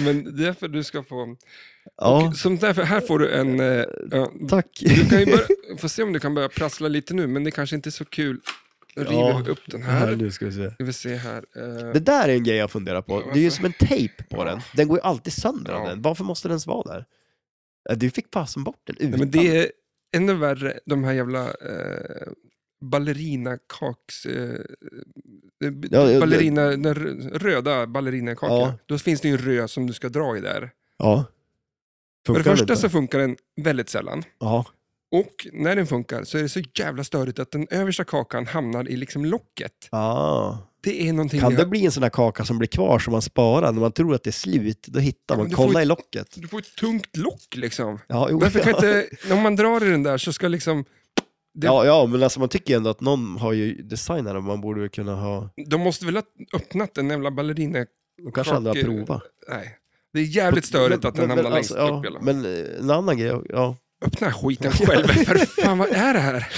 Speaker 1: Men det är därför du ska få...
Speaker 2: Ja,
Speaker 1: Och som därför, här får du en... Eh, ja,
Speaker 2: tack.
Speaker 1: du kan ju börja, får se om du kan börja prassla lite nu, men det kanske inte är så kul. Nu river
Speaker 2: Ja.
Speaker 1: vi upp den
Speaker 2: Här,
Speaker 1: här.
Speaker 2: nu ska vi se.
Speaker 1: Ska vi se här. Eh,
Speaker 2: Det där är en grej jag funderar på. Det är ju som en tejp på
Speaker 1: Ja.
Speaker 2: den. Den går ju alltid sönder av
Speaker 1: Ja.
Speaker 2: den. Varför måste den ens vara där? Ja, Du fick passen bort den
Speaker 1: nej,
Speaker 2: utan.
Speaker 1: men det är ännu värre, de här jävla eh, ballerinakaks... Eh,
Speaker 2: Ja, ja,
Speaker 1: ballerina, den rö- röda ballerinakakan.
Speaker 2: Ja.
Speaker 1: Då finns det ju en röd som du ska dra i där.
Speaker 2: Ja.
Speaker 1: För
Speaker 2: Funkar
Speaker 1: det första
Speaker 2: inte?
Speaker 1: så funkar den väldigt sällan.
Speaker 2: Ja.
Speaker 1: Och när den funkar så är det så jävla störigt att den översta kakan hamnar i liksom locket.
Speaker 2: Ah.
Speaker 1: Det är någonting
Speaker 2: Kan
Speaker 1: vi
Speaker 2: det bli en sån här kaka som blir kvar som man sparar när man tror att det är slut? Då hittar
Speaker 1: Ja, men
Speaker 2: man,
Speaker 1: du
Speaker 2: kolla
Speaker 1: får ju-
Speaker 2: i locket.
Speaker 1: Du får ett tungt lock
Speaker 2: *laughs*
Speaker 1: liksom.
Speaker 2: Ja, jo,
Speaker 1: Varför kan
Speaker 2: ja.
Speaker 1: inte, om man drar i den där så ska liksom, det-
Speaker 2: Ja, ja, men alltså man tycker ändå att någon har ju designat den, man borde väl kunna ha...
Speaker 1: de måste väl ha öppnat en jävla ballerina...
Speaker 2: De kanske aldrig har
Speaker 1: Kakor-
Speaker 2: provat.
Speaker 1: Nej. Det är jävligt störigt att den hamnar längst
Speaker 2: alltså,
Speaker 1: upp.
Speaker 2: ja,
Speaker 1: Ja,
Speaker 2: Men eh, en annan grej, ja.
Speaker 1: Öppna skiten
Speaker 2: *laughs*
Speaker 1: själv, för fan vad är det här?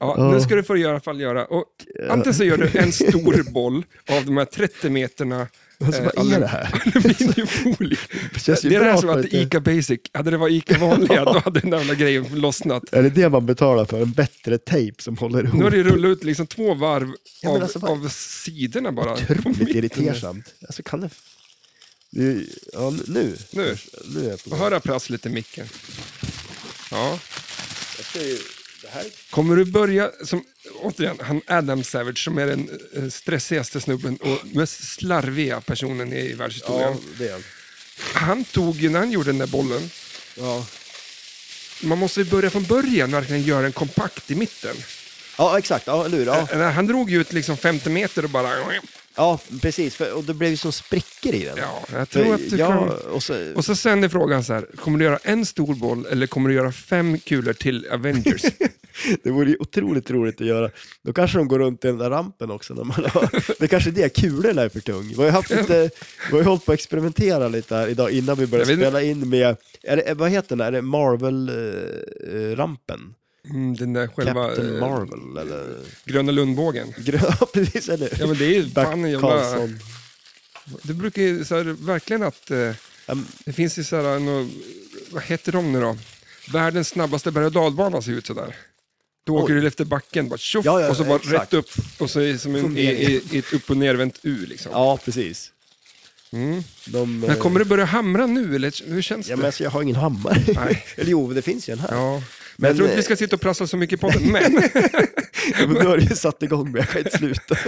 Speaker 1: Ja, nu
Speaker 2: Ja.
Speaker 1: ska du få göra, i alla fall göra. Och, antingen så gör du en
Speaker 2: *laughs*
Speaker 1: stor boll av de här 30 meterna
Speaker 2: Alltså,
Speaker 1: eh,
Speaker 2: vad är
Speaker 1: aluminium-
Speaker 2: det här? *laughs*
Speaker 1: aluminiumfolie.
Speaker 2: Det känns ju
Speaker 1: Det är det här
Speaker 2: bra
Speaker 1: som
Speaker 2: för
Speaker 1: att
Speaker 2: att det-
Speaker 1: Ica Basic, hade det varit Ica
Speaker 2: *laughs*
Speaker 1: vanliga då hade den där jävla grejen lossnat.
Speaker 2: Är det det man betalar för? En bättre tejp som håller ihop?
Speaker 1: Nu har det rullat ut liksom två varv
Speaker 2: Ja, men
Speaker 1: av,
Speaker 2: alltså, vad-
Speaker 1: av sidorna bara. På
Speaker 2: Otroligt
Speaker 1: mitten. *laughs*
Speaker 2: irritersamt. Alltså kan det... det är- ja, nu. Nu,
Speaker 1: Nu.
Speaker 2: nu är jag på
Speaker 1: Och *laughs*
Speaker 2: gång.
Speaker 1: höra prass lite i micken. Ja.
Speaker 2: Jag ska ju- det här-
Speaker 1: Kommer du börja som, återigen, han Adam Savage som är den eh, stressigaste snubben och mest slarviga personen i världshistorien.
Speaker 2: Ja, det är en.
Speaker 1: Han tog ju, när han gjorde den där bollen,
Speaker 2: Ja.
Speaker 1: man måste ju börja från början, verkligen göra en kompakt i mitten.
Speaker 2: ja, exakt. Ja, eller hur? Ja,
Speaker 1: Eh, Han drog ju ut liksom 50 meter och bara...
Speaker 2: ja precis. För, och det blev ju som sprickor i den.
Speaker 1: Ja, jag
Speaker 2: För-
Speaker 1: tror att du kan...
Speaker 2: ja, och så,
Speaker 1: Och så sen är frågan så här, kommer du göra en stor boll eller kommer du göra fem kulor till
Speaker 2: *laughs*
Speaker 1: Avengers?
Speaker 2: Det vore ju otroligt roligt att göra. Då kanske de går runt i den där rampen också. När man har, det kanske är det, kulorna är för tung. Vi har ju, haft lite, vi har ju hållit på att experimentera lite här idag innan vi började
Speaker 1: Jag vet
Speaker 2: spela in med, är det, vad heter den, där? är det Marvel-rampen?
Speaker 1: Mm, den där själva
Speaker 2: Captain
Speaker 1: eh,
Speaker 2: Marvel eller?
Speaker 1: Gröna Lundbågen.
Speaker 2: Grön, *laughs* ja, precis, eller
Speaker 1: Ja men det är ju
Speaker 2: Bert
Speaker 1: fan en jävla...
Speaker 2: Karlsson.
Speaker 1: Det brukar ju så här, verkligen att... Eh,
Speaker 2: Em,
Speaker 1: det finns ju så här, eh, nå, vad heter de nu då? Världens snabbaste berg och dalbana ser ut sådär. Då åker du efter backen, bara tjoff,
Speaker 2: Ja, ja,
Speaker 1: och så bara
Speaker 2: exakt.
Speaker 1: rätt upp. Och så är det som en, i, i, i ett upp och nervänt U liksom.
Speaker 2: Ja, precis. De,
Speaker 1: Mm. Men
Speaker 2: eh,
Speaker 1: kommer du börja hamra nu eller hur känns
Speaker 2: Ja,
Speaker 1: det?
Speaker 2: men alltså, jag har ingen hammare.
Speaker 1: Nej.
Speaker 2: *laughs* Eller jo, det finns ju en här.
Speaker 1: Ja. Men,
Speaker 2: Men,
Speaker 1: jag tror inte vi
Speaker 2: eh,
Speaker 1: ska sitta och prassla så mycket på podden, men...
Speaker 2: *laughs* Ja, men nu har du ju satt igång, men jag kan inte sluta.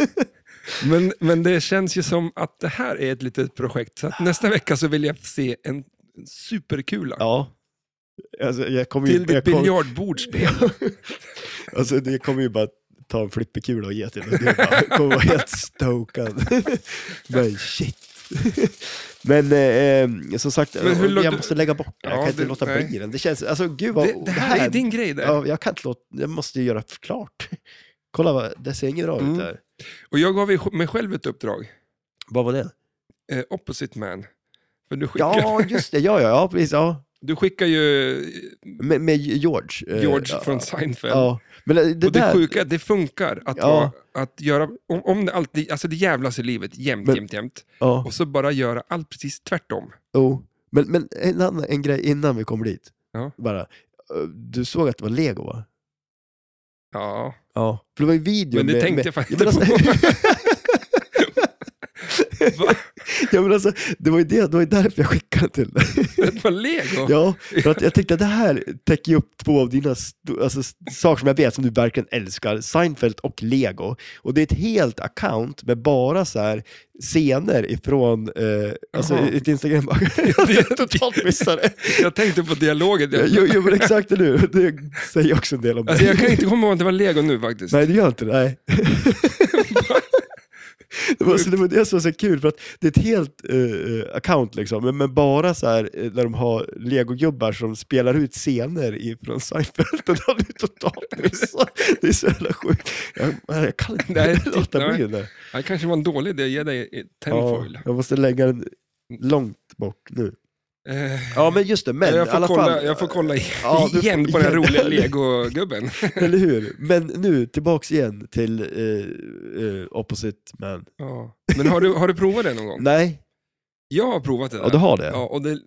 Speaker 1: Men, men det känns ju som att det här är ett litet projekt. Så att nästa vecka så vill jag se en superkula
Speaker 2: Ja. Alltså, jag kommer
Speaker 1: till
Speaker 2: ju,
Speaker 1: ditt
Speaker 2: jag kommer,
Speaker 1: biljardbordsspel.
Speaker 2: Alltså det kommer ju bara ta en flipperkula och ge till den. Det bara- kommer vara
Speaker 1: *laughs*
Speaker 2: helt stokad. Men shit. Men eh, eh, som sagt,
Speaker 1: Men hur låg
Speaker 2: jag
Speaker 1: du-
Speaker 2: måste lägga bort den. Jag
Speaker 1: Ja,
Speaker 2: kan inte
Speaker 1: det-
Speaker 2: låta
Speaker 1: nej.
Speaker 2: bli den. Det känns, alltså gud vad...
Speaker 1: Det, det här är din grej där.
Speaker 2: Ja, jag kan inte låta, jag måste ju göra klart. Kolla, vad, det ser inget bra
Speaker 1: Mm.
Speaker 2: ut där.
Speaker 1: Och jag gav ju mig själv ett uppdrag,
Speaker 2: Vad var det?
Speaker 1: eh, Opposite Man. För du skickar,
Speaker 2: Ja, just det. Ja, ja, ja precis. Ja.
Speaker 1: *laughs* du skickar ju
Speaker 2: Med, med George. eh,
Speaker 1: George
Speaker 2: ja.
Speaker 1: från Seinfeld.
Speaker 2: Ja. Men det, det
Speaker 1: och det
Speaker 2: där...
Speaker 1: sjuka är att det funkar att,
Speaker 2: Ja.
Speaker 1: vara, att göra, om, om det alltid, alltså det jävlas i livet jämt,
Speaker 2: Men-
Speaker 1: jämt, jämt.
Speaker 2: Ja,
Speaker 1: Och så bara göra allt precis tvärtom.
Speaker 2: jo. Men, men en, annan, en grej innan vi kommer dit.
Speaker 1: Ja.
Speaker 2: Bara. eh, Du såg att det var lego, va? *laughs*
Speaker 1: Ja,
Speaker 2: Ja. För det var ju video
Speaker 1: men det
Speaker 2: med,
Speaker 1: tänkte
Speaker 2: med...
Speaker 1: jag faktiskt
Speaker 2: Ja, men
Speaker 1: inte
Speaker 2: alltså...
Speaker 1: på.
Speaker 2: *laughs*
Speaker 1: Va?
Speaker 2: ja, men alltså, det var ju det, det var ju därför jag skickade till dig.
Speaker 1: Det var lego.
Speaker 2: Ja,
Speaker 1: *laughs*
Speaker 2: för att jag tänkte att det här täcker ju upp två av dina sto- alltså, s- saker som jag vet som du verkligen älskar, Seinfeld och Lego. Och det är ett helt account med bara så här scener ifrån eh, alltså,
Speaker 1: Jaha.
Speaker 2: ett Instagram. *laughs* jag totalt missade.
Speaker 1: Jag tänkte på dialogen. Jag,
Speaker 2: Jo, jo, men exakt det nu. Det säger också en del om
Speaker 1: alltså,
Speaker 2: dig.
Speaker 1: jag kan inte komma ihåg att det var lego nu faktiskt.
Speaker 2: Nej, det gör inte
Speaker 1: *laughs*
Speaker 2: det. Nej. det, var, så det var det som var så kul, för att det är ett helt eh, account, liksom, men, men bara så här, eh, när de har legogubbar som spelar ut scener i- från Seinfeld. *laughs* Det har du totalt missat. Det är så jävla sjukt. Jag, jag kan inte
Speaker 1: Nej,
Speaker 2: *laughs* låta
Speaker 1: nej.
Speaker 2: bli det.
Speaker 1: Det kanske var en dålig idé att ge dig Eh,
Speaker 2: Ja,
Speaker 1: tenfoil.
Speaker 2: jag måste lägga den långt bort nu.
Speaker 1: Eh,
Speaker 2: Ja, men just det. Men
Speaker 1: jag,
Speaker 2: i
Speaker 1: får
Speaker 2: alla
Speaker 1: kolla,
Speaker 2: fall,
Speaker 1: jag får kolla i-
Speaker 2: *laughs* Ja, du
Speaker 1: igen
Speaker 2: får-
Speaker 1: på den här
Speaker 2: igen.
Speaker 1: roliga legogubben.
Speaker 2: Eller hur? Men nu, tillbaks igen till eh, eh, Opposite Man.
Speaker 1: Ja. Men har du, har du provat det någon gång?
Speaker 2: Nej,
Speaker 1: *laughs* Jag har provat det där.
Speaker 2: ja, du har det?
Speaker 1: Ja, och det,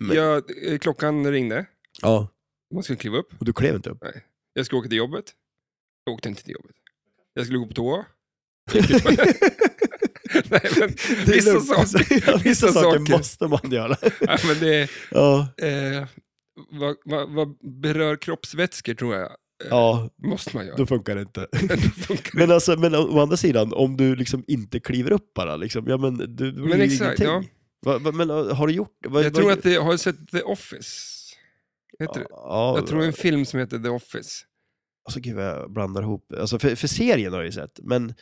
Speaker 2: Men-
Speaker 1: jag, eh, klockan ringde,
Speaker 2: ja.
Speaker 1: man skulle kliva upp.
Speaker 2: Och du klev
Speaker 1: *laughs*
Speaker 2: inte upp?
Speaker 1: Jag skulle åka till jobbet. Jag åkte inte till jobbet. Jag skulle gå på toa. *laughs* Nej, men,
Speaker 2: *laughs* Det är
Speaker 1: vissa,
Speaker 2: lugnt. Alltså,
Speaker 1: saker,
Speaker 2: Ja,
Speaker 1: vissa
Speaker 2: vissa saker
Speaker 1: saker.
Speaker 2: måste man göra.
Speaker 1: ja, men det,
Speaker 2: Ja,
Speaker 1: eh, vad, vad, vad berör kroppsvätskor tror jag,
Speaker 2: ja
Speaker 1: måste man göra.
Speaker 2: då funkar det inte.
Speaker 1: Men *laughs* det funkar.
Speaker 2: Men, alltså, men å å andra sidan, om du liksom inte kliver upp bara, liksom, ja men du, det blir
Speaker 1: Men
Speaker 2: ju
Speaker 1: exakt,
Speaker 2: ingenting. Va, va, men uh, har du gjort det?
Speaker 1: Jag tror att det, har du sett The Office? Heter det?
Speaker 2: Ja,
Speaker 1: Jag tror en film som heter The Office.
Speaker 2: Alltså gud vad jag blandar ihop. Alltså, för, för serien har jag ju sett, men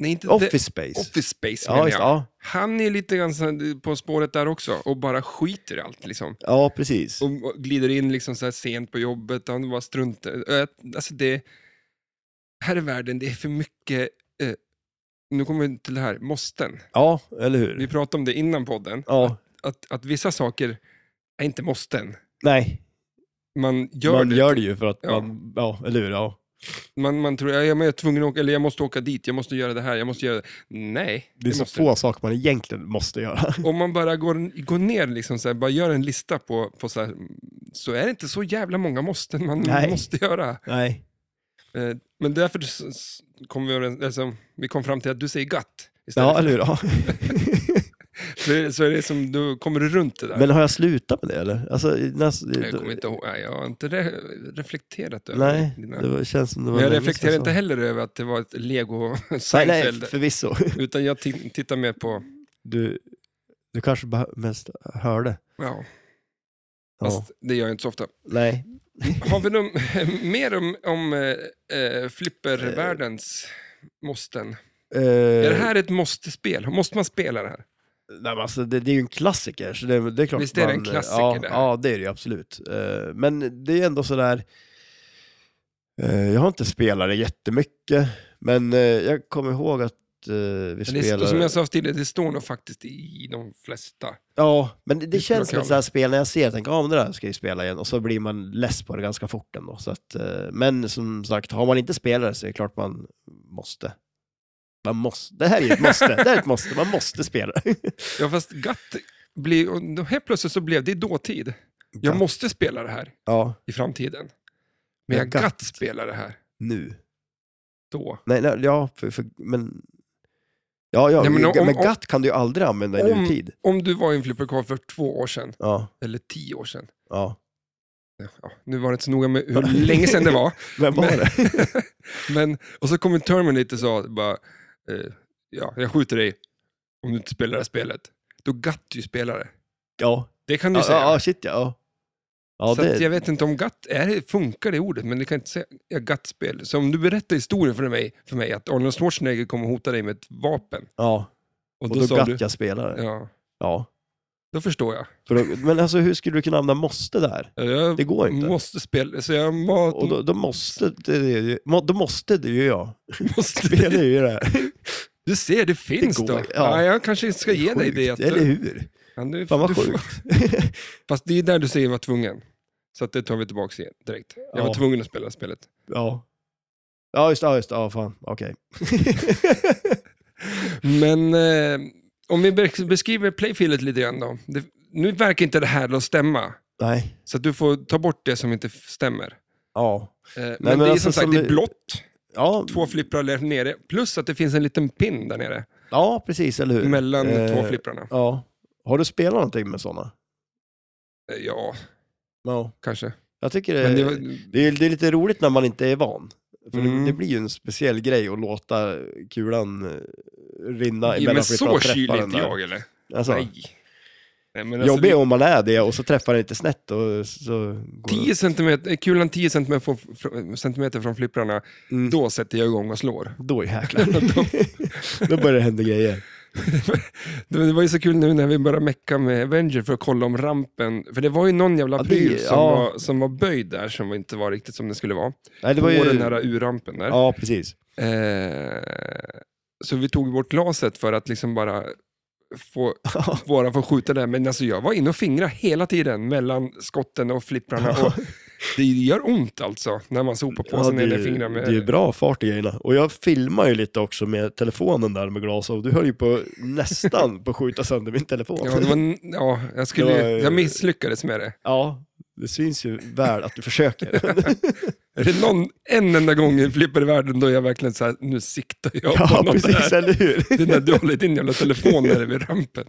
Speaker 1: Nej, inte
Speaker 2: Office Space.
Speaker 1: The, Office Space
Speaker 2: ja,
Speaker 1: menar
Speaker 2: just,
Speaker 1: jag.
Speaker 2: ja.
Speaker 1: Han är lite grann sån- på spåret där också och bara skiter i allt liksom.
Speaker 2: ja, precis.
Speaker 1: Och och glider in liksom så här sent på jobbet, han bara struntar. Ö, Alltså det, här i världen, det är för mycket, eh, nu kommer vi till det här, måsten.
Speaker 2: Ja, eller hur?
Speaker 1: Vi pratade om det innan podden,
Speaker 2: Ja,
Speaker 1: att, att vissa saker är inte måsten.
Speaker 2: nej,
Speaker 1: Man gör
Speaker 2: man
Speaker 1: det.
Speaker 2: gör det ju för att
Speaker 1: Ja.
Speaker 2: man, ja, eller hur? Ja.
Speaker 1: Man, man tror, ja, men jag är tvungen att åka, eller jag måste åka dit, jag måste göra det här, jag måste göra det. Nej,
Speaker 2: Det är så
Speaker 1: måste
Speaker 2: få saker man egentligen
Speaker 1: *laughs*
Speaker 2: måste göra.
Speaker 1: Om man bara går, går ner, liksom så här, bara gör en lista på, på så, här, så är det inte så jävla många måsten man
Speaker 2: Nej.
Speaker 1: måste göra.
Speaker 2: nej.
Speaker 1: Eh, Men därför s- s- kom vi, överens- alltså, vi kom fram till att du säger gatt istället.
Speaker 2: Ja, eller hur? Ja.
Speaker 1: så, är, det- så är det som, då kommer du runt det där.
Speaker 2: *laughs* Men har jag slutat med det eller? Alltså, när,
Speaker 1: jag kommer inte ihåg, nej, jag har inte re, reflekterat över
Speaker 2: Nej,
Speaker 1: dina...
Speaker 2: det var, känns som det var
Speaker 1: Men jag
Speaker 2: länge sedan
Speaker 1: reflekterar
Speaker 2: så.
Speaker 1: inte heller över att det var ett lego
Speaker 2: Nej, nej,
Speaker 1: Seinfeld,
Speaker 2: förvisso. *laughs*
Speaker 1: utan jag ti- tittar mer på,
Speaker 2: Du, du kanske bara mest hörde.
Speaker 1: ja,
Speaker 2: Ja.
Speaker 1: fast det gör jag inte så ofta.
Speaker 2: Nej.
Speaker 1: Har vi någon, *laughs* mer om, om eh, eh, flippervärldens måsten?
Speaker 2: Eh,
Speaker 1: Är det här ett måste-spel? Måste man spela det här?
Speaker 2: Nej, men alltså, det, det är ju en klassiker. Så det, det är klart
Speaker 1: Visst är det en
Speaker 2: man-
Speaker 1: klassiker
Speaker 2: ja,
Speaker 1: det här?
Speaker 2: ja, det är det ju absolut. Eh, men det är ändå sådär... Eh, jag har inte spelat det jättemycket, men eh, jag kommer ihåg att eh, vi
Speaker 1: Men Det,
Speaker 2: spelade...
Speaker 1: som jag sa tidigare, det står nog faktiskt i de flesta.
Speaker 2: Ja, men det, det
Speaker 1: skulle
Speaker 2: känns
Speaker 1: jag
Speaker 2: som ett
Speaker 1: kalla
Speaker 2: sådär spel när jag ser, jag tänker, ja men det där ska jag ju spela igen, och så blir man less på det ganska fort ändå. Så att, eh, men som sagt, har man inte spelat det så är det klart man måste. Man måste. Det här är ju ett måste, det här är ett måste, man måste spela.
Speaker 1: Ja, fast GATT, blir, och då helt plötsligt så blev det i dåtid. Jag
Speaker 2: Gatt.
Speaker 1: måste spela det här
Speaker 2: *laughs* Ja,
Speaker 1: i framtiden. Men jag
Speaker 2: Ja,
Speaker 1: GATT,
Speaker 2: gatt.
Speaker 1: spelar det här
Speaker 2: nu.
Speaker 1: då.
Speaker 2: Nej, nej ja, för, för, men... Ja, ja
Speaker 1: Nej, men
Speaker 2: men,
Speaker 1: om- om-
Speaker 2: GATT kan du ju aldrig använda i
Speaker 1: Om-
Speaker 2: nutid.
Speaker 1: Om du var i en flipperkar för två år sedan,
Speaker 2: Ja,
Speaker 1: eller tio år sedan.
Speaker 2: ja.
Speaker 1: Ja, nu var det inte så noga med *laughs* hur länge sedan det var.
Speaker 2: Vem var
Speaker 1: Men-
Speaker 2: det? *laughs*
Speaker 1: *laughs* Men, och så kom en Terminator och sa bara, eh, ja, jag skjuter dig om du inte spelar det här spelet. Då GATT ju spelare.
Speaker 2: Ja,
Speaker 1: Det kan du
Speaker 2: ja,
Speaker 1: säga.
Speaker 2: ja, ja, shit ja. ja. Ja,
Speaker 1: så att
Speaker 2: det,
Speaker 1: jag vet inte om GATT, är, det- funkar det ordet, men det kan inte säga ja, GATT-spel. Så om du berättar historien för mig, för mig att Arnold Schwarzenegger kommer hota dig med ett vapen,
Speaker 2: ja.
Speaker 1: och
Speaker 2: Och
Speaker 1: då,
Speaker 2: då,
Speaker 1: sa
Speaker 2: GATT
Speaker 1: du,
Speaker 2: jag spelade.
Speaker 1: ja,
Speaker 2: Ja.
Speaker 1: då förstår jag.
Speaker 2: För då, men alltså hur skulle du kunna använda måste där?
Speaker 1: Jag
Speaker 2: Det går inte.
Speaker 1: måste spela, så jag må,
Speaker 2: Och då, då måste det, det, må- då måste det ju jag. *laughs* Spelar
Speaker 1: måste...
Speaker 2: ju det här.
Speaker 1: Du ser, det finns
Speaker 2: går,
Speaker 1: då. Ja.
Speaker 2: ja.
Speaker 1: jag kanske inte ska ge dig det.
Speaker 2: Sjukt,
Speaker 1: Att,
Speaker 2: Eller hur?
Speaker 1: Men du,
Speaker 2: Fan vad
Speaker 1: du,
Speaker 2: sjukt. *laughs*
Speaker 1: Fast det är där du säger var tvungen. Så att det tar vi tillbaka igen direkt. Jag var
Speaker 2: Ja.
Speaker 1: tvungen att spela spelet.
Speaker 2: ja. Ja, just det. Ja, just det. Ja, fan. Okej.
Speaker 1: Men eh, om vi be- beskriver playfieldet lite grann då. Det, nu verkar inte det här då stämma.
Speaker 2: Nej.
Speaker 1: Så att du får ta bort det som inte f- stämmer.
Speaker 2: Ja.
Speaker 1: Eh, men,
Speaker 2: men
Speaker 1: det är
Speaker 2: alltså
Speaker 1: som sagt
Speaker 2: som
Speaker 1: det är
Speaker 2: det-
Speaker 1: blått,
Speaker 2: Ja,
Speaker 1: två flipprar där nere, plus att det finns en liten pin där nere
Speaker 2: ja precis. Eller hur?
Speaker 1: mellan
Speaker 2: Eh,
Speaker 1: två flipprarna.
Speaker 2: Ja. Har du spelat någonting med sådana?
Speaker 1: Eh, Ja,
Speaker 2: Ja.
Speaker 1: kanske.
Speaker 2: Jag tycker det,
Speaker 1: Men det,
Speaker 2: det,
Speaker 1: var-
Speaker 2: är, det är lite roligt när man inte är van. För
Speaker 1: Mm.
Speaker 2: det, det blir ju en speciell grej att låta kulan eh, rinna
Speaker 1: ja,
Speaker 2: emellan
Speaker 1: men
Speaker 2: flipprarna
Speaker 1: så
Speaker 2: och träffa
Speaker 1: kylig är
Speaker 2: den
Speaker 1: inte
Speaker 2: där.
Speaker 1: jag eller?
Speaker 2: Alltså,
Speaker 1: Nej. Nej, men alltså,
Speaker 2: jobbig
Speaker 1: det,
Speaker 2: om man är det och så träffar den inte snett och så... Går
Speaker 1: 10 centimeter, kulan 10 centimeter från, fr- centimeter från flipprarna,
Speaker 2: Mm.
Speaker 1: då sätter jag igång och slår. *laughs*
Speaker 2: Då jäklar. *laughs* då börjar det hända grejer.
Speaker 1: Det det var ju så kul nu när vi började mecka med Avenger för att kolla om rampen, för det var ju någon jävla
Speaker 2: Ja, det-
Speaker 1: pryl som,
Speaker 2: ja.
Speaker 1: var, som var böjd där som inte var riktigt som den skulle vara.
Speaker 2: Nej, det
Speaker 1: På
Speaker 2: var ju...
Speaker 1: den här U-rampen där.
Speaker 2: Ja, precis. *laughs*
Speaker 1: Eh, så vi tog bort glaset för att liksom bara få
Speaker 2: Ja.
Speaker 1: våra få skjuta där. Men alltså jag var inne och fingra hela tiden mellan skotten och flipprarna.
Speaker 2: *laughs*
Speaker 1: Och det gör ont alltså när man sopar på sig
Speaker 2: det,
Speaker 1: när det fingrar med...
Speaker 2: det är ju bra fart i grejerna. Och jag filmar ju lite också med telefonen där med glas och du höll ju på nästan på att skjuta sönder min telefon.
Speaker 1: Ja, det var, ja, jag, skulle,
Speaker 2: Det var-
Speaker 1: jag misslyckades med det.
Speaker 2: Ja, det syns ju väl att
Speaker 1: *laughs*
Speaker 2: du försöker.
Speaker 1: Är det någon, en enda gång i flipper i världen då jag verkligen så här, nu siktar jag på
Speaker 2: ja,
Speaker 1: någon
Speaker 2: precis,
Speaker 1: där.
Speaker 2: eller hur?
Speaker 1: Det är när du håller din jävla telefon där vid rampen.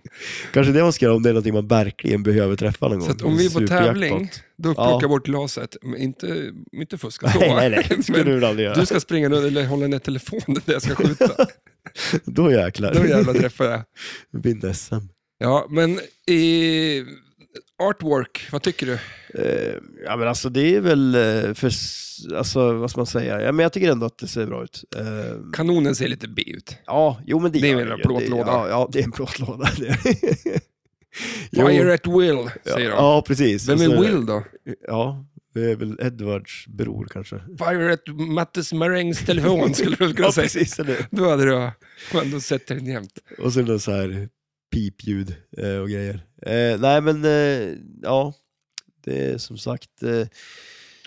Speaker 2: Kanske det man ska göra om det är någonting man verkligen behöver träffa någon
Speaker 1: Så
Speaker 2: gång.
Speaker 1: att om vi är på
Speaker 2: Superjackpot.
Speaker 1: tävling, då
Speaker 2: Ja.
Speaker 1: plockar jag bort glaset. Men inte, inte fuska så.
Speaker 2: Nej, nej, nej, det
Speaker 1: *laughs*
Speaker 2: skulle
Speaker 1: Men
Speaker 2: du väl aldrig göra.
Speaker 1: Du ska springa runt eller hålla ner telefonen där jag ska skjuta.
Speaker 2: Då jäklar.
Speaker 1: Då jävlar träffar jag.
Speaker 2: Vinner SM.
Speaker 1: Ja, men i artwork, vad tycker du?
Speaker 2: Eh, ja men alltså det är väl eh, för, s- alltså vad ska man säga, ja, men jag tycker ändå att det ser bra ut. Eh,
Speaker 1: Kanonen ser lite B ut.
Speaker 2: ja, jo men det,
Speaker 1: Det är
Speaker 2: gör
Speaker 1: väl en
Speaker 2: ju.
Speaker 1: plåtlåda.
Speaker 2: Det, ja, ja, det är en plåtlåda. *laughs* Det är. Jo,
Speaker 1: Fire at will,
Speaker 2: ja,
Speaker 1: säger de.
Speaker 2: Ja, precis.
Speaker 1: Vem
Speaker 2: Och
Speaker 1: är
Speaker 2: så-
Speaker 1: Will då?
Speaker 2: Ja, det är väl Edwards bror kanske.
Speaker 1: Fire at Mattes Marängs telefon skulle du kunna
Speaker 2: Ja,
Speaker 1: säga.
Speaker 2: precis. Eller?
Speaker 1: Då hade du ändå sett den jämt.
Speaker 2: Och så är det så här pipljud eh, och grejer. Eh, nej men, eh, ja. Det är som sagt, eh,
Speaker 1: Nej,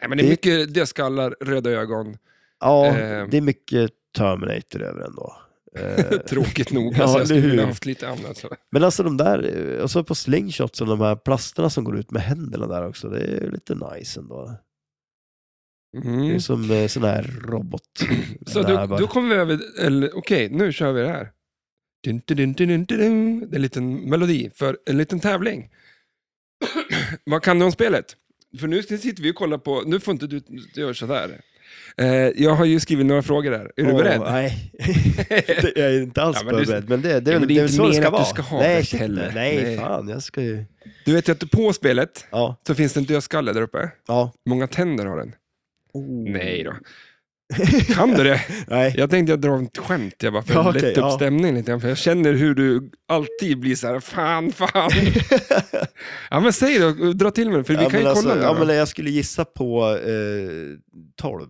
Speaker 1: men det är
Speaker 2: Det-
Speaker 1: mycket dödskallar, röda
Speaker 2: *laughs*
Speaker 1: ögon,
Speaker 2: ja,
Speaker 1: Eh.
Speaker 2: det är mycket Terminator över ändå.
Speaker 1: *laughs*
Speaker 2: Eh,
Speaker 1: tråkigt nog.
Speaker 2: Ja,
Speaker 1: alltså, jag skulle
Speaker 2: eller hur?
Speaker 1: vilja haft lite annat. Så.
Speaker 2: Men alltså de där, eh, och så på slingshotsen, de här plasterna som går ut med händerna där också, det är lite nice ändå. Det är
Speaker 1: Mm.
Speaker 2: som eh, sån här robot.
Speaker 1: *clears throat* Så
Speaker 2: Den här
Speaker 1: då,
Speaker 2: bara-
Speaker 1: då kommer vi över, eller okej, nu kör vi det här. Dun, dun, dun, dun, dun, dun, dun. Det är en liten melodi för en liten tävling. *clears throat* Vad kan du om spelet? För nu sitter vi och kollar på, nu får inte du, du göra sådär. Eh, jag har ju skrivit några frågor där. Är du
Speaker 2: Åh,
Speaker 1: beredd?
Speaker 2: Nej, *laughs* Det- jag är inte alls
Speaker 1: Ja, men du-
Speaker 2: förberedd, men det, det,
Speaker 1: Ja,
Speaker 2: är
Speaker 1: men
Speaker 2: väl-
Speaker 1: det är
Speaker 2: det
Speaker 1: inte
Speaker 2: är väl så det
Speaker 1: meningen
Speaker 2: ska
Speaker 1: att du
Speaker 2: vara.
Speaker 1: ska ha
Speaker 2: nej,
Speaker 1: rätt
Speaker 2: shit,
Speaker 1: heller.
Speaker 2: nej,
Speaker 1: Nej.
Speaker 2: nej, fan, jag ska ju...
Speaker 1: Du vet ju att på spelet
Speaker 2: Ja,
Speaker 1: så finns det en dödskalle där uppe.
Speaker 2: ja.
Speaker 1: Många tänder har den.
Speaker 2: Oh.
Speaker 1: Nej
Speaker 2: *laughs*
Speaker 1: då. Kan du det?
Speaker 2: Nej.
Speaker 1: Jag tänkte jag drar ett skämt, jag bara för att
Speaker 2: Ja, okej,
Speaker 1: lätta upp
Speaker 2: ja.
Speaker 1: stämningen lite grann, för jag känner hur du alltid blir så här, fan, fan. ja men säg då, dra till med det, för vi
Speaker 2: Ja,
Speaker 1: kan
Speaker 2: men
Speaker 1: ju
Speaker 2: alltså,
Speaker 1: kolla nu
Speaker 2: ja,
Speaker 1: då.
Speaker 2: men Jag skulle gissa på eh, 12.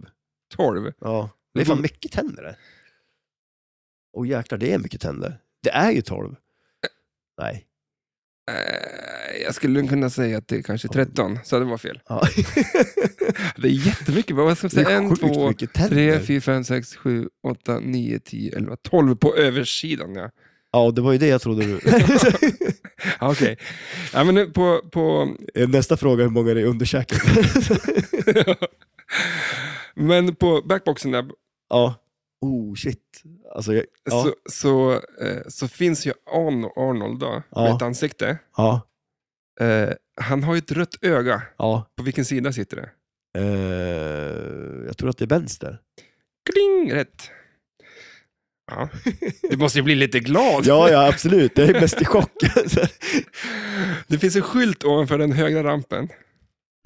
Speaker 1: 12.
Speaker 2: Ja. Det
Speaker 1: Mm.
Speaker 2: är fan mycket tänder det. Åh jäklar, det är mycket tänder. Det är ju 12. Nej.
Speaker 1: Eh, Jag skulle kunna säga att det är kanske 13, så det var fel.
Speaker 2: Ja. *laughs*
Speaker 1: Det är jättemycket, vad ska jag
Speaker 2: Det
Speaker 1: säga?
Speaker 2: är
Speaker 1: 1,
Speaker 2: sjukt
Speaker 1: 2,
Speaker 2: mycket tänder.
Speaker 1: 3, 4, 5, 6, 7, 8, 9, 10, 11, 12 på översidan. Ja.
Speaker 2: Ja, det var ju det jag trodde
Speaker 1: *laughs*
Speaker 2: du... *laughs*
Speaker 1: Ja, Okej. Ja, men nu på, på,
Speaker 2: Eh, Nästa fråga är hur många det är
Speaker 1: *laughs*
Speaker 2: under käken.
Speaker 1: men på backboxen där,
Speaker 2: ja. Oh shit. Alltså, jag, ja.
Speaker 1: så, så, eh, så finns ju Arno- Arnold då, med
Speaker 2: Ja.
Speaker 1: ett ansikte.
Speaker 2: ja.
Speaker 1: Eh, han har ju ett rött öga.
Speaker 2: Ja.
Speaker 1: På vilken sida sitter det?
Speaker 2: Eh, jag tror att det är vänster.
Speaker 1: Kling! Rätt.
Speaker 2: *laughs*
Speaker 1: Ja. Du måste ju bli lite glad. *laughs*
Speaker 2: Ja, ja absolut. Jag är bäst i chock. *laughs*
Speaker 1: Det finns en skylt ovanför den högra rampen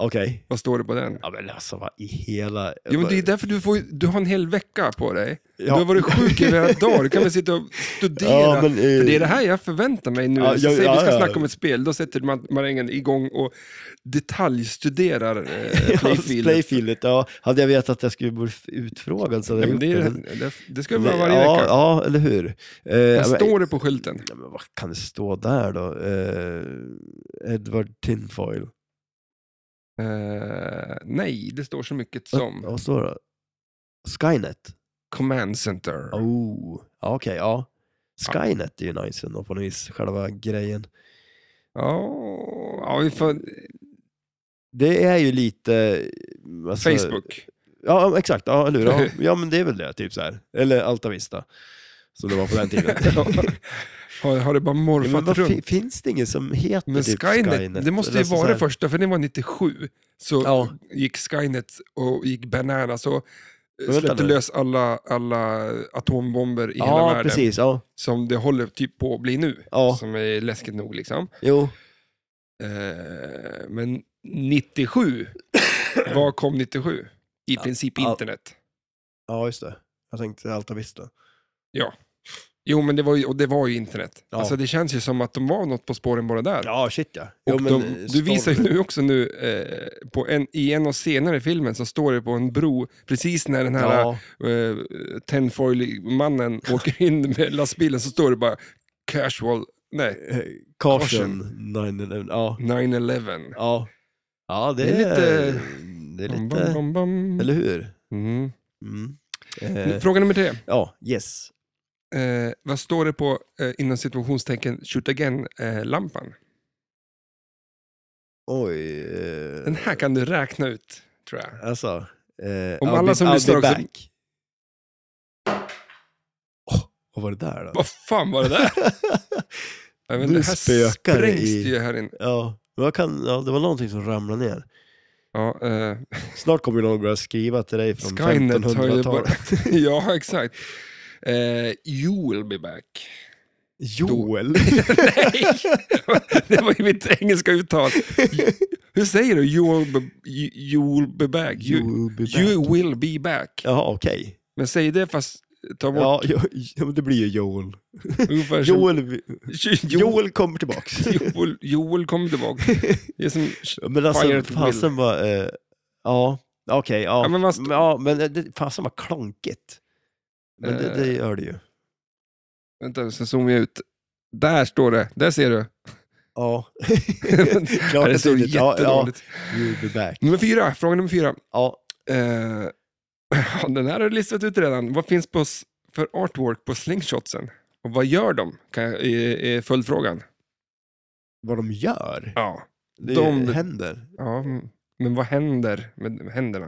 Speaker 2: Okej.
Speaker 1: Vad står det på den?
Speaker 2: Ja men alltså vad i hela...
Speaker 1: Jo, men det är därför du, får, du har en hel vecka på dig.
Speaker 2: Ja.
Speaker 1: Du har varit sjuk i flera dagar, du kan väl sitta och studera.
Speaker 2: *laughs* Ja, men, eh,
Speaker 1: För det är det
Speaker 2: *laughs*
Speaker 1: här jag förväntar mig nu.
Speaker 2: Ja,
Speaker 1: Så
Speaker 2: ja,
Speaker 1: Säg
Speaker 2: ja,
Speaker 1: vi ska
Speaker 2: ja.
Speaker 1: snacka om ett spel, då sätter man marängen igång och detaljstuderar
Speaker 2: *laughs*
Speaker 1: eh,
Speaker 2: Playfieldet.
Speaker 1: Playfield.
Speaker 2: Playfieldet, ja. Hade jag vetat att jag skulle bli utfrågad så hade
Speaker 1: Ja,
Speaker 2: jag
Speaker 1: men
Speaker 2: gjort
Speaker 1: det, är,
Speaker 2: men-
Speaker 1: det, det ska vi vara varje
Speaker 2: ja,
Speaker 1: vecka.
Speaker 2: Ja, eller hur. Eh, ja,
Speaker 1: Vad
Speaker 2: men-
Speaker 1: står det på skylten?
Speaker 2: Ja, men vad kan det stå där då? Eh, Edward Tinfoil.
Speaker 1: Eh, nej, det står så mycket som
Speaker 2: Vad står det? Skynet?
Speaker 1: Command Center.
Speaker 2: Oh, ja, okej, ja. Skynet är ju nice ändå på något vis, själva grejen.
Speaker 1: Ja, ja, vi får,
Speaker 2: Det är ju lite... alltså- *laughs*
Speaker 1: Facebook.
Speaker 2: Ja, exakt. Ja, eller
Speaker 1: *laughs*
Speaker 2: hur? Ja, ja, men det är väl det, typ så här. Eller Alta Vista, som det var på
Speaker 1: *laughs*
Speaker 2: den tiden.
Speaker 1: har, har det bara
Speaker 2: Ja, men
Speaker 1: morfat
Speaker 2: vad,
Speaker 1: runt?
Speaker 2: fi- finns det ingen som heter
Speaker 1: Men
Speaker 2: typ
Speaker 1: Skynet, det måste ju
Speaker 2: Eller så
Speaker 1: vara det
Speaker 2: här-
Speaker 1: första, för det var 97. Så
Speaker 2: Ja.
Speaker 1: gick Skynet och gick bananas och eh,
Speaker 2: Men vänta
Speaker 1: släppte
Speaker 2: nu.
Speaker 1: lös alla, alla atombomber i hela
Speaker 2: Ja,
Speaker 1: världen.
Speaker 2: precis. Ja,
Speaker 1: Som det håller typ på att bli nu.
Speaker 2: Ja.
Speaker 1: Som är läskigt nog liksom.
Speaker 2: jo.
Speaker 1: Eh, men
Speaker 2: *coughs*
Speaker 1: 97, vad kom 97? I
Speaker 2: Ja,
Speaker 1: princip
Speaker 2: ja.
Speaker 1: internet.
Speaker 2: ja, just det. Jag tänkte Alta Vista.
Speaker 1: Jo, men det var ju, och det var ju internet.
Speaker 2: Ja.
Speaker 1: Alltså det känns ju som att de var något på spåren bara där.
Speaker 2: Ja, shit ja. eh,
Speaker 1: Och de, du visar ju nu också nu, eh, på en, i en av scenerna i filmen så står det på en bro, precis när den här
Speaker 2: Ja,
Speaker 1: eh,
Speaker 2: *laughs*
Speaker 1: Tenfoil-mannen åker in med lastbilen så står det bara casual, nej,
Speaker 2: eh,
Speaker 1: Caution.
Speaker 2: caution 911. Ja,
Speaker 1: 9-11.
Speaker 2: ja. Ja, det,
Speaker 1: Det är
Speaker 2: är
Speaker 1: lite-
Speaker 2: Det är
Speaker 1: Bam,
Speaker 2: lite...
Speaker 1: bam, bam.
Speaker 2: Eller hur?
Speaker 1: Mm.
Speaker 2: Mm. Eh,
Speaker 1: Fråga nummer tre.
Speaker 2: ja, yes.
Speaker 1: Eh, vad står det på, eh, inom situationstecken, shoot eh, again-lampan?
Speaker 2: Oj. Eh,
Speaker 1: Den här kan du räkna ut, tror jag.
Speaker 2: Alltså. Eh,
Speaker 1: Om
Speaker 2: I'll
Speaker 1: alla
Speaker 2: be-
Speaker 1: som
Speaker 2: I'll be
Speaker 1: lyssnar också-
Speaker 2: back. Åh, vad var det där då?
Speaker 1: Vad fan var det
Speaker 2: *laughs*
Speaker 1: där? Jag vet inte,
Speaker 2: Nu
Speaker 1: det här
Speaker 2: spökar det
Speaker 1: sprängs
Speaker 2: i-
Speaker 1: det ju här inne.
Speaker 2: ja, men jag kan, ja, det var någonting som ramlade ner.
Speaker 1: Ja, eh,
Speaker 2: Snart kommer ju någon börja skriva till dig från
Speaker 1: Skynet har ju bara... *laughs*
Speaker 2: 1500-talet.
Speaker 1: ja, exakt. Eh, you'll be
Speaker 2: *laughs*
Speaker 1: back. *laughs*
Speaker 2: Joel.
Speaker 1: Nej, det var ju mitt engelska uttal. Hur säger du? You'll be, you- you'll be back. You,
Speaker 2: *laughs* You'll be back.
Speaker 1: you will be back.
Speaker 2: Jaha, okej.
Speaker 1: Men säg det fast ta bort
Speaker 2: *laughs* Ja, jo, jo, det blir ju Joel.
Speaker 1: ungefär som...
Speaker 2: Joel,
Speaker 1: *laughs* Joel,
Speaker 2: Joel kommer
Speaker 1: *laughs*
Speaker 2: tillbaks.
Speaker 1: Joel, Joel kommer
Speaker 2: *laughs*
Speaker 1: tillbaka. Det är som,
Speaker 2: Men alltså,
Speaker 1: Fired Will.
Speaker 2: fasen var... Eh, ja, okej. ja.
Speaker 1: Ja, men
Speaker 2: men,
Speaker 1: man st-
Speaker 2: ja, men eh, det, fasen var klonkigt. Men det,
Speaker 1: Eh.
Speaker 2: det gör det ju.
Speaker 1: vänta, så zoomar jag ut. Där står det. Där ser du. *laughs*
Speaker 2: Ja.
Speaker 1: Ja,
Speaker 2: Klart
Speaker 1: det
Speaker 2: och
Speaker 1: står
Speaker 2: tydligt. Ja, ja.
Speaker 1: jättedåligt.
Speaker 2: You'll be back.
Speaker 1: Nummer fyra, fråga nummer fyra.
Speaker 2: Ja,
Speaker 1: Eh, *laughs* ja, den här har du listat ut redan. Vad finns på, s- för artwork på slingshotsen? Och vad gör de? Kan jag, är, är följdfrågan.
Speaker 2: vad de gör.
Speaker 1: Ja.
Speaker 2: Det
Speaker 1: de-
Speaker 2: händer.
Speaker 1: ja. mm. Men vad händer med med händerna?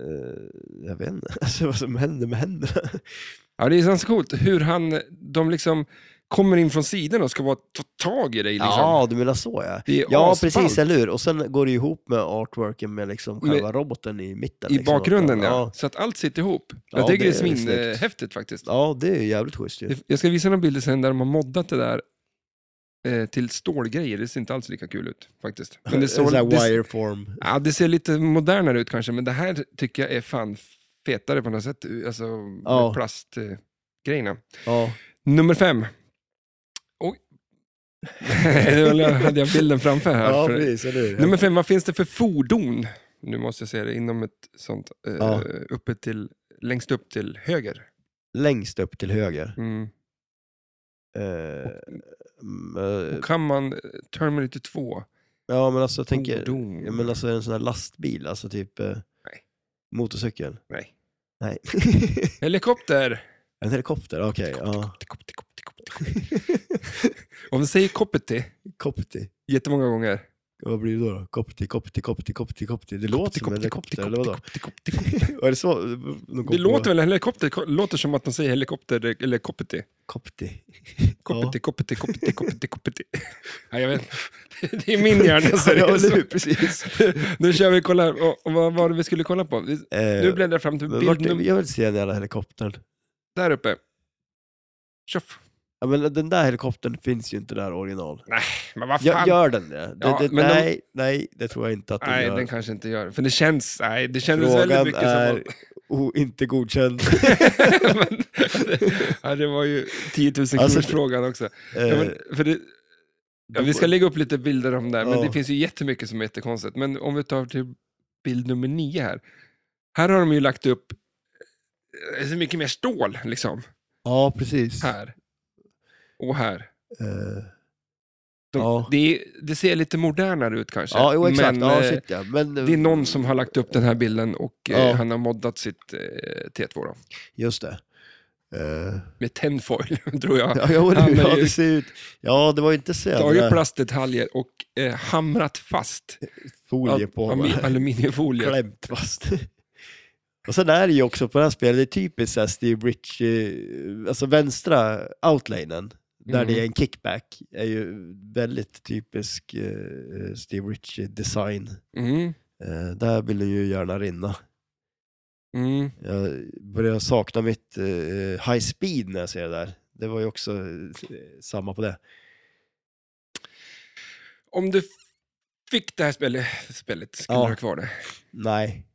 Speaker 2: Eh, jag vet inte *laughs* alltså, vad som händer med händerna.
Speaker 1: Ja, det är ganska coolt hur han, de liksom kommer in från sidan och ska bara ta tag i dig. Liksom.
Speaker 2: Ja, du menar så ja.
Speaker 1: det är
Speaker 2: Ja,
Speaker 1: asballt.
Speaker 2: precis, eller hur? Och sen går det ju ihop med artworken med liksom
Speaker 1: Med-
Speaker 2: själva roboten i mitten.
Speaker 1: I
Speaker 2: liksom.
Speaker 1: bakgrunden, ja. Så att allt sitter ihop. jag
Speaker 2: Ja,
Speaker 1: tycker det är
Speaker 2: det är snyggt.
Speaker 1: svinhäftigt faktiskt.
Speaker 2: Ja, det är jävligt schysst ju.
Speaker 1: Det- Jag ska visa några bilder sen där de har moddat det där eh, till stålgrejer. Det ser inte alls lika kul ut faktiskt.
Speaker 2: *laughs*
Speaker 1: Men det,
Speaker 2: En
Speaker 1: står,
Speaker 2: Eh, sån här
Speaker 1: det,
Speaker 2: wireform.
Speaker 1: ja, det ser lite modernare ut kanske, men det här tycker jag är fan fetare på något sätt. Alltså
Speaker 2: Ja.
Speaker 1: med plastgrejerna.
Speaker 2: Ja.
Speaker 1: Nummer fem. Oj. *laughs* Nu hade jag bilden framför här.
Speaker 2: ja,
Speaker 1: för-
Speaker 2: precis, eller hur?
Speaker 1: Nummer fem, vad finns det för fordon? Nu måste jag säga det, inom ett sånt, eh,
Speaker 2: Ja.
Speaker 1: uppe till, längst upp till höger.
Speaker 2: Längst upp till höger.
Speaker 1: Mm.
Speaker 2: Eh, mm, eh,
Speaker 1: Och kan man, eh, Terminator 2,
Speaker 2: ja, men alltså jag tänker...
Speaker 1: fordon.
Speaker 2: Ja, men alltså en sån här lastbil, alltså typ eh, motorcykel?
Speaker 1: Nej. *laughs*
Speaker 2: Nej.
Speaker 1: Helikopter!
Speaker 2: en helikopter, okej. ja.
Speaker 1: Kopti, kopti, kopti, kopti, kopti. Om vi säger kopti
Speaker 2: Kopti.
Speaker 1: jättemånga gånger.
Speaker 2: Vad blir det då? då? Kopti, kopti, kopti, kopti, kopti. Det låter
Speaker 1: Kopti,
Speaker 2: som en
Speaker 1: kopti,
Speaker 2: helikopter,
Speaker 1: kopti,
Speaker 2: eller vadå?
Speaker 1: kopti, kopti, kopti.
Speaker 2: Är det så? De kom
Speaker 1: Det
Speaker 2: på
Speaker 1: låter väl en helikopter, ko- låter som att man säger helikopter eller kopti. *laughs*
Speaker 2: Kopti.
Speaker 1: Kopti, kopti, kopti, kopti,
Speaker 2: *laughs*
Speaker 1: kopti. Ja, jag vet. *laughs* Det är min hjärna,
Speaker 2: Ja, ja, eller
Speaker 1: seriöst.
Speaker 2: hur? Precis.
Speaker 1: Nu kör vi och kollar, och, och vad var det vi skulle kolla på? Vi,
Speaker 2: Eh,
Speaker 1: nu bläddrar jag fram till
Speaker 2: men vart,
Speaker 1: bild nummer
Speaker 2: jag vill se den jävla helikoptern.
Speaker 1: där uppe. Tjoff.
Speaker 2: Ja, men den där helikoptern finns ju inte där original.
Speaker 1: Nej, men vad
Speaker 2: Gör,
Speaker 1: fan.
Speaker 2: gör den det? det,
Speaker 1: Ja,
Speaker 2: det
Speaker 1: men de-
Speaker 2: nej, nej, det tror jag inte att den
Speaker 1: nej,
Speaker 2: gör.
Speaker 1: den kanske inte gör det. För det känns, nej, det kändes väldigt
Speaker 2: Frågan
Speaker 1: mycket som
Speaker 2: är
Speaker 1: att- *laughs*
Speaker 2: o, inte godkänd.
Speaker 1: men, *laughs* ja, det var ju 10 000
Speaker 2: Alltså,
Speaker 1: kronors frågan också. Ja,
Speaker 2: Eh,
Speaker 1: men, för det, ja, vi ska lägga upp lite bilder om det här, men
Speaker 2: Ja.
Speaker 1: det finns ju jättemycket som är jättekonstigt. Men om vi tar till bild nummer nio här. Här har de ju lagt upp eh, så mycket mer stål, liksom.
Speaker 2: ja, precis.
Speaker 1: Här. Och här.
Speaker 2: Eh,
Speaker 1: De,
Speaker 2: Ja.
Speaker 1: det, det ser lite modernare ut kanske.
Speaker 2: ja, jo, exakt.
Speaker 1: Men,
Speaker 2: ja,
Speaker 1: eh,
Speaker 2: shit, ja. Men,
Speaker 1: det är någon som har lagt upp den här bilden och eh,
Speaker 2: Ja.
Speaker 1: han har moddat sitt eh, T2 då.
Speaker 2: Just det. Eh, *laughs*
Speaker 1: Med tinfoil, *laughs* tror jag.
Speaker 2: ja, jo,
Speaker 1: Han är
Speaker 2: ja,
Speaker 1: ju-
Speaker 2: det ser ut... Ja, det var ju inte så
Speaker 1: Tagit
Speaker 2: jävla
Speaker 1: plastdetaljer och eh, hamrat fast
Speaker 2: folie på
Speaker 1: al-
Speaker 2: honom.
Speaker 1: ami-
Speaker 2: *laughs*
Speaker 1: aluminiumfolie.
Speaker 2: klämt fast. Och sen är det ju också på det här spelet, det är typiskt så här Steve Rich, eh, alltså vänstra outlanen, där
Speaker 1: Mm.
Speaker 2: det är en kickback, är ju väldigt typisk eh, Steve Rich design.
Speaker 1: Mm,
Speaker 2: Eh, där vill jag ju gärna rinna.
Speaker 1: mm.
Speaker 2: Jag börjar sakna mitt eh, high speed när jag ser det där. Det var ju också eh, samma på det.
Speaker 1: Om du f- fick det här spelet, spelet skulle
Speaker 2: Ja.
Speaker 1: du ha kvar
Speaker 2: *laughs*
Speaker 1: det? *laughs*
Speaker 2: Nej.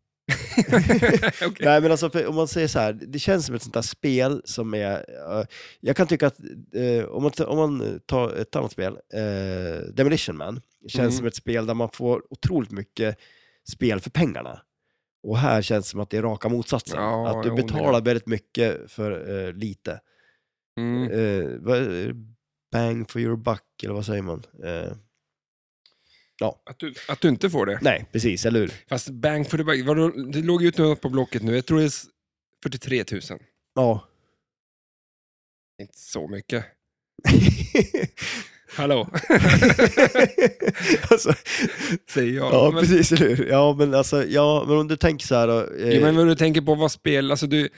Speaker 1: Okej.
Speaker 2: Nej men alltså för, om man säger så här, det känns som ett sånt där spel som är, eh, jag kan tycka att eh, om, man, ta- om man tar ett annat spel, eh, Demolition Man, det känns
Speaker 1: Mm.
Speaker 2: som ett spel där man får otroligt mycket spel för pengarna. Och här känns det som att det är raka motsatsen,
Speaker 1: Ja,
Speaker 2: att du
Speaker 1: jo,
Speaker 2: betalar väldigt mycket för eh, lite.
Speaker 1: Mm.
Speaker 2: Eh, vad är det? bang for your buck, eller vad säger man? Eh,
Speaker 1: Att, du, att du inte får det.
Speaker 2: nej, precis, eller hur?
Speaker 1: Fast bang for the buck, vadå, det låg ju ute på Blocket nu, jag tror det är s- 43 000.
Speaker 2: Ja. *laughs*
Speaker 1: Inte så mycket. Hallå, *laughs*
Speaker 2: alltså,
Speaker 1: säger jag.
Speaker 2: Ja,
Speaker 1: men,
Speaker 2: precis, eller hur? Ja, men alltså, ja, men om du tänker så här då, eh,
Speaker 1: jo, men vad du tänker på vad spel, alltså du,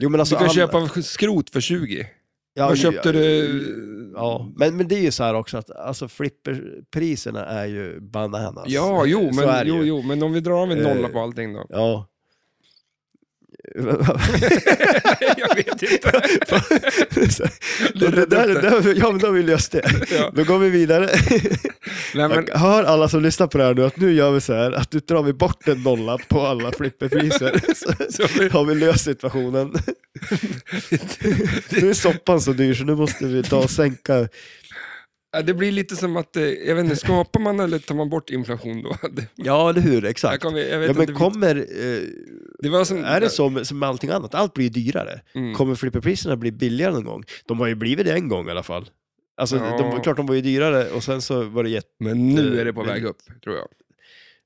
Speaker 2: jo, men alltså,
Speaker 1: du kan
Speaker 2: all-
Speaker 1: köpa skrot för 20.
Speaker 2: ja,
Speaker 1: vad
Speaker 2: ju-
Speaker 1: köpte du?
Speaker 2: Ja, men, men det är ju så här också att alltså, flipperpriserna är ju bananas.
Speaker 1: Ja, jo,
Speaker 2: Alltså, Så är
Speaker 1: men,
Speaker 2: det
Speaker 1: jo,
Speaker 2: ju.
Speaker 1: jo, men om vi drar av en nolla
Speaker 2: Eh.
Speaker 1: på allting då? *laughs*
Speaker 2: Ja. *laughs*
Speaker 1: jag vet inte.
Speaker 2: det, det, där, det där, ja, men då har vi löst det.
Speaker 1: Ja.
Speaker 2: Då går vi vidare. *laughs*
Speaker 1: Nej, men,
Speaker 2: Hör alla som lyssnar på det här nu att nu gör vi så här att du drar vi bort en nolla på alla *laughs* flipperpriser. Så
Speaker 1: så, *laughs* vi-
Speaker 2: har vi löst situationen. Nu är soppan så dyr så nu måste vi ta och sänka.
Speaker 1: Ja, det blir lite som att, eh, jag vet inte, skapar man eller tar man bort inflation då? *laughs* Det,
Speaker 2: Ja, eller hur,
Speaker 1: jag
Speaker 2: exakt.
Speaker 1: kommer, jag vet
Speaker 2: Ja, men
Speaker 1: inte,
Speaker 2: kommer,
Speaker 1: det var som,
Speaker 2: eh, är det som, som med allting annat, allt blir ju dyrare.
Speaker 1: Mm.
Speaker 2: Kommer flipperpriserna bli billigare någon gång? De har ju blivit det en gång i alla fall. Alltså,
Speaker 1: Ja.
Speaker 2: de, klart de var ju dyrare och sen så var det jätte...
Speaker 1: Men nu är det på väg upp, tror jag.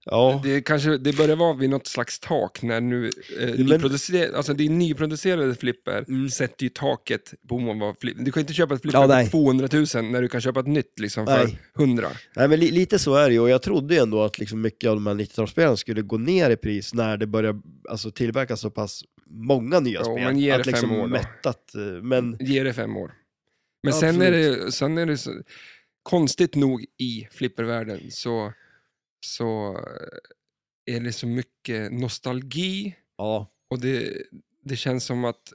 Speaker 2: Ja,
Speaker 1: Det, kanske, det börjar vara vid något slags tak när nu, eh, nyproducer, alltså det är nyproducerade flipper
Speaker 2: Mm.
Speaker 1: sätter ju taket på vad flipp, du kan inte köpa ett flipper
Speaker 2: Ja,
Speaker 1: för
Speaker 2: nej.
Speaker 1: 200 000 när du kan köpa ett nytt liksom för
Speaker 2: Nej.
Speaker 1: 100.
Speaker 2: Nej, men li, lite så är det ju och jag trodde ju ändå att liksom mycket av de här 90-talsspelen skulle gå ner i pris när det börjar alltså, tillverkas så pass många nya
Speaker 1: Ja,
Speaker 2: spel.
Speaker 1: men ge
Speaker 2: att
Speaker 1: det fem
Speaker 2: liksom
Speaker 1: år då.
Speaker 2: mättat, eh, men
Speaker 1: Ge det fem år. Men sen är, det, sen är det så, konstigt nog i flippervärlden så, så eh, är det så mycket nostalgi
Speaker 2: ja.
Speaker 1: och det, det känns som att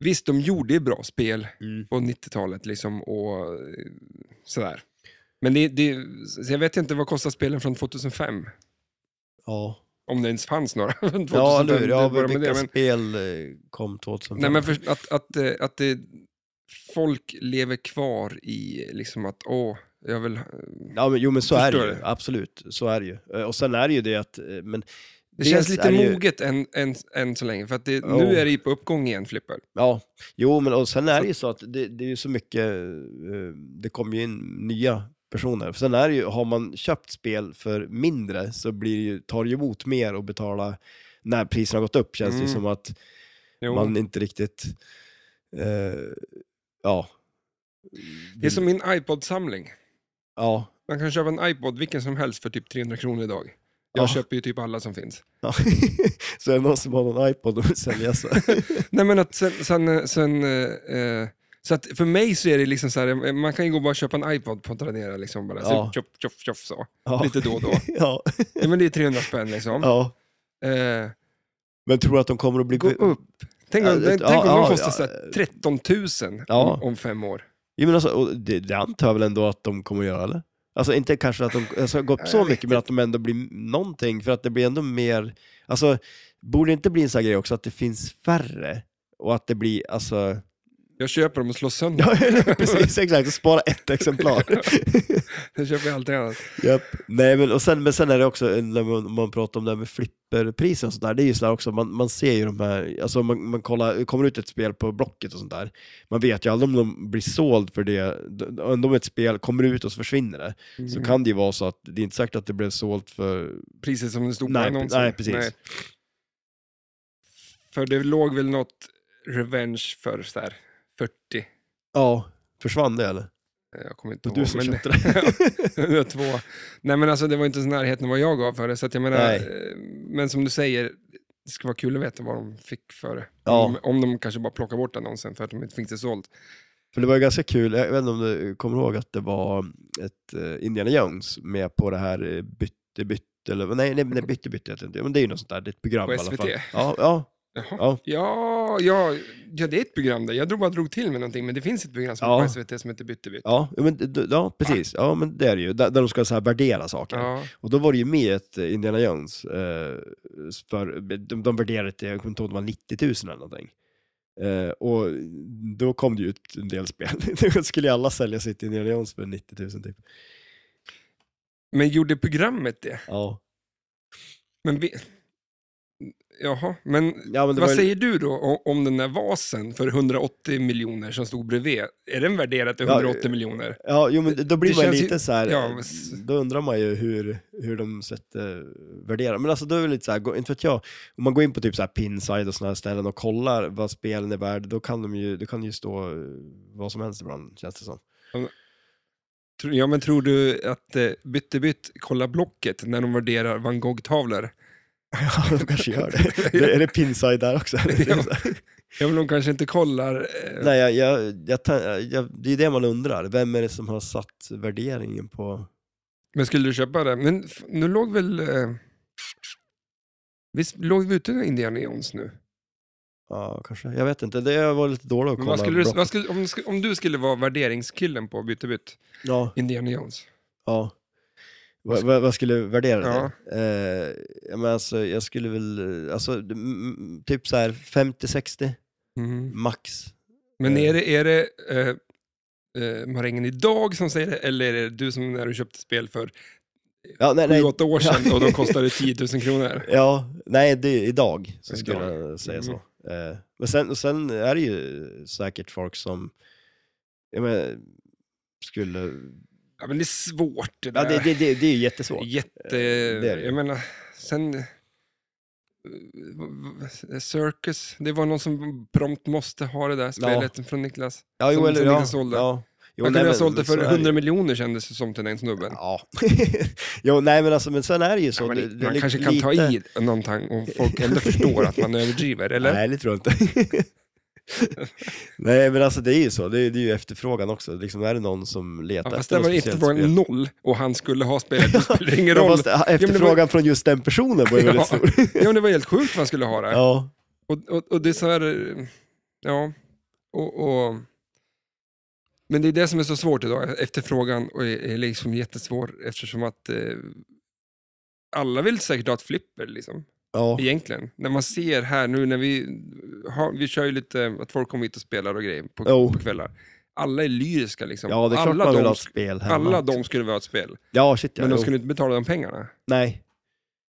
Speaker 1: visst, de gjorde bra spel
Speaker 2: Mm.
Speaker 1: på 90-talet liksom och eh, sådär. Men det, det, så jag vet inte vad kostar spelen från 2005?
Speaker 2: Ja,
Speaker 1: Om det ens fanns några. *laughs* från 2005,
Speaker 2: ja eller hur?
Speaker 1: det
Speaker 2: Ja,
Speaker 1: är bara med
Speaker 2: vilka
Speaker 1: det, men-
Speaker 2: spel eh, kom 2005?
Speaker 1: Nej, men för, att, att, eh, att det, folk lever kvar i liksom att, åh, jag vill...
Speaker 2: Ja, men, jo, men så är det
Speaker 1: Förstår
Speaker 2: ju.
Speaker 1: du? Absolut,
Speaker 2: Absolut, så är det ju. Eh, Och sen är det ju det att, eh, men...
Speaker 1: Det
Speaker 2: dels
Speaker 1: känns
Speaker 2: är
Speaker 1: lite
Speaker 2: det ju-
Speaker 1: moget än, än, än så länge, för att det,
Speaker 2: Ja.
Speaker 1: nu är det ju på uppgång igen, Flipper.
Speaker 2: Ja, jo, men och sen är det ju så att det, det är ju så mycket, eh, det kommer ju in nya personer. Sen är det ju, har man köpt spel för mindre så blir det ju, tar det ju emot mer att betala när priserna har gått upp, känns det ju
Speaker 1: Mm.
Speaker 2: som att
Speaker 1: Jo.
Speaker 2: man inte riktigt, eh, ja.
Speaker 1: Det är som min iPod-samling.
Speaker 2: Ja.
Speaker 1: Man kan köpa en iPod, vilken som helst, för typ 300 kronor idag. Jag
Speaker 2: Ja.
Speaker 1: köper ju typ alla som finns.
Speaker 2: ja. *laughs* så är det någon som har någon iPod och vill sälja så.
Speaker 1: Nej, men att sen... sen, sen eh, eh, så att för mig så är det liksom så här, eh, man kan ju gå och bara köpa en iPod på Tradera liksom bara, så
Speaker 2: Ja.
Speaker 1: tjoff, tjoff, tjoff så.
Speaker 2: Ja.
Speaker 1: *laughs* Lite då och
Speaker 2: *laughs*
Speaker 1: då.
Speaker 2: ja.
Speaker 1: Ja, men det är 300 spänn liksom.
Speaker 2: ja.
Speaker 1: Eh,
Speaker 2: Men tror du att de kommer att bli...
Speaker 1: gå upp Tänk om,
Speaker 2: Ja,
Speaker 1: tänk om
Speaker 2: ja,
Speaker 1: de
Speaker 2: ja,
Speaker 1: kostar så
Speaker 2: ja.
Speaker 1: här 13 000
Speaker 2: Ja.
Speaker 1: om, om fem år.
Speaker 2: Jo, men alltså, och det, det antar jag väl ändå att de kommer att göra, eller? Alltså inte kanske att de alltså, går upp
Speaker 1: Ja,
Speaker 2: så
Speaker 1: jag vet
Speaker 2: mycket, men att de ändå blir någonting, för att det blir ändå mer... Alltså, borde det inte bli en sån här grej också, att det finns färre? Och att det blir, alltså...
Speaker 1: Jag köper dem och slår sönder
Speaker 2: *laughs* Ja, *laughs* precis, exakt. Spara ett exemplar.
Speaker 1: Sen köper jag allting annat.
Speaker 2: *laughs* Japp. Nej, men, och sen, men sen är det också, eh, när man, man pratar om det här med flipperpriser och sånt där, det är ju sådär också, man, man ser ju de här, alltså man, man kollar, kommer ut ett spel på Blocket och sånt där, man vet ju aldrig om de blir såld för det, D- om de ett spel kommer ut och så försvinner det,
Speaker 1: Mm.
Speaker 2: så kan det ju vara så att det är inte säkert att det blev sålt för,
Speaker 1: Priset som det stod på
Speaker 2: Nej,
Speaker 1: annonsen.
Speaker 2: nej, precis.
Speaker 1: För det låg väl något Revenge för så här 40.
Speaker 2: ja, försvann det eller?
Speaker 1: eh, Jag kommer inte
Speaker 2: Det var du
Speaker 1: ihåg.
Speaker 2: som
Speaker 1: men-
Speaker 2: köpte det.
Speaker 1: *laughs* Ja, det var två. Nej men alltså det var inte ens i närheten av vad jag gav för det. Så att jag menar,
Speaker 2: Nej.
Speaker 1: eh, men som du säger, det skulle vara kul att veta vad de fick för det.
Speaker 2: Ja.
Speaker 1: Om, om de kanske bara plockar bort annonsen för att de inte fick det sålt.
Speaker 2: För det var ju ganska kul, jag vet inte om du kommer ihåg att det var ett eh, Indiana Jones med på det här eh, bytte bytte, eller nej, nej, nej bytte bytte heter det inte, men det är ju något sånt där, det är ett program
Speaker 1: På
Speaker 2: i alla
Speaker 1: SVT.
Speaker 2: fall. Ja, ja,
Speaker 1: Jaha.
Speaker 2: ja.
Speaker 1: Ja, ja, ja, det är ett program där. Jag drog bara drog till med någonting, men det finns ett program som
Speaker 2: Ja.
Speaker 1: är på SVT som heter Byttebytt.
Speaker 2: Ja, men, d- d- ja precis. Ja, men det är det ju. Där, där de ska så här värdera saker.
Speaker 1: Ja.
Speaker 2: Och då var det ju med ett eh, Indiana Jones. Eh, för, de, de värderade till, jag kommer inte ihåg, det var 90 000 eller någonting. Eh, och då kom det ju ut en del spel. *laughs* då skulle ju alla sälja sitt Indiana Jones för 90 000 typ.
Speaker 1: Men gjorde programmet det?
Speaker 2: Ja,
Speaker 1: Men vi... Jaha, men
Speaker 2: ja men
Speaker 1: vad
Speaker 2: det var ju-
Speaker 1: säger du då o- om den där vasen för 180 miljoner som stod bredvid? Är den värderad till
Speaker 2: Ja,
Speaker 1: 180 miljoner?
Speaker 2: Ja, jo, men då blir
Speaker 1: det
Speaker 2: man
Speaker 1: känns ju-
Speaker 2: lite så här, eh,
Speaker 1: ja, men s-
Speaker 2: då undrar man ju hur, hur de sätter, eh, värderar. Men alltså då är det lite så här, gå- inte vet jag, om man går in på typ så här Pinside och sådana här ställen och kollar vad spelen är värd, då kan de ju, det kan ju stå eh, vad som helst ibland, känns det som.
Speaker 1: Tro- Ja, men tror du att eh, Byttebytt kollar Blocket när de värderar van Gogh-tavlor?
Speaker 2: Ja, de kanske gör *laughs* det. det är det Pinside där också? *laughs*
Speaker 1: Ja. Ja, men de kanske inte kollar... Eh,
Speaker 2: Nej, jag, jag, jag, ta- jag, det är det man undrar, vem är det som har satt värderingen på...
Speaker 1: Men skulle du köpa det? Men f- nu låg väl... Eh, visst låg vi ute med Indiana Jones nu?
Speaker 2: Ja, kanske. Jag vet inte, det jag var lite dålig att
Speaker 1: Men
Speaker 2: kolla.
Speaker 1: vad skulle du,
Speaker 2: Bra.
Speaker 1: vad skulle, om, du skulle- om du skulle vara värderingskillen på Byttebytt,
Speaker 2: Ja.
Speaker 1: Indiana Jones?
Speaker 2: Ja. Vad, vad, vad skulle jag värdera
Speaker 1: Ja.
Speaker 2: det? Eh, ja, men alltså, jag skulle väl, eh, alltså, d- m- m- typ så här 50-60
Speaker 1: Mhm.
Speaker 2: max.
Speaker 1: Men är det, är det eh, eh, marängen idag som säger det, eller är det du som när du köpte spel för
Speaker 2: Ja, nej, nej,
Speaker 1: 7-8 år sedan
Speaker 2: Ja.
Speaker 1: och de kostade 10 000 kronor? Mm.
Speaker 2: ja, nej det är idag så skulle
Speaker 1: Idag.
Speaker 2: *laughs* jag säga så. Eh, men sen, och sen är det ju säkert folk som jag menar, skulle...
Speaker 1: Ja, men det är svårt det där.
Speaker 2: Ja, det, det, det, det är ju jättesvårt.
Speaker 1: Jätte...
Speaker 2: det är det ju.
Speaker 1: Jag menar, sen... eh, v- v- Circus, det var någon som prompt måste ha det där spelet från Niklas.
Speaker 2: Ja,
Speaker 1: som- som
Speaker 2: ja,
Speaker 1: inte sålde.
Speaker 2: ja. Jo,
Speaker 1: Han
Speaker 2: nej,
Speaker 1: kunde ha
Speaker 2: men-
Speaker 1: sålt det
Speaker 2: men
Speaker 1: för
Speaker 2: så är det ju.
Speaker 1: 100 miljoner kändes det som till den snubben.
Speaker 2: Ja. *laughs* jo, nej men alltså, men sen är det ju så.
Speaker 1: Ja, men
Speaker 2: det- det är
Speaker 1: man
Speaker 2: li-
Speaker 1: kanske kan ta
Speaker 2: lite-
Speaker 1: i någonting om folk ändå förstår att
Speaker 2: *laughs*
Speaker 1: man överdriver, eller?
Speaker 2: Nej, det tror jag inte. *laughs* Nej, men alltså det är ju så. Det är, det är ju efterfrågan också. Liksom, är det någon som letar
Speaker 1: Ja, fast
Speaker 2: efter
Speaker 1: där var
Speaker 2: något
Speaker 1: det inte
Speaker 2: speciellt
Speaker 1: bara
Speaker 2: spel?
Speaker 1: noll och han skulle ha
Speaker 2: *laughs*
Speaker 1: spelet, det spelar ingen
Speaker 2: Ja,
Speaker 1: roll.
Speaker 2: fast efterfrågan från just den personen
Speaker 1: *laughs*
Speaker 2: var ju
Speaker 1: Ja.
Speaker 2: väldigt stor. *laughs*
Speaker 1: Ja, men det var helt sjukt vad han skulle ha det.
Speaker 2: Ja,
Speaker 1: Och, och, och det är så här, eh, ja, och, och, men det är det som är så svårt idag, efterfrågan och är, är liksom jättesvår eftersom att eh, alla vill säkert ha ett flipper liksom,
Speaker 2: ja,
Speaker 1: egentligen. När man ser här nu när vi, har, vi kör ju lite att folk kommer hit och spelar och grejer på,
Speaker 2: Jo.
Speaker 1: på kvällar. Alla är lyriska liksom.
Speaker 2: ja det är klart
Speaker 1: alla
Speaker 2: man vill
Speaker 1: de,
Speaker 2: ha ett spel hemma.
Speaker 1: alla de skulle vilja ha ett spel,
Speaker 2: Ja, shit ja.
Speaker 1: men de
Speaker 2: jo.
Speaker 1: skulle inte betala de pengarna.
Speaker 2: Nej,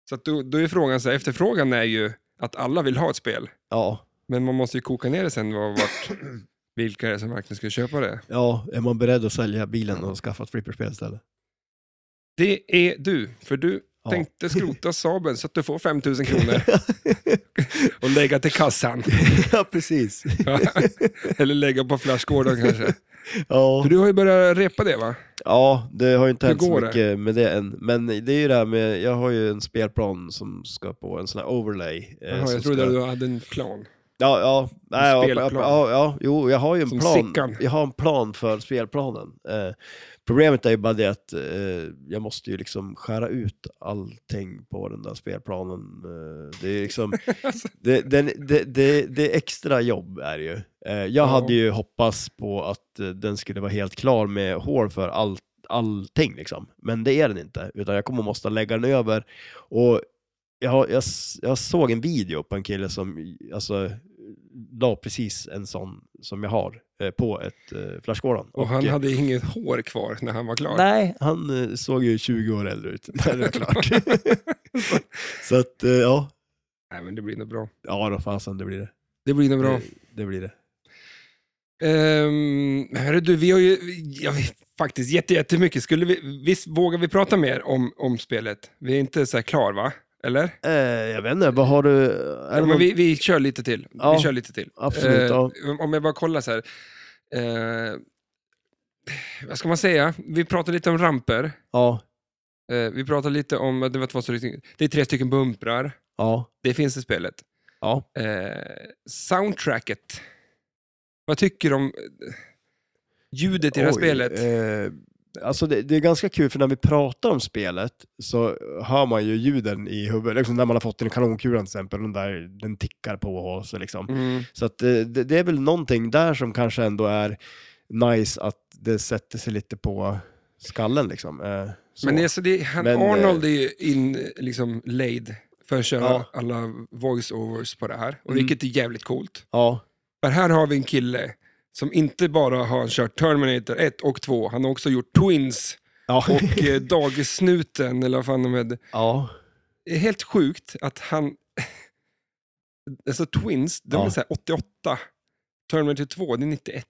Speaker 1: Så att då, då är frågan, så här, efterfrågan är ju att alla vill ha ett spel.
Speaker 2: ja.
Speaker 1: Men man måste ju koka ner det sen vad-
Speaker 2: *clears throat*
Speaker 1: vart, vilka är det som verkligen ska köpa det.
Speaker 2: Ja, är man beredd att sälja bilen och skaffa ett flipperspel istället?
Speaker 1: Det är du, för du
Speaker 2: Ja.
Speaker 1: tänkte skrota Saben så att du får 5 000 kronor och lägga till
Speaker 2: *laughs*
Speaker 1: kassan.
Speaker 2: *laughs*
Speaker 1: *laughs*
Speaker 2: ja, precis.
Speaker 1: Ja. Eller lägga på flashgården kanske.
Speaker 2: Ja. Eh,
Speaker 1: För du har ju börjat repa det va?
Speaker 2: Ja, det har ju inte
Speaker 1: Hur
Speaker 2: hänt så
Speaker 1: går
Speaker 2: mycket med det än. Men det är ju det här med, jag har ju en spelplan som ska på en sån här overlay. eh,
Speaker 1: Jaha,
Speaker 2: som
Speaker 1: jag trodde
Speaker 2: ska,
Speaker 1: du hade en plan.
Speaker 2: Ja, ja, nej, ja, ja,
Speaker 1: Spelplan.
Speaker 2: ja, ja, jo, jag har ju en
Speaker 1: Som
Speaker 2: plan.
Speaker 1: Sickan.
Speaker 2: Jag har en plan för spelplanen. Eh, problemet är ju bara det att eh, jag måste ju liksom skära ut allting på den där spelplanen. Eh, det
Speaker 1: *laughs*
Speaker 2: är liksom,
Speaker 1: Alltså.
Speaker 2: det, den, det, det, det är extra jobb är det ju. Eh, jag
Speaker 1: Ja.
Speaker 2: hade ju hoppats på att eh, den skulle vara helt klar med hål för allt, allting liksom. Men det är den inte, utan jag kommer måste lägga den över och jag, har- jag, s- jag såg en video på en kille som alltså, la precis en sån som jag har eh, på ett eh, flashgårdan.
Speaker 1: Och han
Speaker 2: eh,
Speaker 1: hade inget hår kvar när han var klar.
Speaker 2: Nej, han eh, såg ju 20 år äldre ut *laughs* när det
Speaker 1: *laughs*
Speaker 2: var klart. Så att, eh, ja.
Speaker 1: Nej, men det blir nog bra.
Speaker 2: Ja, då fasen, det blir det.
Speaker 1: Det blir nog bra.
Speaker 2: Det, det blir det.
Speaker 1: Ehm, hörru du, vi har ju jag vet, faktiskt jätte, jättemycket. Skulle vi, visst vågar vi prata mer om, om spelet? Vi är inte så här klar, va? Eller?
Speaker 2: Eh, jag vet inte, vad har du? Är det
Speaker 1: Ja, men
Speaker 2: någon-
Speaker 1: vi, Eh. vi kör lite till.
Speaker 2: Ja,
Speaker 1: vi kör lite till. Ehm,
Speaker 2: absolut, ja.
Speaker 1: om- Om jag bara kollar så här. Eh, vad ska man säga? Vi pratar lite om ramper.
Speaker 2: Ja,
Speaker 1: Eh, vi pratar lite om... Det, var två stycken, det är tre stycken bumprar.
Speaker 2: ja,
Speaker 1: Det finns i spelet.
Speaker 2: ja.
Speaker 1: Eh, soundtracket. Vad tycker du om eh, ljudet i det här
Speaker 2: Oj,
Speaker 1: spelet?
Speaker 2: Eh, alltså det, det är ganska kul för när vi pratar om spelet så hör man ju ljuden i huvudet. Liksom när man har fått en kanonkulan till exempel, den, där, den tickar på oss. Liksom.
Speaker 1: Mm.
Speaker 2: Så att, eh, det, det är väl någonting där som kanske ändå är nice att det sätter sig lite på skallen. Liksom. Eh, så.
Speaker 1: Men det är så det, han,
Speaker 2: Men, eh,
Speaker 1: Arnold är ju in, liksom, laid för att köra
Speaker 2: Ja.
Speaker 1: alla voice-overs på det här, och
Speaker 2: Mm.
Speaker 1: vilket är jävligt coolt.
Speaker 2: Ja,
Speaker 1: För här har vi en kille som inte bara har kört Terminator 1 och 2, han har också gjort Twins
Speaker 2: ja.
Speaker 1: *laughs*
Speaker 2: *laughs*
Speaker 1: och eh, Dagissnuten, eller vad fan de hette.
Speaker 2: ja.
Speaker 1: Det är helt sjukt att han... *laughs* Alltså Twins, de
Speaker 2: Ja.
Speaker 1: är så här 88. Terminator 2, det är 91.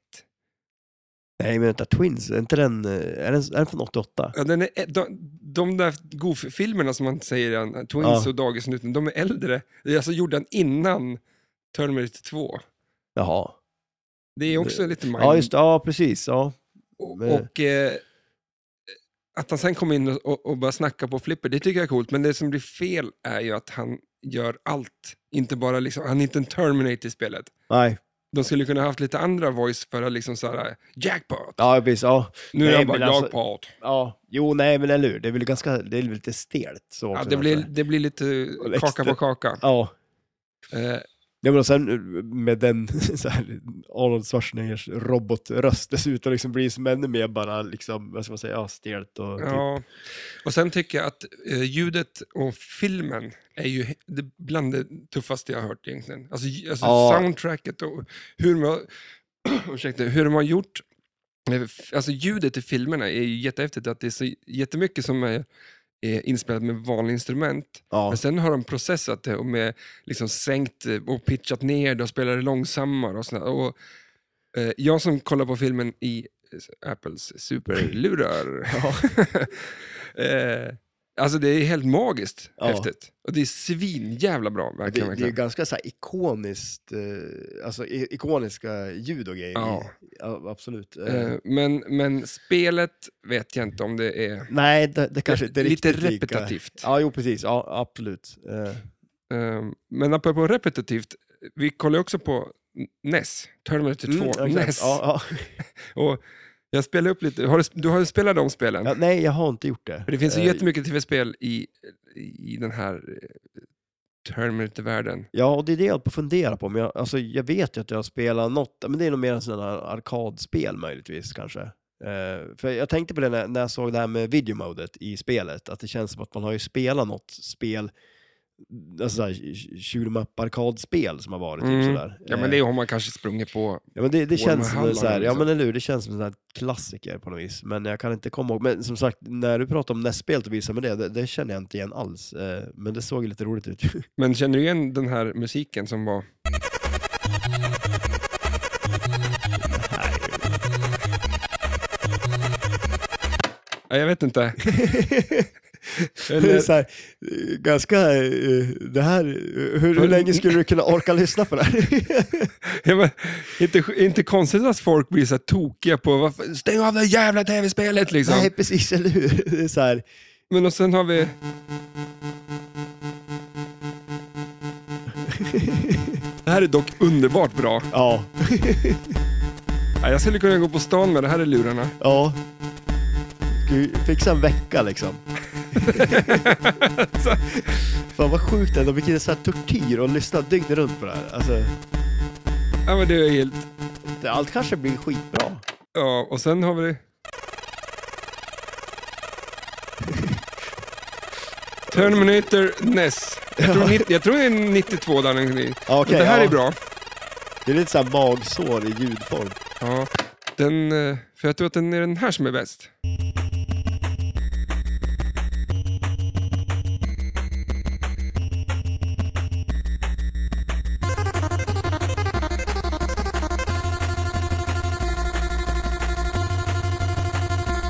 Speaker 2: Nej men vänta, Twins, är, inte den, eh, är, den, är den från 88?
Speaker 1: Ja, den är, de, de där Goof-filmerna som man säger, eh, Twins
Speaker 2: Ja.
Speaker 1: och Dagisnuten, de är äldre. Det är alltså gjorde han innan Terminator 2.
Speaker 2: Jaha.
Speaker 1: Det är också
Speaker 2: Det-
Speaker 1: lite mind.
Speaker 2: Ja, just det. Ja, precis. Ja.
Speaker 1: och,
Speaker 2: det-
Speaker 1: och, eh, att han sen kom in och- och, och började snacka på Flipper, det tycker jag är coolt. Men det som blir fel är ju att han gör allt. Inte bara liksom, han är inte en Terminator i spelet.
Speaker 2: Nej.
Speaker 1: De skulle kunna haft lite andra voice för att liksom såhär, jackpot!
Speaker 2: Ja, precis. Ja.
Speaker 1: nu är
Speaker 2: nej,
Speaker 1: jag bara,
Speaker 2: men alltså-
Speaker 1: jackpot!
Speaker 2: ja. Jo, nej men eller hur. Det är väl ganska, det är väl lite stelt. Så
Speaker 1: Ja,
Speaker 2: också,
Speaker 1: det, blir,
Speaker 2: kanske.
Speaker 1: det blir lite
Speaker 2: Och lite
Speaker 1: kaka på
Speaker 2: extra-
Speaker 1: kaka.
Speaker 2: Ja.
Speaker 1: Eh,
Speaker 2: Ja, men och sen eh, med den *laughs* så här, Arnold Schwarzeneggers robotröst dessutom liksom blir som ännu mer bara liksom, vad ska man säga, ja, stelt och typ.
Speaker 1: ja. Och sen tycker jag att eh, ljudet och filmen är ju he- det bland det tuffaste jag har hört egentligen. Alltså, j- alltså
Speaker 2: Ja.
Speaker 1: soundtracket och hur de har, *clears throat* ursäkta, hur de har gjort eh, f- Alltså ljudet i filmerna är ju jättehäftigt, att det är så jättemycket som är, är inspelat med vanliga instrument,
Speaker 2: Ja,
Speaker 1: Men sen har de processat det och med liksom sänkt eh, och pitchat ner det och spelat det långsammare och sådär. Och, eh, jag som kollar på filmen i eh, Apples superlurar.
Speaker 2: *laughs*
Speaker 1: *laughs* eh, alltså det är helt magiskt
Speaker 2: Ja.
Speaker 1: häftigt. Och det är svinjävla bra.
Speaker 2: det,
Speaker 1: Verkligen,
Speaker 2: det är ju
Speaker 1: verkligen.
Speaker 2: ganska så här ikoniskt, eh, alltså i- ikoniska ljud och grejer.
Speaker 1: Ja.
Speaker 2: Ja, absolut. Eh,
Speaker 1: Eh, men, men spelet vet jag inte om det är...
Speaker 2: nej, det, det kanske inte är
Speaker 1: lite
Speaker 2: riktigt lika.
Speaker 1: repetitivt.
Speaker 2: Ja, jo precis. Ja, absolut. Eh,
Speaker 1: Eh, men apropå repetitivt, vi kollar ju också på NES, Terminator E 2,
Speaker 2: mm, exakt.
Speaker 1: NES.
Speaker 2: ja, ja.
Speaker 1: Och jag spelar upp lite, har du, du har ju spelat de spelen?
Speaker 2: Ja, nej, jag har inte gjort det.
Speaker 1: För det finns ju
Speaker 2: Eh,
Speaker 1: jättemycket tv-spel i, i den här eh, Terminator-världen.
Speaker 2: Ja, och det är det jag håller på att fundera på. Men jag, alltså, jag vet ju att jag har spelat något, men det är nog mer en sån här arkadspel möjligtvis kanske. Eh, för jag tänkte på det när, när jag såg det här med videomodet i spelet, att det känns som att man har ju spelat något spel, alltså sådär shoot'em-up-arkadspel som har varit
Speaker 1: Mm.
Speaker 2: typ sådär. Eh,
Speaker 1: Ja, men det har man kanske sprungit på.
Speaker 2: Ja men det, det
Speaker 1: Warhammer
Speaker 2: känns som en så här,
Speaker 1: Halland,
Speaker 2: ja
Speaker 1: liksom.
Speaker 2: men eller hur, det känns som en sån här klassiker på något vis. Men jag kan inte komma ihåg, men som sagt, när du pratar om nästspelet och visar mig det, det, det känner jag inte igen alls. Eh, men det såg ju lite roligt ut. *laughs*
Speaker 1: Men känner du igen den här musiken som var... Ja, jag vet inte. *laughs* Eller-
Speaker 2: Det är så här, eh, ganska, eh, det här, eh, hur, hur länge skulle du kunna orka lyssna på det här?
Speaker 1: Ja, men, inte, inte konstigt att folk blir så här tokiga på varför, stäng av det jävla tv-spelet liksom.
Speaker 2: *laughs* Nej, precis, eller hur? Det är så här,
Speaker 1: Men och sen har
Speaker 2: *laughs*
Speaker 1: vi... Det här är dock underbart bra.
Speaker 2: Ja,
Speaker 1: Ja, Jag skulle kunna gå på stan med det här i lurarna.
Speaker 2: ja. Ska vi fixa en vecka liksom? Fan vad sjukt ändå, vilken så här tortyr att lyssna dygnet runt på det här. Alltså,
Speaker 1: *laughs* Ja, men det är helt...
Speaker 2: det- allt kanske blir skitbra.
Speaker 1: Ja, och sen har vi
Speaker 2: *laughs*
Speaker 1: det... Terminator NES. Jag tror, nitt- jag tror det är 92 där någonting.
Speaker 2: Ja, okej,
Speaker 1: Men det här
Speaker 2: ja.
Speaker 1: är bra.
Speaker 2: Det är lite såhär magsår i ljudform.
Speaker 1: Ja, den, eh, för jag tror att den är den här som är bäst.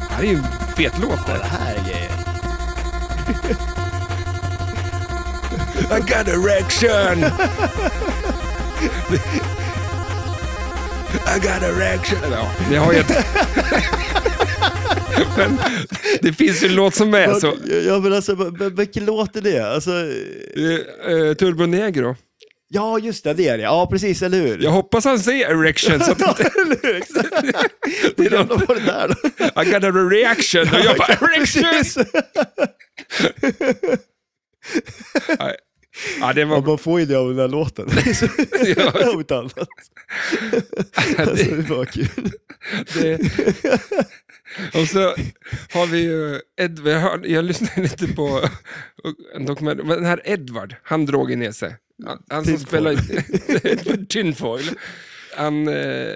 Speaker 1: Det här är ju en fet låt
Speaker 2: Ja,
Speaker 1: där.
Speaker 2: det här är grejer.
Speaker 1: *laughs* I got erection! I got erection! Ja, det har jag inte. *laughs* Men det finns ju en låt som är så.
Speaker 2: Ja men alltså, men- men vilken låt är det? Alltså,
Speaker 1: Eh, eh, Turbo Negro.
Speaker 2: ja just det, det är det. Ja precis, eller hur?
Speaker 1: Jag hoppas han säger erection. Så att
Speaker 2: *laughs* Ja, eller hur? Exakt.
Speaker 1: *laughs* det är
Speaker 2: Jävlar
Speaker 1: något.
Speaker 2: var det där då?
Speaker 1: I got a reaction. Och jag bara, erection!
Speaker 2: Precis.
Speaker 1: Nej. Ja, det
Speaker 2: Ja,
Speaker 1: var bra.
Speaker 2: man får ju det av den här låten.
Speaker 1: *laughs* Ja,
Speaker 2: Om inte annat. Alltså,
Speaker 1: det,
Speaker 2: det var kul.
Speaker 1: det. Och så har vi ju Edvard. Jag, hörde- jag lyssnade lite på en dokumentär. Men Den här Edvard, han drog i ner sig. Han, han som
Speaker 2: Tinfoil.
Speaker 1: spelar *laughs* Edward Tinfoil. Han... Eh,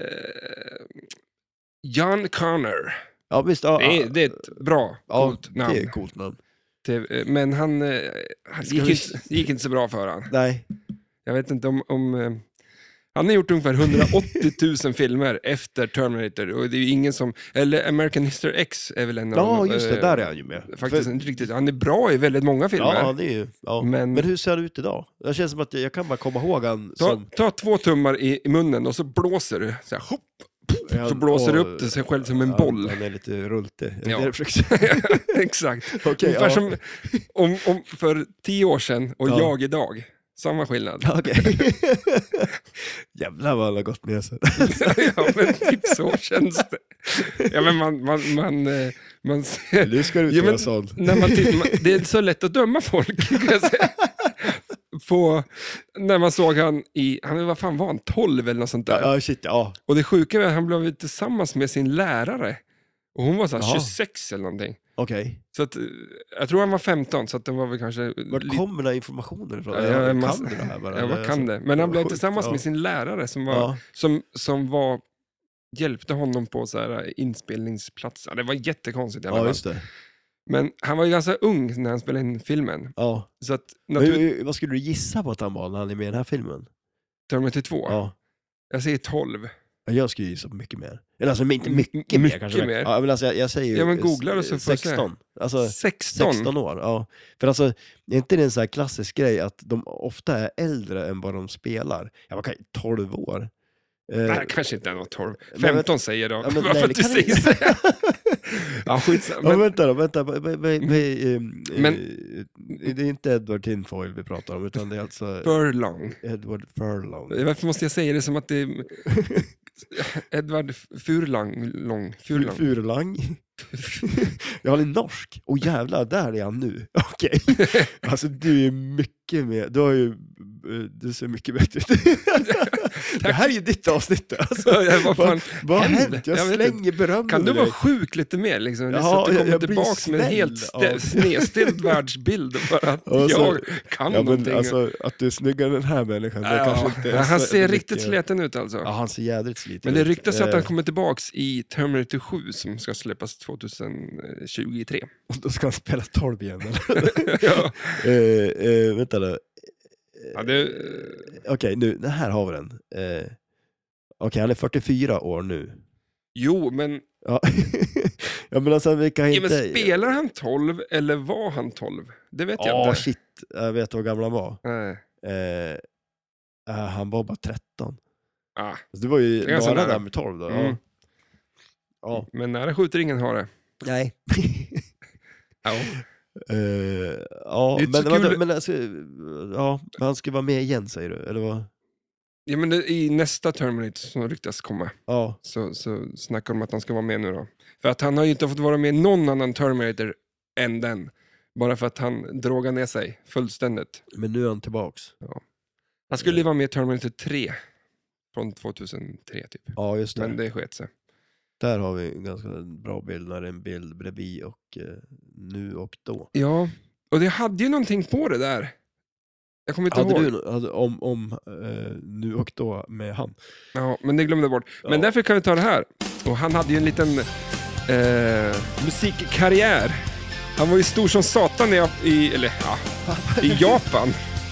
Speaker 1: John Connor.
Speaker 2: Ja visst, ja,
Speaker 1: Det är,
Speaker 2: ja,
Speaker 1: det är ett bra,
Speaker 2: ja,
Speaker 1: coolt
Speaker 2: det är
Speaker 1: namn.
Speaker 2: ett coolt namn.
Speaker 1: TV, men han, eh, han
Speaker 2: Ska
Speaker 1: gick,
Speaker 2: vi-
Speaker 1: inte, gick inte så bra för han.
Speaker 2: Nej,
Speaker 1: Jag vet inte om... om eh, han har gjort ungefär 180 000 filmer efter Terminator och det är ju ingen som... Eller American History X är väl en
Speaker 2: ja
Speaker 1: av...
Speaker 2: just det,
Speaker 1: eh,
Speaker 2: där är han ju med.
Speaker 1: Faktiskt
Speaker 2: För-
Speaker 1: inte riktigt. Han är bra i väldigt många filmer.
Speaker 2: Ja, det är ju, ja.
Speaker 1: Men-
Speaker 2: Men... hur ser han ut idag? Det känns som att jag kan bara komma ihåg han
Speaker 1: ta,
Speaker 2: som...
Speaker 1: ta två tummar i, i munnen och så blåser du. Så, här, hopp, så
Speaker 2: han-
Speaker 1: blåser du
Speaker 2: åh,
Speaker 1: upp det sig själv som en
Speaker 2: han- *laughs*
Speaker 1: boll. *laughs*
Speaker 2: Han är lite rultig. Är det
Speaker 1: Ja.
Speaker 2: det du
Speaker 1: *laughs*
Speaker 2: försöker säga?
Speaker 1: Exakt.
Speaker 2: Okej,
Speaker 1: Ungefär
Speaker 2: ja.
Speaker 1: som om, om för tio år sedan och
Speaker 2: Ja.
Speaker 1: jag idag. Samma skillnad. *laughs*
Speaker 2: Okej. *laughs* Jävlar vad han har
Speaker 1: *laughs*
Speaker 2: gått med sig.
Speaker 1: ja, men typ så känns det. Ja, men man, man, man, eh, man ser...
Speaker 2: Nu ska du
Speaker 1: Jo,
Speaker 2: inte
Speaker 1: men-
Speaker 2: göra sånt.
Speaker 1: När man tittar, man- det är så lätt att döma folk, kan jag säga. På, när man såg han i, han vad fan var han, 12 eller något sånt där.
Speaker 2: Ja, shit, ja.
Speaker 1: Och det sjuka var att han blev tillsammans med sin lärare. Och hon var så här
Speaker 2: Jaha.
Speaker 1: 26 eller någonting.
Speaker 2: Okej.
Speaker 1: Så att, eh, jag tror han var 15, så att den var väl kanske...
Speaker 2: Var
Speaker 1: lite-
Speaker 2: kommer den här informationen ifrån?
Speaker 1: Ja,
Speaker 2: Eller,
Speaker 1: jag är
Speaker 2: kan
Speaker 1: massa-
Speaker 2: du det här bara?
Speaker 1: Ja, vad
Speaker 2: Eller,
Speaker 1: kan
Speaker 2: alltså,
Speaker 1: det? Men han
Speaker 2: vad
Speaker 1: blev
Speaker 2: sjukt,
Speaker 1: tillsammans
Speaker 2: ja.
Speaker 1: med sin lärare som var,
Speaker 2: Ja.
Speaker 1: som, som var, hjälpte honom på så här eh, inspelningsplats. Ja, det var jättekonstigt i alla
Speaker 2: ja,
Speaker 1: fall.
Speaker 2: just det.
Speaker 1: Men han var ju ganska ung när han spelade in filmen.
Speaker 2: Ja.
Speaker 1: Så att,
Speaker 2: Men,
Speaker 1: natur-
Speaker 2: hur- vad skulle du gissa på att han var när han är med i den här filmen?
Speaker 1: Terminator 2.
Speaker 2: Ja.
Speaker 1: Jag säger 12.
Speaker 2: Ja, Jag skulle gissa på mycket mer. Eller alltså inte
Speaker 1: M-
Speaker 2: mycket,
Speaker 1: mycket
Speaker 2: mer kanske.
Speaker 1: mer.
Speaker 2: Ja, men alltså, jag, jag säger ju
Speaker 1: Ja, men
Speaker 2: s-
Speaker 1: googla det så får jag se.
Speaker 2: 16. Alltså,
Speaker 1: 16.
Speaker 2: 16 år, ja. För alltså, är inte det en sån här klassisk grej att de ofta är äldre än vad de spelar? Ja, man kan 12 år. Eh,
Speaker 1: Nej, kanske inte han var 12.
Speaker 2: Men-
Speaker 1: 15 säger jag då.
Speaker 2: Ja,
Speaker 1: *laughs*
Speaker 2: men
Speaker 1: Varför
Speaker 2: nej, det
Speaker 1: att du
Speaker 2: kan
Speaker 1: säger så? ja, skitsamma.
Speaker 2: ja,
Speaker 1: Men, Mm.
Speaker 2: vänta då, vänta. Men, men, men,
Speaker 1: Men-
Speaker 2: eh, det är inte Edward Tinfoil vi pratar om, utan det är alltså
Speaker 1: Furlong.
Speaker 2: Edward Furlong.
Speaker 1: Varför måste jag säga det som att det
Speaker 2: *laughs*
Speaker 1: är... Edvard Furlong. Long, Furlong.
Speaker 2: Furlang. ja, han är norsk. Och jävlar, där är han nu. *laughs*
Speaker 1: *laughs*
Speaker 2: Okej. Alltså du är mycket mer, du har ju, eh, du ser mycket bättre
Speaker 1: *laughs*
Speaker 2: ut. det här är ju ditt avsnitt då,
Speaker 1: *laughs*
Speaker 2: alltså.
Speaker 1: Ja, vad fan
Speaker 2: Vad har
Speaker 1: händer?
Speaker 2: hänt? Jag,
Speaker 1: Jag vet
Speaker 2: slänger beröm
Speaker 1: Kan du
Speaker 2: över
Speaker 1: vara
Speaker 2: dig.
Speaker 1: sjuk lite mer? Liksom?
Speaker 2: Ja,
Speaker 1: så att du
Speaker 2: jag-
Speaker 1: kommer
Speaker 2: jag blir
Speaker 1: tillbaka med en
Speaker 2: snäll
Speaker 1: helt st-
Speaker 2: av-
Speaker 1: snedställd världsbild för att
Speaker 2: Ja, så-
Speaker 1: jag kan
Speaker 2: Ja, men
Speaker 1: någonting.
Speaker 2: alltså att du är snyggare än den här människan, det
Speaker 1: ja,
Speaker 2: kanske inte är
Speaker 1: ja, han
Speaker 2: så
Speaker 1: ser
Speaker 2: mycket-
Speaker 1: riktigt sliten ut alltså.
Speaker 2: Ja, han ser jädrigt sliten
Speaker 1: Men det
Speaker 2: ut.
Speaker 1: ryktas att
Speaker 2: Eh,
Speaker 1: han kommer tillbaka i Terminator 7 som ska släppas 2023.
Speaker 2: och Då ska han spela 12 igen eller?
Speaker 1: ja.
Speaker 2: *laughs* Eh, eh, vänta nu.
Speaker 1: Ja, det, eh,
Speaker 2: Okej, nu, den här har vi den. Eh, Okej, han är 44 år nu.
Speaker 1: jo, men,
Speaker 2: Ja, *laughs* ja men alltså vi kan
Speaker 1: ja,
Speaker 2: inte...
Speaker 1: men spelar han 12 eller var han 12? Det vet jag
Speaker 2: Ja, ah,
Speaker 1: inte.
Speaker 2: shit. Jag vet hur gammal han var.
Speaker 1: Nej.
Speaker 2: Eh, eh, han var bara 13. Alltså,
Speaker 1: Ah,
Speaker 2: det var ju
Speaker 1: Det är ganska
Speaker 2: nära
Speaker 1: nära.
Speaker 2: där med 12 då.
Speaker 1: Mm.
Speaker 2: Ja. ja.
Speaker 1: Men nära skjuter ingen har det.
Speaker 2: Nej.
Speaker 1: Ja.
Speaker 2: *laughs* Eh, ja,
Speaker 1: Det är
Speaker 2: men,
Speaker 1: inte så
Speaker 2: men,
Speaker 1: kul-
Speaker 2: men alltså, ja, men han ska vara med igen säger du? Eller vad?
Speaker 1: Ja, men det, I nästa Terminator som ryktas komma
Speaker 2: Ja,
Speaker 1: så, så snackar de om att han ska vara med nu då. För att han har ju inte fått vara med i någon annan Terminator än den. Bara för att han drogar ner sig fullständigt.
Speaker 2: men nu är han tillbaks.
Speaker 1: Han skulle
Speaker 2: Mm.
Speaker 1: ju vara med i Terminator 3. Från 2003 typ.
Speaker 2: Ja, just det.
Speaker 1: Men det sket sig.
Speaker 2: Där har vi en ganska bra bild när det är en bild bredvid och eh, nu och då.
Speaker 1: Ja, och det hade ju någonting på det där. Jag kommer inte
Speaker 2: Hade
Speaker 1: ihåg.
Speaker 2: du nå- hade, om, om eh, nu och då med han?
Speaker 1: Ja, men det glömde jag bort. Men
Speaker 2: Ja.
Speaker 1: därför kan vi ta det här. Och han hade ju en liten eh, musikkarriär. Han var ju stor som satan i, i, eller, ja,
Speaker 2: *laughs*
Speaker 1: i Japan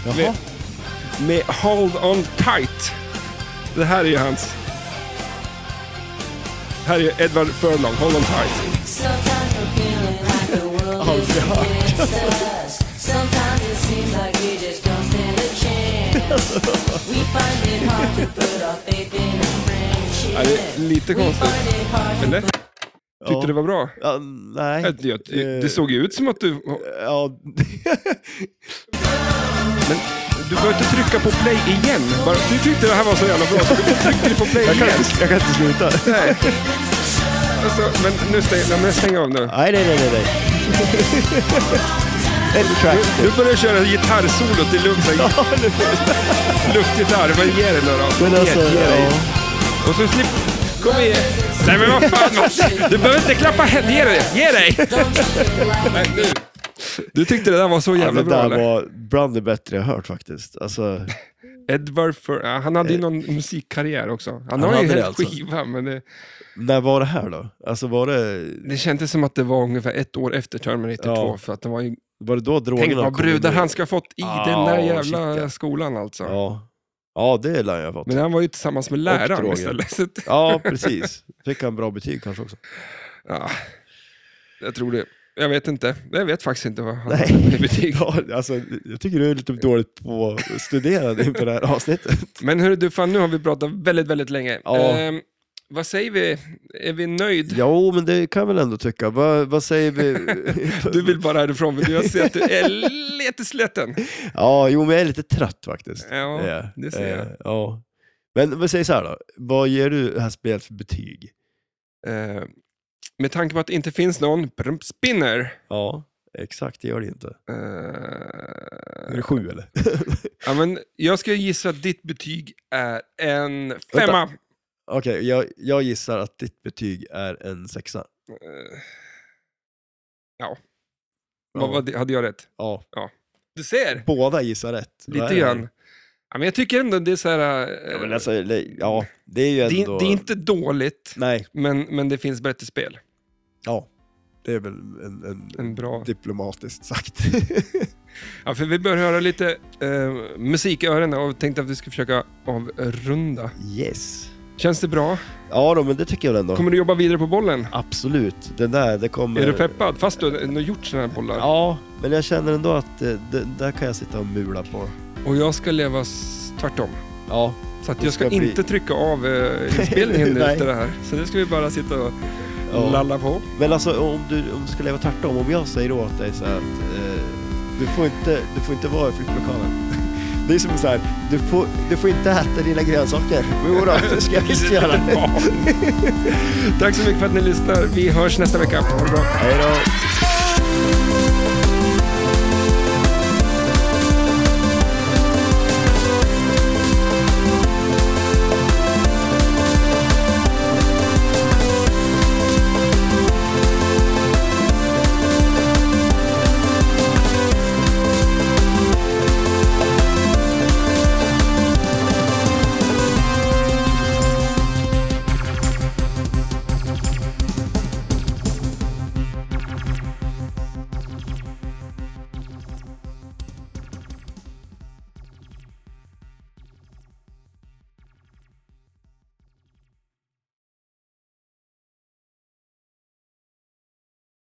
Speaker 2: Jaha.
Speaker 1: med Hold On Tight. Det här är ju hans. Här är ju Edward Furlong, Hold On Tight.
Speaker 3: Sometimes I'm feeling like the world
Speaker 1: Oh,
Speaker 3: is against us. Sometimes it seems like we just don't stand a chance. We find it hard to put our faith in a friendship.
Speaker 1: Ja, det är lite
Speaker 3: We
Speaker 1: konstigt,
Speaker 3: find it hard to
Speaker 1: eller? Tyckte
Speaker 2: Ja.
Speaker 1: du det var bra?
Speaker 2: Ja, nej.
Speaker 1: Äh, Det, det
Speaker 2: Eh,
Speaker 1: såg ju ut som att du...
Speaker 2: Ja, *laughs*
Speaker 1: Men du behöver inte trycka på play igen. Bara, du tyckte det här var så jävla bra så tryckte du på play
Speaker 2: jag, kan
Speaker 1: igen.
Speaker 2: inte, jag kan inte sluta.
Speaker 1: Nej. Alltså, men nu stäng, nej, men stäng av nu.
Speaker 2: Nej, nej, nej, nej. nej. En track till.
Speaker 1: Nu börjar jag köra gitarrsolot i luft, så här,
Speaker 2: Ja, nu-
Speaker 1: *laughs* luftgitarr. Vad ger det nu då?
Speaker 2: Men
Speaker 1: Ge-
Speaker 2: alltså,
Speaker 1: ge dig.
Speaker 2: ja.
Speaker 1: Och så slipp... Kom igen. Nej men vad fan Mats. Du behöver inte klappa händerna. Ge dig. Ge dig. Nej, nu. Du tyckte det där var så
Speaker 2: Ja,
Speaker 1: jävla
Speaker 2: det
Speaker 1: bra
Speaker 2: där
Speaker 1: eller?
Speaker 2: var bland det bättre jag hört faktiskt. Alltså,
Speaker 1: Edward för, ja, Han hade ju någon musikkarriär också. Han, har
Speaker 2: Eh. hade
Speaker 1: ju
Speaker 2: det
Speaker 1: en
Speaker 2: alltså.
Speaker 1: skiva men det,
Speaker 2: när var det här då? Alltså var det,
Speaker 1: det kändes som att det var ungefär ett år efter Terminator
Speaker 2: Ja.
Speaker 1: 2. För att det var ju,
Speaker 2: var det då drogerna
Speaker 1: tänk vad
Speaker 2: kom
Speaker 1: brudar
Speaker 2: in?
Speaker 1: han ska ha fått i
Speaker 2: Ah,
Speaker 1: den där
Speaker 2: shit,
Speaker 1: jävla
Speaker 2: ja.
Speaker 1: skolan alltså.
Speaker 2: Ja, ja det lär jag ha fått.
Speaker 1: Men han var ju tillsammans med läraren
Speaker 2: droger.
Speaker 1: istället. *laughs* Så att,
Speaker 2: Ja, precis. Fick han bra betyg kanske också.
Speaker 1: ja, jag tror det. Jag vet inte. Jag vet faktiskt inte vad han
Speaker 2: *laughs* Nej. *laughs*
Speaker 1: hade i betyg.
Speaker 2: Ja, alltså, jag tycker du är lite dåligt på att studera inför det här avsnittet.
Speaker 1: Men hörru du, fan nu har vi pratat väldigt, väldigt länge.
Speaker 2: Ja.
Speaker 1: Ehm, vad säger vi? Är vi nöjd?
Speaker 2: Jo, men det kan jag väl ändå tycka. Vad, vad säger *laughs* vi?
Speaker 1: Du vill bara härifrån, för jag ser att du
Speaker 2: *laughs*
Speaker 1: är lite slätten.
Speaker 2: Ja, jo, men jag är lite trött faktiskt.
Speaker 1: Ja,
Speaker 2: är jag.
Speaker 1: det ser jag.
Speaker 2: Eh, Ja. Men vad säger så här då? Vad ger du det här spelet för betyg? eh.
Speaker 1: Ehm, med tanke på att det inte finns någon brum, spinner.
Speaker 2: Ja, exakt, det gör det inte. Är
Speaker 1: Ehm,
Speaker 2: det sju eller?
Speaker 1: ja, men jag ska gissa att ditt betyg är en femma.
Speaker 2: Okej, jag, jag gissar att ditt betyg är en sexa.
Speaker 1: Ehm, ja, Vad, vad, hade jag rätt?
Speaker 2: Ja,
Speaker 1: Du ser,
Speaker 2: båda gissar rätt. Vad är
Speaker 1: lite
Speaker 2: det?
Speaker 1: grann. Ja, men jag tycker ändå det är så här... eh,
Speaker 2: Ja, men alltså, det- ja, det är ju
Speaker 1: det,
Speaker 2: ändå...
Speaker 1: är- det är inte dåligt,
Speaker 2: Nej,
Speaker 1: men, men det finns bättre spel.
Speaker 2: ja. Det är väl en, en,
Speaker 1: En bra...
Speaker 2: diplomatiskt sagt.
Speaker 1: Ja, för vi bör höra lite eh, musik i öronen och tänkte att vi skulle försöka avrunda.
Speaker 2: *laughs* yes.
Speaker 1: Känns det bra?
Speaker 2: Ja då, men det tycker jag ändå.
Speaker 1: Kommer du jobba vidare på bollen?
Speaker 2: Absolut. Den där, det kommer...
Speaker 1: Är du peppad? Fast du ändå gjort sådana här bollar.
Speaker 2: Ja, men jag känner ändå att eh, det, där kan jag sitta och mula på.
Speaker 1: Och jag ska leva s- tvärtom.
Speaker 2: Ja.
Speaker 1: Så att
Speaker 2: Det
Speaker 1: jag ska,
Speaker 2: ska bli-
Speaker 1: inte trycka av
Speaker 2: *laughs*
Speaker 1: eh, inspelningen nu
Speaker 2: Nej.
Speaker 1: efter det här. Så nu ska vi bara sitta och
Speaker 2: ja.
Speaker 1: lalla på.
Speaker 2: Men alltså om du, om du ska leva tvärtom, om jag säger åt dig så här att eh, du, får inte, du får inte vara i flyktlokalen. *laughs* Det är som så här, du får, du får inte äta dina grönsaker. Jo då, det ska jag visst göra.
Speaker 1: *laughs* Ja. Tack så mycket för att ni lyssnar. Vi hörs nästa vecka. Ha det bra.
Speaker 2: Hej då.